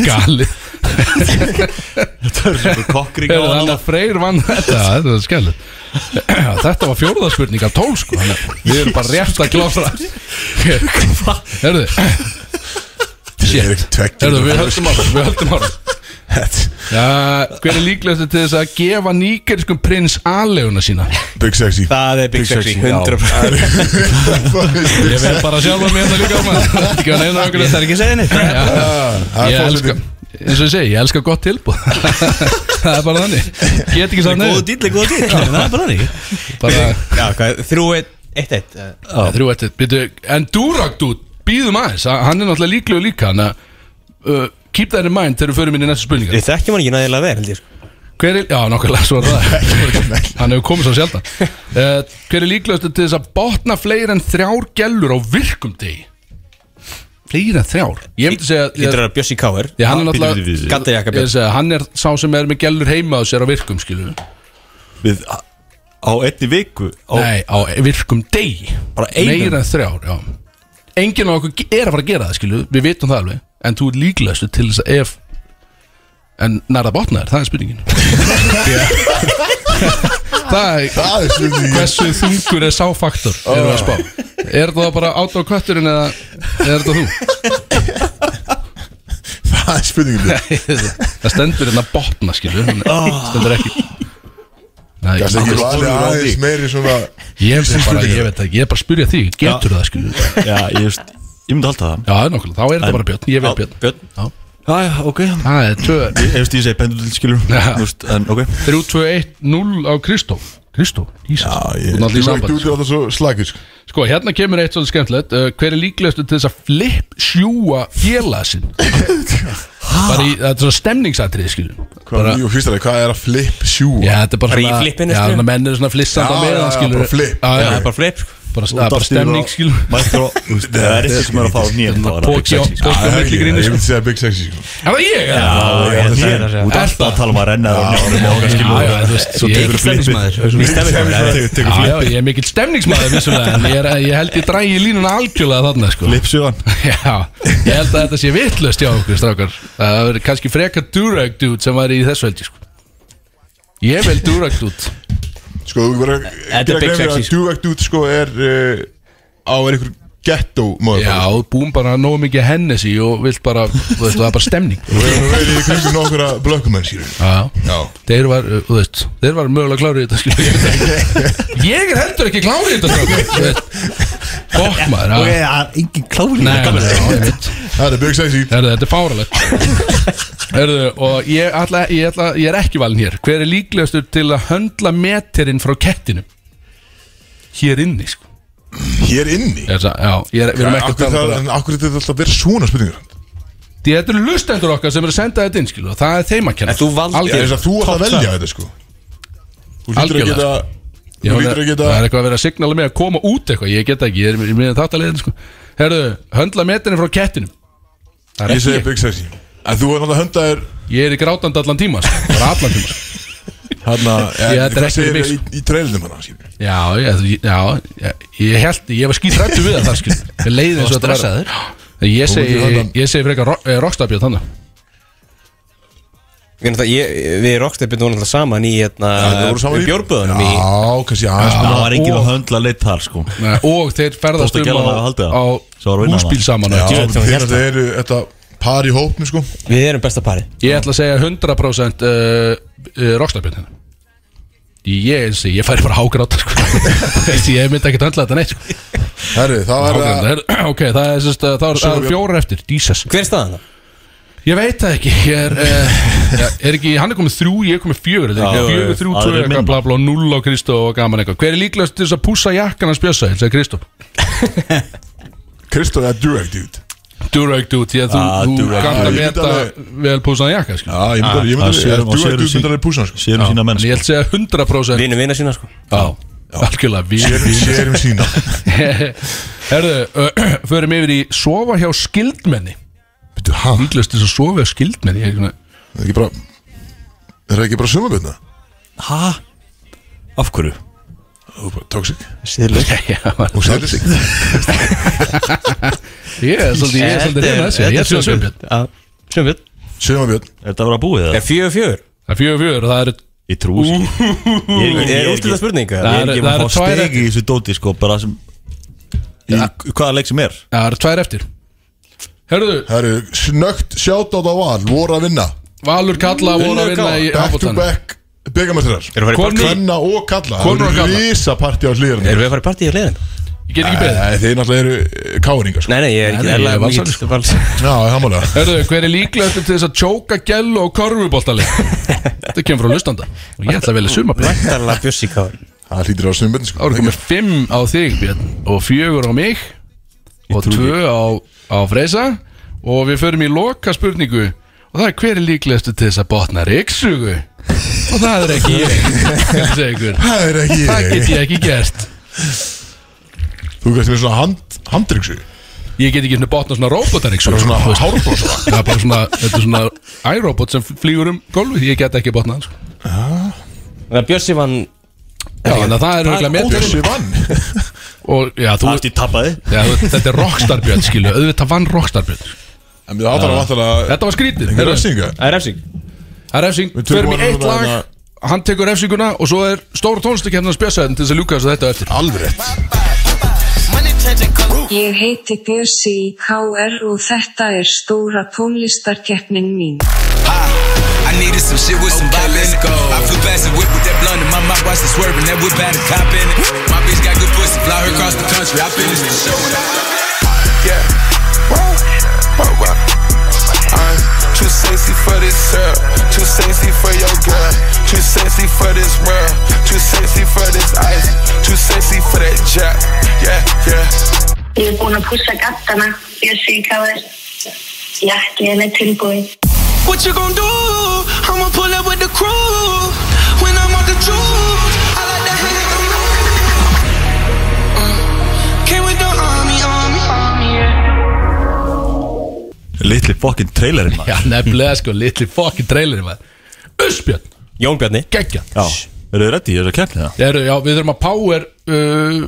Speaker 2: Gali
Speaker 4: Það er svona kokkring á
Speaker 2: Heyrðu, Þannig
Speaker 4: hann
Speaker 2: að Freyr vann þetta Þetta var skemmt Þetta var fjórðarspurning af tól, sko Þannig að Við erum bara rétt að gláfra Herðu Shit Herðu, við höldum ára Við höldum ára Já, hver er líklegast til þess að gefa nýgeriskum prins aðleguna sína?
Speaker 1: Big sexy
Speaker 3: Það er Big Sexy 100%
Speaker 2: Ég veit bara sjálfa mér þetta líka maður. Ekki að neina okkur
Speaker 5: Það er ekki að segja neitt
Speaker 2: Já,
Speaker 1: Það
Speaker 2: Ég
Speaker 1: er
Speaker 2: elska
Speaker 1: fórsetinn.
Speaker 2: eins og ég segi, ég elska gott tilbúð Það er bara þannig Get ekki samt
Speaker 5: Góða
Speaker 2: neyð
Speaker 5: dýll, góða dýll Það er bara þannig
Speaker 2: Bara
Speaker 3: Já, hvað, þrjú, eitt, eitt, eitt eh,
Speaker 2: þrjú eftir Býtu, En Duragdút, býðum aðeins Hann hann er náttúrulega líklegur líka Þannig að uh, keep that in mind þegar við förum inn í næstu spurningar
Speaker 3: Við þekkjum hann ekki næðilega vel, held ég sko.
Speaker 2: Hver er, já, nákvæmlega, svo er það Hann hefur komið svo sjaldan uh, Hver er líklegast til þess að botna fleiri en þrjár gellur á virkum degi? Fleiri en þrjár? Ég myndi segja
Speaker 3: Lítur
Speaker 2: ég,
Speaker 3: að Bjössi Káir
Speaker 2: ég, hann, er
Speaker 4: Bíddu,
Speaker 2: náttúrulega-
Speaker 4: bíddu, bíddu.
Speaker 3: Gaddajakka
Speaker 2: ég,
Speaker 3: Björn.
Speaker 2: segi, að hann er sá sem er með gellur heima á sér á virkum, skilur við
Speaker 4: Við á einni viku á,
Speaker 2: Nei, á virkum degi
Speaker 4: Bara einum?
Speaker 2: Meira en þrjár, já Enginn á okkur er að fara að gera það, skilur Við vitum það alveg En þú er líklegastu til þess að ef En nærða botnaðir, það er spurningin Það er
Speaker 1: Það er spurning
Speaker 2: Hversu þungur er sáfaktor Erum við að spá Er það bara át á kötturinn eða er þetta þú?
Speaker 1: Það er spurning
Speaker 2: það stendur hérna botna skilur en Stendur ekki Nei,
Speaker 1: Það er ekki valið aðeins meiri svona
Speaker 2: ég, ég, bara, ég veit ekki, ég er bara að spyrja því Getur það skilur
Speaker 4: Já, ég, veist, ég myndi halda það
Speaker 2: Já, nokkulega, þá er þetta bara Björn, ég veit Björn
Speaker 4: Björn
Speaker 2: Já.
Speaker 4: Já, já, ok Ég
Speaker 2: Það er 2,
Speaker 4: ég veist ég segi pendul, skilur
Speaker 2: Já.
Speaker 4: Þú veist, En ok
Speaker 2: 3, 2, 1, 0 á Kristóf Kristóf, Ísas
Speaker 1: Já,
Speaker 2: Þú
Speaker 1: ég
Speaker 2: er
Speaker 1: Þú
Speaker 2: náttúrulega í
Speaker 1: er ekki
Speaker 2: sambandi
Speaker 1: út í alltaf svo slagir
Speaker 2: Sko, hérna kemur eitt svolítið skemmtilegt uh, Hver er líklegastu til þess að flip sjúa félagasinn? bara í, þetta er svona stemningsatrið, skiljum
Speaker 1: Hvað er mjög fyrstalega, hvað er að flip sjú?
Speaker 2: Já, þetta er bara
Speaker 3: Bara í
Speaker 2: svona
Speaker 3: flippinu,
Speaker 2: Já,
Speaker 3: skilur.
Speaker 2: þannig að menn eru svona
Speaker 1: Já,
Speaker 2: flissandi á
Speaker 1: já,
Speaker 2: meðan,
Speaker 1: já,
Speaker 2: skiljum
Speaker 1: bara flip.
Speaker 2: Já,
Speaker 3: Það
Speaker 2: já,
Speaker 3: er bara flip sko.
Speaker 2: bara, það er bara stemning, skiljum
Speaker 4: Mættur á þú veist, Það er eitthvað sem er að fá nýja
Speaker 2: Þetta er póki á- póki á milli
Speaker 1: Ég
Speaker 2: grínu,
Speaker 1: myndi
Speaker 2: sko.
Speaker 1: segja Big Sexy sko.
Speaker 2: Það var ég, eða?
Speaker 4: Þú ert alltaf að tala um að renna það á nefnum og
Speaker 2: Já,
Speaker 4: okkar skilur
Speaker 2: já, þú veist, ég-
Speaker 5: Ekki stemmismæður
Speaker 2: Já, já, ég er mikill stemningsmaður, vissulega En ég, er, ég held ég drægi línuna algjörlega þarna, sko
Speaker 4: Lipsjóðan
Speaker 2: Já, ég held að þetta sé vittlust hjá okkur strákar Það verður kannski frekar durag dude sem væri í þessu helgi sko. Ég vel durag dude
Speaker 1: Sko, þú verður að
Speaker 3: Þetta
Speaker 1: gera
Speaker 3: er Big
Speaker 1: grein fyrir
Speaker 3: Sexy,
Speaker 1: að Duvakt út sko er uh, á er einhver ghetto maður
Speaker 2: Já, búum bara nógu mikið hennes í og vilt bara, þú veist, það er bara stemning
Speaker 1: Við erum verið í kringum nokkura blökkumenn skilur
Speaker 2: Já,
Speaker 1: Já
Speaker 2: þeir var, uh, þú veist, þeir var mögulega klárið í þetta skilur Ég er heldur ekki klárið í þetta strákar þú veist. Fokk maður,
Speaker 4: Ok,
Speaker 2: já
Speaker 4: það er engin klári
Speaker 2: Nei, já, já, ég veit
Speaker 1: Það er Big Sexy
Speaker 2: Herðu, þetta er fáralegt Herðu, og ég, ætla, ég, ætla, ég er ekki valin hér Hver er líklegastur til að höndla meterinn frá kettinum? Hér inni, sko
Speaker 1: Hér inni
Speaker 2: Þessa, Já, ég er, við erum ekki að
Speaker 1: Akkur
Speaker 2: tala um
Speaker 1: það-
Speaker 2: bara
Speaker 1: en akkur þetta er alltaf verið svona spurningar
Speaker 2: Því þetta eru lustendur okkar sem eru að senda þetta inn, skilu og Það er þeim að kenna
Speaker 3: En þú valdir-
Speaker 1: Ég
Speaker 2: Algjör-
Speaker 1: veist að þú ætla að velja þetta sko Þú lítur að
Speaker 2: Algjörlega,
Speaker 1: geta
Speaker 2: Ég
Speaker 1: Þú
Speaker 2: var-
Speaker 1: lítur að geta
Speaker 2: Það er eitthvað að vera að signala mig að koma út eitthvað Ég get ekki, ég er með þáttalegin, sko Herðu, höndla meterinn frá kettinum Það er
Speaker 1: Ég
Speaker 2: ekki
Speaker 1: segi
Speaker 2: ég,
Speaker 1: Big Sexy En þú er náttúrulega höndaðir
Speaker 2: ég er í grátandi allan tíma, sko Bara allan tíma, sko
Speaker 1: Hanna
Speaker 2: Ég- þetta er ekki
Speaker 1: segir
Speaker 2: Big
Speaker 1: í, í trailinum hana skilur
Speaker 2: Já, ég, þú- já, ég, ég held Ég var skítrættu við það þar skil Ég leiði eins og þetta var Ég
Speaker 1: myndir
Speaker 2: segi, ég,
Speaker 1: halda-
Speaker 2: ég segi frekar eh, rockstabjöð þannig
Speaker 3: Ég er náttúrulega- ég- Við Rocksteppi vorum alltaf saman í hérna,
Speaker 1: þau voru saman í-
Speaker 3: Bjórböðunum í
Speaker 1: Já, kannski aðeins
Speaker 4: Það var engin
Speaker 2: og-
Speaker 4: að höndla leitt þar sko
Speaker 2: Nei, Og þeir ferðast
Speaker 4: Þótt að
Speaker 2: um
Speaker 4: gæla hafa
Speaker 2: á,
Speaker 4: haldið það.
Speaker 2: á
Speaker 4: Svo var að vinna
Speaker 2: húsbíl
Speaker 4: það.
Speaker 2: saman
Speaker 1: Já,
Speaker 2: eftir.
Speaker 1: þannig að þetta eru þetta par í hópnu sko
Speaker 3: Við erum besta parið
Speaker 2: Ég ætla að segja 100% uh, uh, rockstabjöð þannig Ég, eins og ég færi bara hágráta sko. Þessi, Ég myndi ekkert höndla þetta neitt sko.
Speaker 1: Herru, það var
Speaker 2: Hágráta,
Speaker 1: það
Speaker 2: er, Ok, það er, sérst, það er, það er fjórar eftir Jesus.
Speaker 3: Hver er staðan það?
Speaker 2: Ég veit það ekki Ég er, uh, er ekki, Hann er komið þrjú, ég er komið fjögur Þetta er
Speaker 4: Já,
Speaker 2: ekki
Speaker 4: já,
Speaker 2: Fjögur,
Speaker 4: já.
Speaker 2: þrjú,
Speaker 4: Aðrir
Speaker 2: tvö, eitthvað,
Speaker 4: minna.
Speaker 2: bla, bla, null á Kristó og gaman eitthvað Hver er líklegast til þess að pússa jakkan hans bjössa Þetta er Kristó
Speaker 1: Kristóð er direct dude
Speaker 2: Durag dude, ég, þú,
Speaker 4: Ah,
Speaker 2: þú
Speaker 4: durag.
Speaker 2: kannt að
Speaker 1: Já, ég myndi
Speaker 2: meta vel pússaðan jakka skilur.
Speaker 1: Já, ég myndi alveg- ég
Speaker 4: það
Speaker 1: myndi
Speaker 4: sér-
Speaker 1: alveg-
Speaker 4: og sér
Speaker 1: Direct dude
Speaker 4: sín-
Speaker 1: myndi alveg púsa hann sko
Speaker 4: Sérum sína
Speaker 2: En
Speaker 4: menn
Speaker 2: ég held segja 100%
Speaker 3: Vinum vina sína sko
Speaker 2: Já, algjörlega við-
Speaker 1: Sérum- Sérum sína
Speaker 2: Herðu, uh, förum yfir í Sofa hjá skildmenni
Speaker 1: Býttu, hæ?
Speaker 2: Líklegast til þess að sofa hjá skildmenni ég, er svona-
Speaker 1: Það er ekki bara Er það ekki bara sumabjörna?
Speaker 4: Hæ? Af hverju?
Speaker 1: Þú er bara toxic
Speaker 2: Já,
Speaker 1: Og sælis
Speaker 2: Ég er svolítið Ég er svolítið reyna þessu Ég er svolítið sömbjörn
Speaker 3: Sjömbjörn
Speaker 1: Sumabjörn
Speaker 4: Er þetta að vera búið
Speaker 3: Það
Speaker 4: eða?
Speaker 3: er fjögur fjögur
Speaker 2: Það er fjögur fjögur og það eru
Speaker 4: Ég trú sko Ég ég- ég
Speaker 3: Er
Speaker 4: er
Speaker 3: útlita
Speaker 4: ekki
Speaker 3: spurninga?
Speaker 2: Nei.
Speaker 4: Ég er ekki
Speaker 2: Það
Speaker 4: að
Speaker 2: eru
Speaker 4: fá
Speaker 2: tvær
Speaker 4: stegi
Speaker 2: eftir.
Speaker 4: í þessu dóti sko Bara sem Í hvaða leik sem er
Speaker 2: Það eru tvær eftir Herðu,
Speaker 1: Það eru snögt sjátátt á val Voru að vinna
Speaker 2: Valur Kalla voru að vinna í
Speaker 1: Back to
Speaker 2: ábúttanum
Speaker 1: back Byggamestrar
Speaker 3: Erum við að fara í partí?
Speaker 1: Kvenna og kalla
Speaker 2: Konur og karla.
Speaker 1: Rísa partí á hlýðarinn
Speaker 3: Erum við að fara í partí í hliðin?
Speaker 2: Ég get ekki beðið
Speaker 1: Nei, þeir náttúrulega eru káringar sko
Speaker 3: Nei, nei, ég er sko.
Speaker 2: Nei, nei, ég
Speaker 3: ekki
Speaker 2: er
Speaker 3: erlega
Speaker 2: valsari,
Speaker 3: mikið vals
Speaker 1: Já, hamalega
Speaker 2: Herðu, hver er líklegast til þess að tjóka gellu og korfuboltali? Þetta kemur frá lustanda Og ég ætla að velja suma Björn
Speaker 3: Væntarlega bjössi káður
Speaker 1: Það hlýtir á sumabjörn sko
Speaker 2: Það voru komið fimm á þig Björn Og fjögur á mig Og tvö á, á Freysa Og við förum í loka spurningu Og það er hver er líklegast til þess að botna riksugu? og það er ekki ég skal ég segja ykkur
Speaker 1: Það er ekki
Speaker 2: það get ég ekki gert
Speaker 1: Þú gæst með svona hand, handryksu
Speaker 2: ég get ekki svona botna svona robotar ekki
Speaker 1: Bara svona
Speaker 2: þú veist.
Speaker 1: hárbrosa.
Speaker 2: það er bara svona þetta er svona iRobot sem flýgur um gólfið ég get ekki botna sko.
Speaker 3: Þannig að Bjössi vann
Speaker 2: já þannig að hérna. það er auðvitað metur
Speaker 1: Bjössi vann
Speaker 2: og já þú
Speaker 4: Allt í tappaði
Speaker 2: já, þú- þetta er rockstar björn skilu auðvitað vann rockstar björn
Speaker 1: En við áttar að vantala
Speaker 2: þetta var skrítið
Speaker 1: Engar
Speaker 2: Heyrðu,
Speaker 1: refsinga
Speaker 3: Það er refsing
Speaker 2: það er refsing
Speaker 1: Við
Speaker 2: förum
Speaker 1: tökum
Speaker 2: í eitt
Speaker 1: núna
Speaker 2: lag
Speaker 1: þarna-
Speaker 2: hann tekur refsinguna og svo er stóra tónlistakefnans bjössæðin til þess að ljúka þessu þetta á eftir
Speaker 1: Alveg rétt
Speaker 10: Ég heiti Bjössi í KR og þetta er stóra tónlistarkeppnin mín.
Speaker 6: I needed some shit with some okay, let's go. I flew past the whip with that blunt in my mouth, watched it swerving. That whip had a cop in it. My bitch got good pussy, fly her across the country. I finished the show and I. Yeah. Wow. Wow, wow. I'm too sexy for this sir. Too sexy for your girl. Too sexy for this world. Too sexy for this ice. Too sexy for that jack. Yeah, yeah.
Speaker 10: Ég er búin að pussa gattana, Bjössi í KR. Jakkinn er tilbúin.
Speaker 6: What you gonna do? I'ma pull up with the crew. When I'm on the juice, I like to hang on you. Uh, Came with the army, army, army, yeah.
Speaker 4: Litli fokkin trailerinn maður
Speaker 2: já nefnilega sko litli fokkin trailerinn var Usbjörn
Speaker 3: Jón Bjarni
Speaker 2: geggja
Speaker 4: Já Eru þið reddi í þessu kemni það?
Speaker 2: Eru, já, við þurfum að power uh,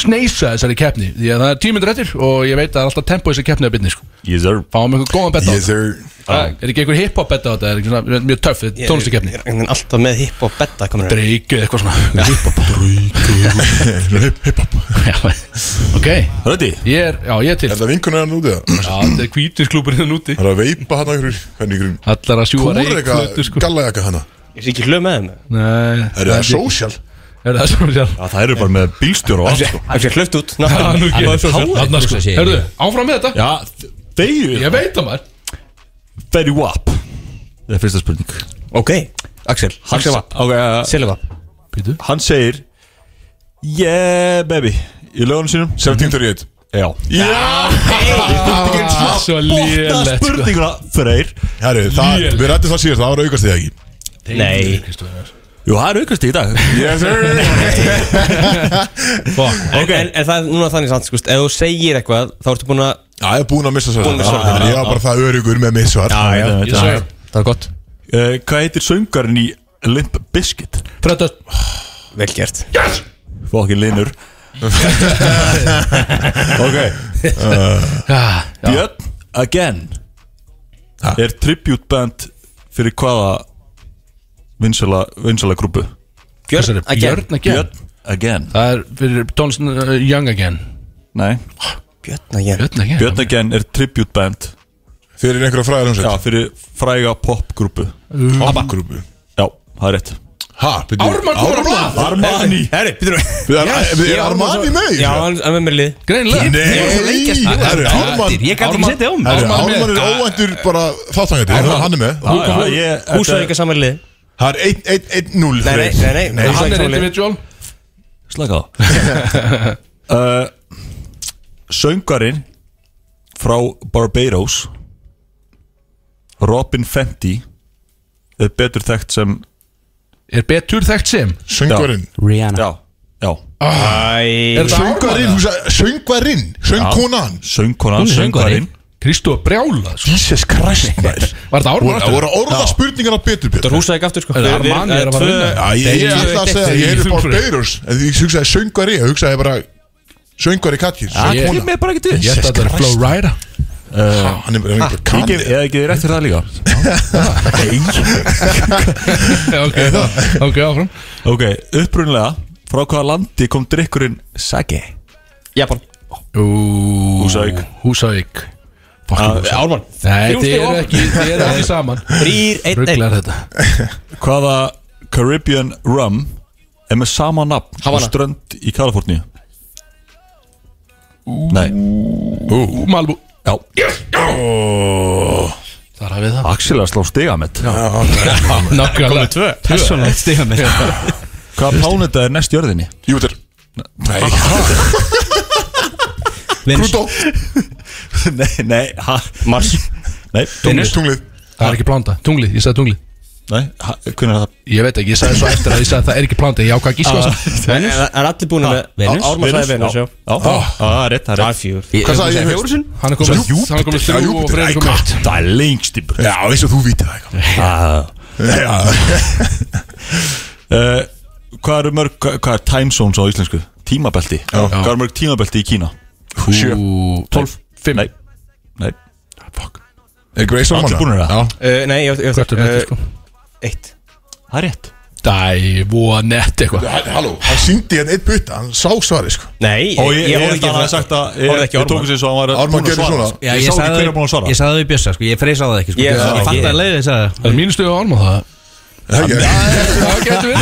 Speaker 2: sneisa þessari keppni því að það er tímyndur eftir og ég veit að það er alltaf tempo í þessari keppni að byrni sko.
Speaker 4: Yes sir
Speaker 2: fáum einhver góðan betta
Speaker 1: Yes
Speaker 2: á
Speaker 1: sir
Speaker 2: þetta er ekki einhver hiphop betta á þetta er ekki svona mjög töff yeah, tónlistu keppni
Speaker 3: Ég er einhvern veginn alltaf með hipp og betta komur
Speaker 2: dreikið eitthvað svona hiphop
Speaker 1: Hip- Hip-hop
Speaker 2: Já, ok
Speaker 4: Reddi?
Speaker 2: ég er, já, ég er til
Speaker 1: Er það vinkunar hann úti það?
Speaker 2: já, þetta er kvítisklúpur hérna úti
Speaker 1: Það er að veipa hann einhverjum Hvernig einhverjum
Speaker 2: allar að sjúa
Speaker 1: Kúr
Speaker 2: reikflötu
Speaker 1: eitthvað
Speaker 2: sko
Speaker 1: gallajaka hana
Speaker 3: Ég sé ekki hlöð með þeim
Speaker 2: Nei,
Speaker 1: Er það social?
Speaker 2: er það svo sjálf
Speaker 4: Já það eru bara með bílstjóra og allt sko
Speaker 3: Það sé hlöft út
Speaker 2: Það er nú
Speaker 3: náttúrulega.
Speaker 2: ekki Þarna, sko.
Speaker 5: hugsa sér.
Speaker 2: Heyrðu, áfram með þetta
Speaker 4: Já Deyju
Speaker 2: Ég veit það maður
Speaker 4: Ferry Wap Það er fyrsta spurning
Speaker 3: Ok Axel Axel Vapp
Speaker 4: Ok uh,
Speaker 3: Silva
Speaker 2: Býtu
Speaker 4: Hann segir Yeah baby Í lögunum sínum
Speaker 1: 1731
Speaker 4: Já
Speaker 2: Svo
Speaker 4: Bóta
Speaker 2: lélegt sko
Speaker 4: spurninguna Freyr
Speaker 1: Herru, það,
Speaker 2: Léleg.
Speaker 1: við rættum það síðast, það var aukast þig ekki
Speaker 3: Nei
Speaker 4: Jú það er aukast í dag
Speaker 1: Yes sir
Speaker 2: Fuck
Speaker 3: okay. en, en það er núna þannig samt skust, Ef þú segir eitthvað Þá ertu búin að
Speaker 1: Já, ég er búinn að missa svar
Speaker 3: Búinn að missa svar.
Speaker 1: Þannig Ég var bara það örugur með mitt svar
Speaker 4: Já já
Speaker 2: Ég
Speaker 4: já.
Speaker 2: sveir
Speaker 3: Það er gott
Speaker 4: Eh, Hvað heitir söngarinn í Limp Bizkit?
Speaker 2: Fredast
Speaker 3: Vel gert
Speaker 4: Fokkin linur Ok Björn Again Er tribute band fyrir hvaða vinsala, vinsala grúpu?
Speaker 3: Björn Again
Speaker 2: Björn again
Speaker 4: Björn Again
Speaker 2: Það er fyrir tónlistin uh, Young again
Speaker 4: Nei,
Speaker 3: Björn Again
Speaker 2: Björn again
Speaker 4: Björn Again er tribute band
Speaker 1: Fyrir einhverja fræðar
Speaker 4: Já,
Speaker 1: hans
Speaker 4: fyrir fræga popgrúpu
Speaker 1: Popgrúpu
Speaker 4: Já, það er rétt
Speaker 1: Ha, byrju
Speaker 2: Ármann komur á blað
Speaker 4: Armani
Speaker 3: Herri, býtur
Speaker 1: Við erum er Armani með í
Speaker 3: Já,
Speaker 1: þessu?
Speaker 3: hann hann er með mér lið
Speaker 2: Greinlega
Speaker 1: Nei, herru, Ármann
Speaker 5: Ég gæti ekki setja um
Speaker 1: Herru,
Speaker 2: Ármann með.
Speaker 1: Ármann er óvæntur bara þáttangandi Hann er með
Speaker 4: Já, já, ég- þetta
Speaker 3: Húsavík
Speaker 4: er-
Speaker 3: er saman lið
Speaker 1: Það er 1-1-1-0
Speaker 3: Nei, nei, nei, nei,
Speaker 1: Nei,
Speaker 2: Hann
Speaker 3: Húsavík
Speaker 2: er
Speaker 3: saman lið
Speaker 2: individual
Speaker 4: Slaka á uh, Söngarinn frá Barbados Robin Fenty er betur þekkt sem
Speaker 2: Er betur þekkt sem
Speaker 1: Söngvarinn
Speaker 5: Rihanna
Speaker 4: Já, já
Speaker 2: Er
Speaker 3: Æ
Speaker 2: þetta Ármann?
Speaker 1: Söngvarinn, þú sagði- söngvarinn Söngkonan
Speaker 4: Söngkonan,
Speaker 5: Hún er söngvari.
Speaker 4: söngarinn
Speaker 2: Kristó að brjála sko.
Speaker 1: Jesus Christ, maður
Speaker 2: Var þetta Ármann?
Speaker 1: Það
Speaker 2: aftur?
Speaker 1: voru að orða spurningarna betur,
Speaker 3: Það er
Speaker 1: Pétur
Speaker 3: húsavík aftur sko
Speaker 2: Er
Speaker 3: Við-
Speaker 2: það
Speaker 3: við-
Speaker 2: Armani
Speaker 3: það
Speaker 2: er að fara að
Speaker 3: tvö-
Speaker 2: vinna?
Speaker 1: Já, ég
Speaker 2: Nei,
Speaker 1: ætla að
Speaker 2: ég-
Speaker 1: segja, ég
Speaker 2: ég-
Speaker 1: er
Speaker 2: ég-
Speaker 1: bara Beirus En því ég hugsaði söngvari, ég hugsaði bara Söngvari Katkins
Speaker 2: Ég-
Speaker 1: Söngkona.
Speaker 4: Mér bara ekki til
Speaker 2: Ég ætla að þetta er Flow Rida
Speaker 1: Ha, Hann er bara einhver
Speaker 4: Ég
Speaker 1: kanni
Speaker 4: gef ég hef ekki þér rétt fyrir það líka
Speaker 2: Ok, ok, áfram
Speaker 4: Ok, upprunlega Frá hvaða landi kom drikkurinn Sake
Speaker 3: Japan
Speaker 2: Ú,
Speaker 4: Húsavík.
Speaker 2: Húsavík Fucking Húsavík
Speaker 3: Ármann
Speaker 2: Nei, þið
Speaker 3: Þrjú stig
Speaker 2: eru
Speaker 3: ofan.
Speaker 2: ekki, þið eru ekki saman
Speaker 3: Þrýr, einn, einn
Speaker 2: Rugglar þetta
Speaker 4: Hvaða Caribbean Rum Er með sama nafn
Speaker 3: Havana.
Speaker 4: og Strönd í Kaliforníu Nei,
Speaker 2: Ú, Malbú
Speaker 4: já
Speaker 2: Þar hafið það
Speaker 4: Axel er að slá stigamett
Speaker 2: Nákvæmlega Komið tvö Persónlega stiga með
Speaker 4: Hvaða pláneta er næst jörðinni?
Speaker 1: Júter Nei, Krútó
Speaker 4: nei, nei, ha Mars Nei,
Speaker 1: Tunglið
Speaker 2: Það er ekki plánda Tunglið, ég sagði tunglið
Speaker 4: Nei, ha- hvernig er það?
Speaker 2: Ég veit ekki, ég sagði svo eftir að ég sagði að það er ekki plándi Ég ákvað að gíska á það
Speaker 4: Ah, Venus?
Speaker 3: En allir búin með
Speaker 4: Venus?
Speaker 3: Ármann sagði
Speaker 4: Venus,
Speaker 3: Venus, já
Speaker 4: já. Já, það er rétt, það er rétt.
Speaker 3: Það er fjör
Speaker 4: Hvað sagði ég fyrst?
Speaker 2: Hann er komið-
Speaker 4: Sagði
Speaker 2: hann
Speaker 4: Júpíter.
Speaker 2: er komið
Speaker 4: Já,
Speaker 2: þrjú og
Speaker 4: Júpíter.
Speaker 2: Freyr er
Speaker 4: Æ,
Speaker 2: komið
Speaker 4: hvað, Það er lengst í bröð
Speaker 1: Já, eins og þú vítið það eitthvað
Speaker 4: Eh, Hvað eru mörg, hvað hvað er time zones á íslensku? Tímabelti Hvað eru mörg tímabelti í Kína?
Speaker 1: Sjö.
Speaker 4: 12
Speaker 2: Fimm.
Speaker 4: Nei, nei
Speaker 1: Er Grace Almanna?
Speaker 4: Allir búinir það?
Speaker 1: Já
Speaker 3: Uh, nei, ég ég-
Speaker 2: Hvert er
Speaker 3: eh,
Speaker 2: metið sko?
Speaker 3: Eitt
Speaker 4: Það er rétt
Speaker 2: Dæ, voða nett eitthvað
Speaker 1: Hæ- Halló, hann síndi hérna eitt butta, hann sá svarið sko
Speaker 3: Nei,
Speaker 4: Og ég, ég,
Speaker 3: horfði
Speaker 4: ég held að hann
Speaker 3: á
Speaker 4: hafði sagt að
Speaker 3: Horfði ekki á
Speaker 4: Ég tók
Speaker 3: Ármann.
Speaker 4: sér svo að hann var
Speaker 1: Ármann
Speaker 4: búinn að
Speaker 1: gerir
Speaker 4: svara.
Speaker 1: svona.
Speaker 5: Já,
Speaker 4: Ég sá ekki hvernig búin að svara
Speaker 5: Ég sagði það í bjössa, sko, ég freysa á það ekki, sko
Speaker 3: Ég-
Speaker 5: Ég
Speaker 3: ég-
Speaker 5: fatt
Speaker 3: ég-
Speaker 5: að leiði þess að
Speaker 2: Það er mínustu á Ármann það
Speaker 1: Það er
Speaker 2: Það getur við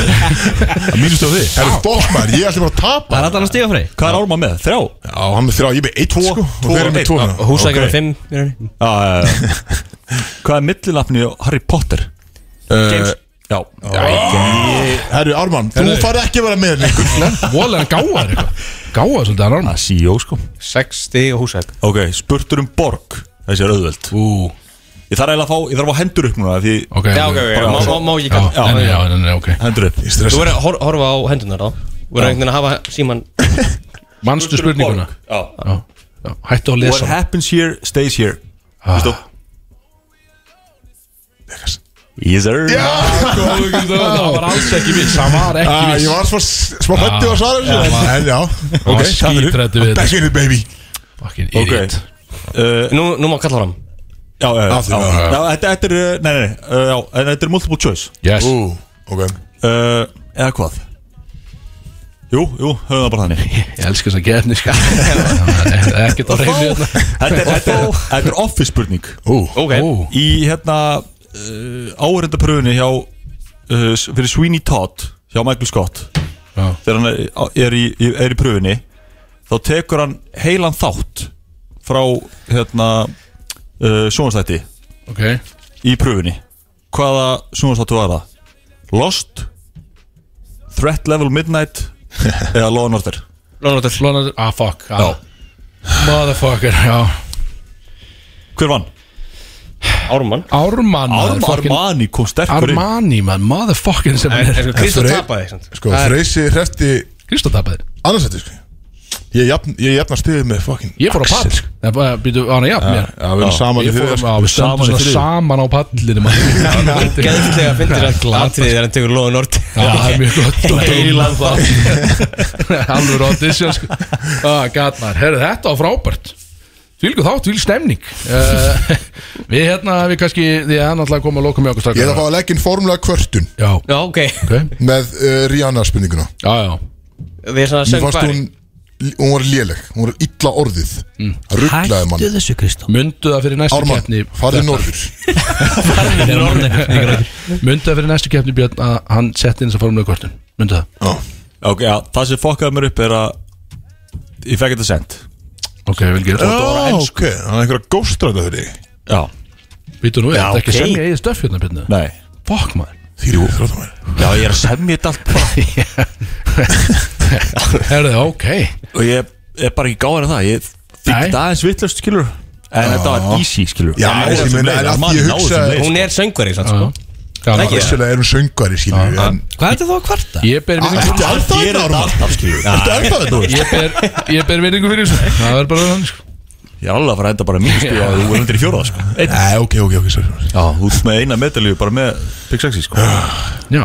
Speaker 4: Að Mínustu á því
Speaker 1: fokk maður, ég ætla bara að tapa
Speaker 5: Það er allan að stiga frey
Speaker 4: Hvað er Ármann með? Þrjá?
Speaker 1: Já, hann með þrjá, ég með eitt sko Og
Speaker 4: tvo
Speaker 1: þeir eru
Speaker 4: og
Speaker 1: með
Speaker 4: einn.
Speaker 1: tvo
Speaker 4: Já,
Speaker 1: núna.
Speaker 3: Húsækjum
Speaker 4: Ok.
Speaker 3: er fimm í rauninni.
Speaker 4: Já, já, já Hvað er millilapni á Harry Potter?
Speaker 1: Eh,
Speaker 4: Já
Speaker 1: Herru, Ármann, þú
Speaker 2: Herru.
Speaker 1: fari ekki að vera með lengur
Speaker 2: Voðlega hann gáðar eitthvað Gáðar svolítið hann Ármann
Speaker 4: Það er CEO sko
Speaker 3: Sex stig og húsæk
Speaker 4: Ok, spurtur um borg Þessi er auðveld
Speaker 2: Ú,
Speaker 4: Ég þarf eiginlega að fá Ég þarf að fá hendur upp núna Því
Speaker 2: ok
Speaker 3: Já, ok, ok,
Speaker 4: Bara-
Speaker 3: má- má- má ekki
Speaker 2: Já,
Speaker 3: kalla
Speaker 2: nei, nei, já, nei, nei, ok
Speaker 4: hendur upp
Speaker 1: Ég
Speaker 3: Þú
Speaker 1: stressa
Speaker 3: verður að hor- horfa á hendunar þá Þú verður einhvern veginn að hafa síman
Speaker 2: Manstu um spurninguna
Speaker 4: um Já
Speaker 2: Já, já, Hættu að
Speaker 4: What
Speaker 2: lesa hana.
Speaker 4: happens here stays here
Speaker 2: Ah.
Speaker 4: Veistu Yes sir
Speaker 2: Það var alls ekki viss Það var ekki
Speaker 1: Ah,
Speaker 2: viss
Speaker 1: Ég var smá, smá hrætti
Speaker 2: Já.
Speaker 1: að svara
Speaker 2: Ah.
Speaker 1: þessu
Speaker 2: Já, maður.
Speaker 1: En já,
Speaker 2: var
Speaker 1: ok,
Speaker 2: skíthræddur við þetta.
Speaker 1: Back in it baby
Speaker 2: Fucking
Speaker 4: Ok
Speaker 2: idiot
Speaker 4: Uh,
Speaker 3: Nú, nú má kalla fram
Speaker 4: Já, já, já,
Speaker 1: Af því,
Speaker 4: já,
Speaker 1: já,
Speaker 4: já.
Speaker 1: já.
Speaker 4: Já, Þetta þetta er uh, Nei, nei, nei uh, Já, en þetta er multiple choice
Speaker 2: Yes
Speaker 1: Ú, ok
Speaker 4: uh, Eða hvað? Jú, jú, höfum það bara þannig
Speaker 2: Ég elska þess að gefni sko Ekkert á reyni hérna
Speaker 4: Þetta er, þetta er, þetta er office spurning
Speaker 1: Ú,
Speaker 3: Ok
Speaker 2: Ó,
Speaker 4: Í hérna uh, áherindapröfunni hjá uh, s- Fyrir Sweeney Todd Hjá Michael Scott
Speaker 2: Já.
Speaker 4: Þegar hann er, er, í, er í pröfunni Þá tekur hann heilan þátt Frá hérna uh, Sjónastætti
Speaker 2: Ok
Speaker 4: í pröfunni Hvaða sjónastáttu var það? Lost Threat Level Midnight eða Law and Order
Speaker 3: Lónardur
Speaker 2: Lónaður Ah, fuck Já Motherfucker, já
Speaker 4: Hver vann?
Speaker 3: Ármann
Speaker 2: Ármann maður,
Speaker 4: Arma,
Speaker 2: fucking-
Speaker 4: Armani kom sterkur inn
Speaker 2: Armani, man, motherfucking sem hann er
Speaker 3: Kristó
Speaker 1: Freyr-
Speaker 3: tapaði samt.
Speaker 1: Sko, Freysi hrefti
Speaker 2: Kristó tapaði
Speaker 1: annarsætti sko Ég jafn, ég jafna stuðið með fucking
Speaker 2: Ég fór á pall Það bara býtu á hana jafn mér
Speaker 1: Já, við erum saman í
Speaker 2: Ég fór
Speaker 1: þriðja,
Speaker 2: á
Speaker 1: sko.
Speaker 2: Við stöndum
Speaker 4: Saman í
Speaker 2: svona
Speaker 4: þriðja.
Speaker 2: saman á pallinu
Speaker 3: Geðvillega fyndir að glatrið þegar hann tekur Lóðan Ord
Speaker 2: Já, það er mjög gott
Speaker 3: Heilan það
Speaker 2: Alveg audition sko ah, Gat maður, herðu þetta var frábært Þvílgu þátt, þvílgu stemning uh, Við hérna, við kannski Því að náttúrulega koma að loka með okkur
Speaker 1: Ég
Speaker 2: strax
Speaker 1: ætla að fá að leggja inn formulega kvörtun
Speaker 2: Já,
Speaker 3: Já, ok
Speaker 2: ok
Speaker 1: Með uh, Rihanna spurninguna
Speaker 2: Já, já
Speaker 3: Við erum svona
Speaker 1: Mér fannst
Speaker 3: söngfæri
Speaker 1: hún, hún var léleg Hún var illa orðið Það rugglaði mann
Speaker 5: þessu Kristó
Speaker 2: Mundu það fyrir næstu
Speaker 1: Ármann,
Speaker 2: Mm. keppni
Speaker 1: farði norður
Speaker 2: Mundu það fyrir næstu keppni Björn að hann setti inn þessa formulega kortun Mundu það
Speaker 1: Já,
Speaker 4: Ok, já, það sem fokkaði mér upp er að ég fekk þetta sent
Speaker 2: Ok, vel gerð
Speaker 1: Já, Ah, ok, það er einhverja góstræða fyrir þig
Speaker 4: Já,
Speaker 2: Býtu nú, er þetta ekki
Speaker 3: ok.
Speaker 2: sem ég eigi stöf hérna Björn
Speaker 4: nei
Speaker 2: Fokk maður
Speaker 1: Þýri þrjóðum mér
Speaker 4: Já, ég er að semja þetta allt bara
Speaker 2: Herðu, ok
Speaker 4: og ég er bara ekki gáðan að það ég fikk
Speaker 2: Nei.
Speaker 4: það aðeins vittlust skilur en þetta var easy skilur
Speaker 1: Já,
Speaker 4: Náði
Speaker 1: ég
Speaker 4: þessum
Speaker 1: meina,
Speaker 4: leik,
Speaker 1: en að því
Speaker 4: Armani
Speaker 1: ég
Speaker 4: náði þessum
Speaker 1: hugsaði-
Speaker 4: leik, sko.
Speaker 3: Hún er söngfæri samt sko
Speaker 2: Gaman.
Speaker 3: Ekki.
Speaker 1: Vissulega er hún söngvari, skilur
Speaker 2: Ah,
Speaker 1: við En
Speaker 5: Hvað er þetta þá að kvarta?
Speaker 2: Ég ber minningu
Speaker 1: Ertu ennþá
Speaker 4: Gerir
Speaker 1: þetta,
Speaker 4: þetta
Speaker 1: Ármann?
Speaker 4: alltaf skilur
Speaker 1: Ertu ennþá þetta, þú veist?
Speaker 2: Ég ber, ég ber vinningu fyrir þessu Það er bara þannig sko.
Speaker 4: Ég er alveg að fara að enda bara mín spil og þú er undir í fjóraða sko Einn.
Speaker 1: Nei, ok, ok, ok, sorry, sorry
Speaker 4: Já, þú ert með eina medalíu bara með Big Sexy sko
Speaker 2: Já,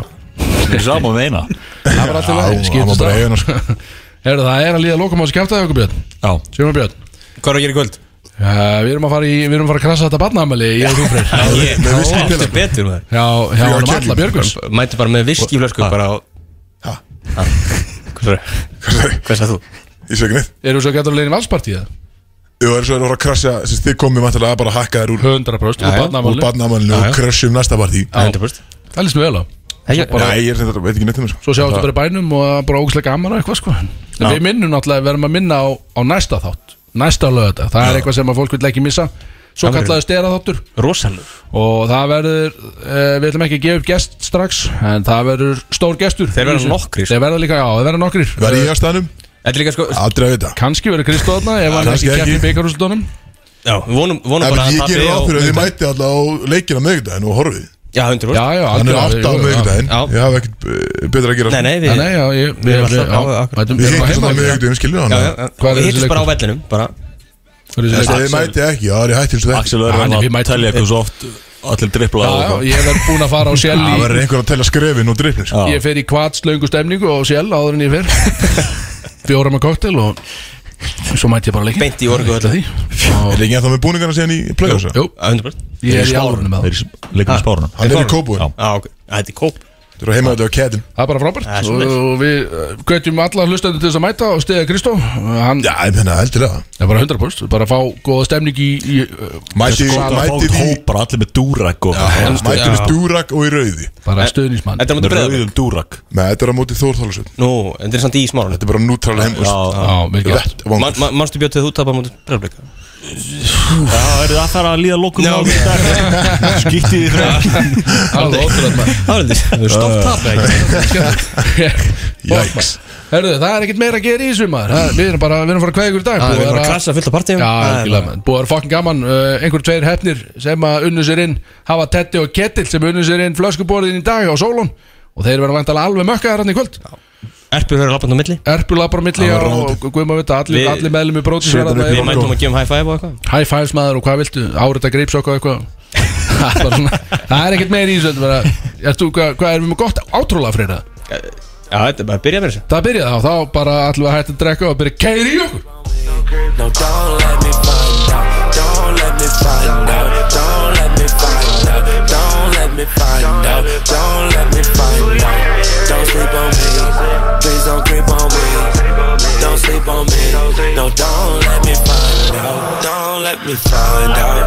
Speaker 4: Mér er sama með eina
Speaker 2: það var
Speaker 1: Já,
Speaker 2: alltaf læg
Speaker 1: hann var
Speaker 2: Skiptist
Speaker 1: bara
Speaker 2: það
Speaker 1: eigin og sko
Speaker 2: Herðu, það er að líða lokum á þessu kæftæði okkur Björn
Speaker 4: Já
Speaker 2: Sjöfum Björn
Speaker 3: Hvað er að gera í kvöld?
Speaker 2: uh, Við erum að fara í, við erum að fara að krasa þetta barnaðamæli Ég og þú freyr
Speaker 3: Ég,
Speaker 1: með viskí
Speaker 3: heldur
Speaker 1: pillur.
Speaker 3: betur maður
Speaker 2: Já, hjá
Speaker 1: Þrjá
Speaker 2: hann
Speaker 1: kettlingar.
Speaker 2: alla Björgvins
Speaker 3: Mæti bara með viskiflösku bara á
Speaker 1: Ha?
Speaker 3: Hvað
Speaker 1: Hvað sagði?
Speaker 3: sagði þú?
Speaker 1: Ég sagði ekki neitt
Speaker 2: Erum við svo gættur að leiðin valspartíða?
Speaker 1: Jú, það er svo að voru að krasja Sist þið komið vantilega bara að hakka þær úr
Speaker 2: 100% úr
Speaker 1: Úr
Speaker 2: barnaðamæli
Speaker 1: barnamalinu og krasjum næsta partí
Speaker 3: 100%
Speaker 2: Það líst mér vel á
Speaker 3: Ekki-
Speaker 1: Nei, ég er sem þetta, veit ekki neitt um
Speaker 2: Svo
Speaker 1: þessu
Speaker 2: sjáum við bara í bænum og það er bara ógæslega gaman og eitthvað sko En við minnum náttúrulega, við erum að minna á, á næsta þátt Næsta lögða, það er eitthvað sem að fólk vil ekki missa Svo kallaði stera
Speaker 3: Rosalur
Speaker 2: Og það verður, uh, við ætlum ekki að gefa upp gest strax En það verður stór gestur
Speaker 3: Þeir verða
Speaker 2: Í þessu.
Speaker 3: nokkrir.
Speaker 2: Þeir verða líka, já, þeir verða nokkrir
Speaker 1: Var ég á staðnum?
Speaker 3: Þetta er líka sko
Speaker 1: Aldrei að vita
Speaker 2: Kanski verður Kristó þarna Ef hann
Speaker 1: kannski
Speaker 2: ekki kæft í
Speaker 1: ekki.
Speaker 2: beikarúslutunum
Speaker 3: Já, við vonum, vonum
Speaker 1: Ef
Speaker 3: bara að
Speaker 1: Ég
Speaker 3: tappi
Speaker 1: gerir
Speaker 3: á
Speaker 1: ráð fyrir að þið
Speaker 3: miðvikudaginn.
Speaker 1: mæti alltaf á leikina meðgdæðin og horfið
Speaker 3: Já, 100%
Speaker 2: Já, já,
Speaker 1: Hann er
Speaker 2: algjörlega,
Speaker 1: átta á
Speaker 2: jú, já.
Speaker 1: miðvikudaginn
Speaker 3: Já.
Speaker 1: Ég haf ekkert eh, betra að gera
Speaker 3: Nei,
Speaker 2: Já,
Speaker 3: nei, við
Speaker 2: Nei, já, ég
Speaker 3: við erum alltaf- já, akkurat.
Speaker 1: Við
Speaker 2: Við
Speaker 1: hittum það miðvikudaginn, skilur hann
Speaker 3: Já, já, já.
Speaker 2: Hvað er
Speaker 3: Við
Speaker 2: þessi
Speaker 3: hittum
Speaker 2: leikur?
Speaker 3: bara á vellinum bara.
Speaker 1: Þess að þið
Speaker 2: Já,
Speaker 1: mæti ekki, já, það er hættir svo þetta
Speaker 4: Axel er
Speaker 2: Hann er-
Speaker 4: að
Speaker 2: við mætum-
Speaker 4: telja eitthvað svo oft Allir dripla
Speaker 2: já,
Speaker 4: og
Speaker 2: ég verð búin að fara á sjæl
Speaker 1: Það
Speaker 2: í
Speaker 1: verður einhver að tella skrefin og sko. drifnir
Speaker 4: Já.
Speaker 2: Ég fer í kvatslöngu stemningu á sjæl áður en ég fer Bjóra með koktel og Svo mætti ég bara leikin
Speaker 3: Beint í orgu
Speaker 2: Það er
Speaker 3: öllu.
Speaker 2: því
Speaker 1: Er
Speaker 2: Og-
Speaker 1: ekki ennþá með búningarna síðan í sko. play-offs? eða?
Speaker 2: Jú,
Speaker 3: 100%
Speaker 2: ég er í álunum með það
Speaker 4: Leikum spárunum
Speaker 1: Hann er í kópúin
Speaker 4: Já.
Speaker 3: Já, ok Þetta er kóp
Speaker 1: Þú eru heimaðið á Kedin
Speaker 2: Það er bara frábært og, og við gætjum alla hlustandi til þess að mæta og stiða Kristó Hann
Speaker 1: Já, ég menna, heldur það
Speaker 2: er bara 100% Bara að fá góða stemning í, í uh,
Speaker 1: Mæti
Speaker 4: Það er
Speaker 1: mæti
Speaker 4: fólk
Speaker 1: því
Speaker 4: hópar allir með dúrak og
Speaker 1: Mæti með dúrak og í rauði
Speaker 2: bara stöðnismann
Speaker 3: Þetta er mútið breyða
Speaker 4: Rauðum dúrak
Speaker 1: Nei, þetta er á móti Þórþálusund
Speaker 3: Nú, þetta er samt í smáran
Speaker 1: Þetta er bara neutral heimust
Speaker 2: Já, vel gert
Speaker 1: Vett vangur
Speaker 3: Manstu bjótt þegar þú tapar mútið breyðablika
Speaker 4: Já, eru það að fara að líða lokum á því dag Skýtti því þrjá
Speaker 2: Það er ótrúlega maður
Speaker 3: Það er þetta Stopp tap ekki?
Speaker 2: Jæks Herðu, það er ekkert meira að gera í þessu maður Það- Við erum bara, við erum að fara að kveða ykkur í dag
Speaker 3: Það
Speaker 2: Búið
Speaker 3: er bara
Speaker 2: að-
Speaker 3: að krasa fullt af partíum
Speaker 2: Já,
Speaker 3: Það er
Speaker 2: algjörlega maður Búið að vera fokkin gaman uh, Einhver tveir hefnir sem að unnu sér inn Hafa Tetti og Kettil sem unnu sér inn flöskuborðin í dag á Sólon Og þeir verða vantalega alveg mökkaðar hann í kvöld
Speaker 3: Erpjur eru lappand á milli
Speaker 2: Erpjula bara á milli
Speaker 1: Það var
Speaker 2: og
Speaker 1: ráðandi.
Speaker 2: guðum að vita Allir,
Speaker 3: Við-
Speaker 2: allir meðlum í brótis
Speaker 1: Sveitar upp í
Speaker 3: Við mætum að gefa um high five og eitthvað
Speaker 2: High fives maður og hvað viltu? Árita greipsokk og eitthvað Það er bara svona- Það er ekkert meira í þessu þetta er bara- ert þú- Hvað hvað erum við með gott átrúlega fyrir það?
Speaker 3: Já, þetta er bara að byrja með þessu
Speaker 2: Það byrja þá, þá bara allir við að hætta að drekka og byrja keiri í okkur
Speaker 6: No, don't let me find out. Don't let me find out. Don't let me find out. Don't let me find out. Don't let me find out. Don't sleep on me. Please don't creep on me. Don't sleep on me. No, don't let me find out. Don't let me find out.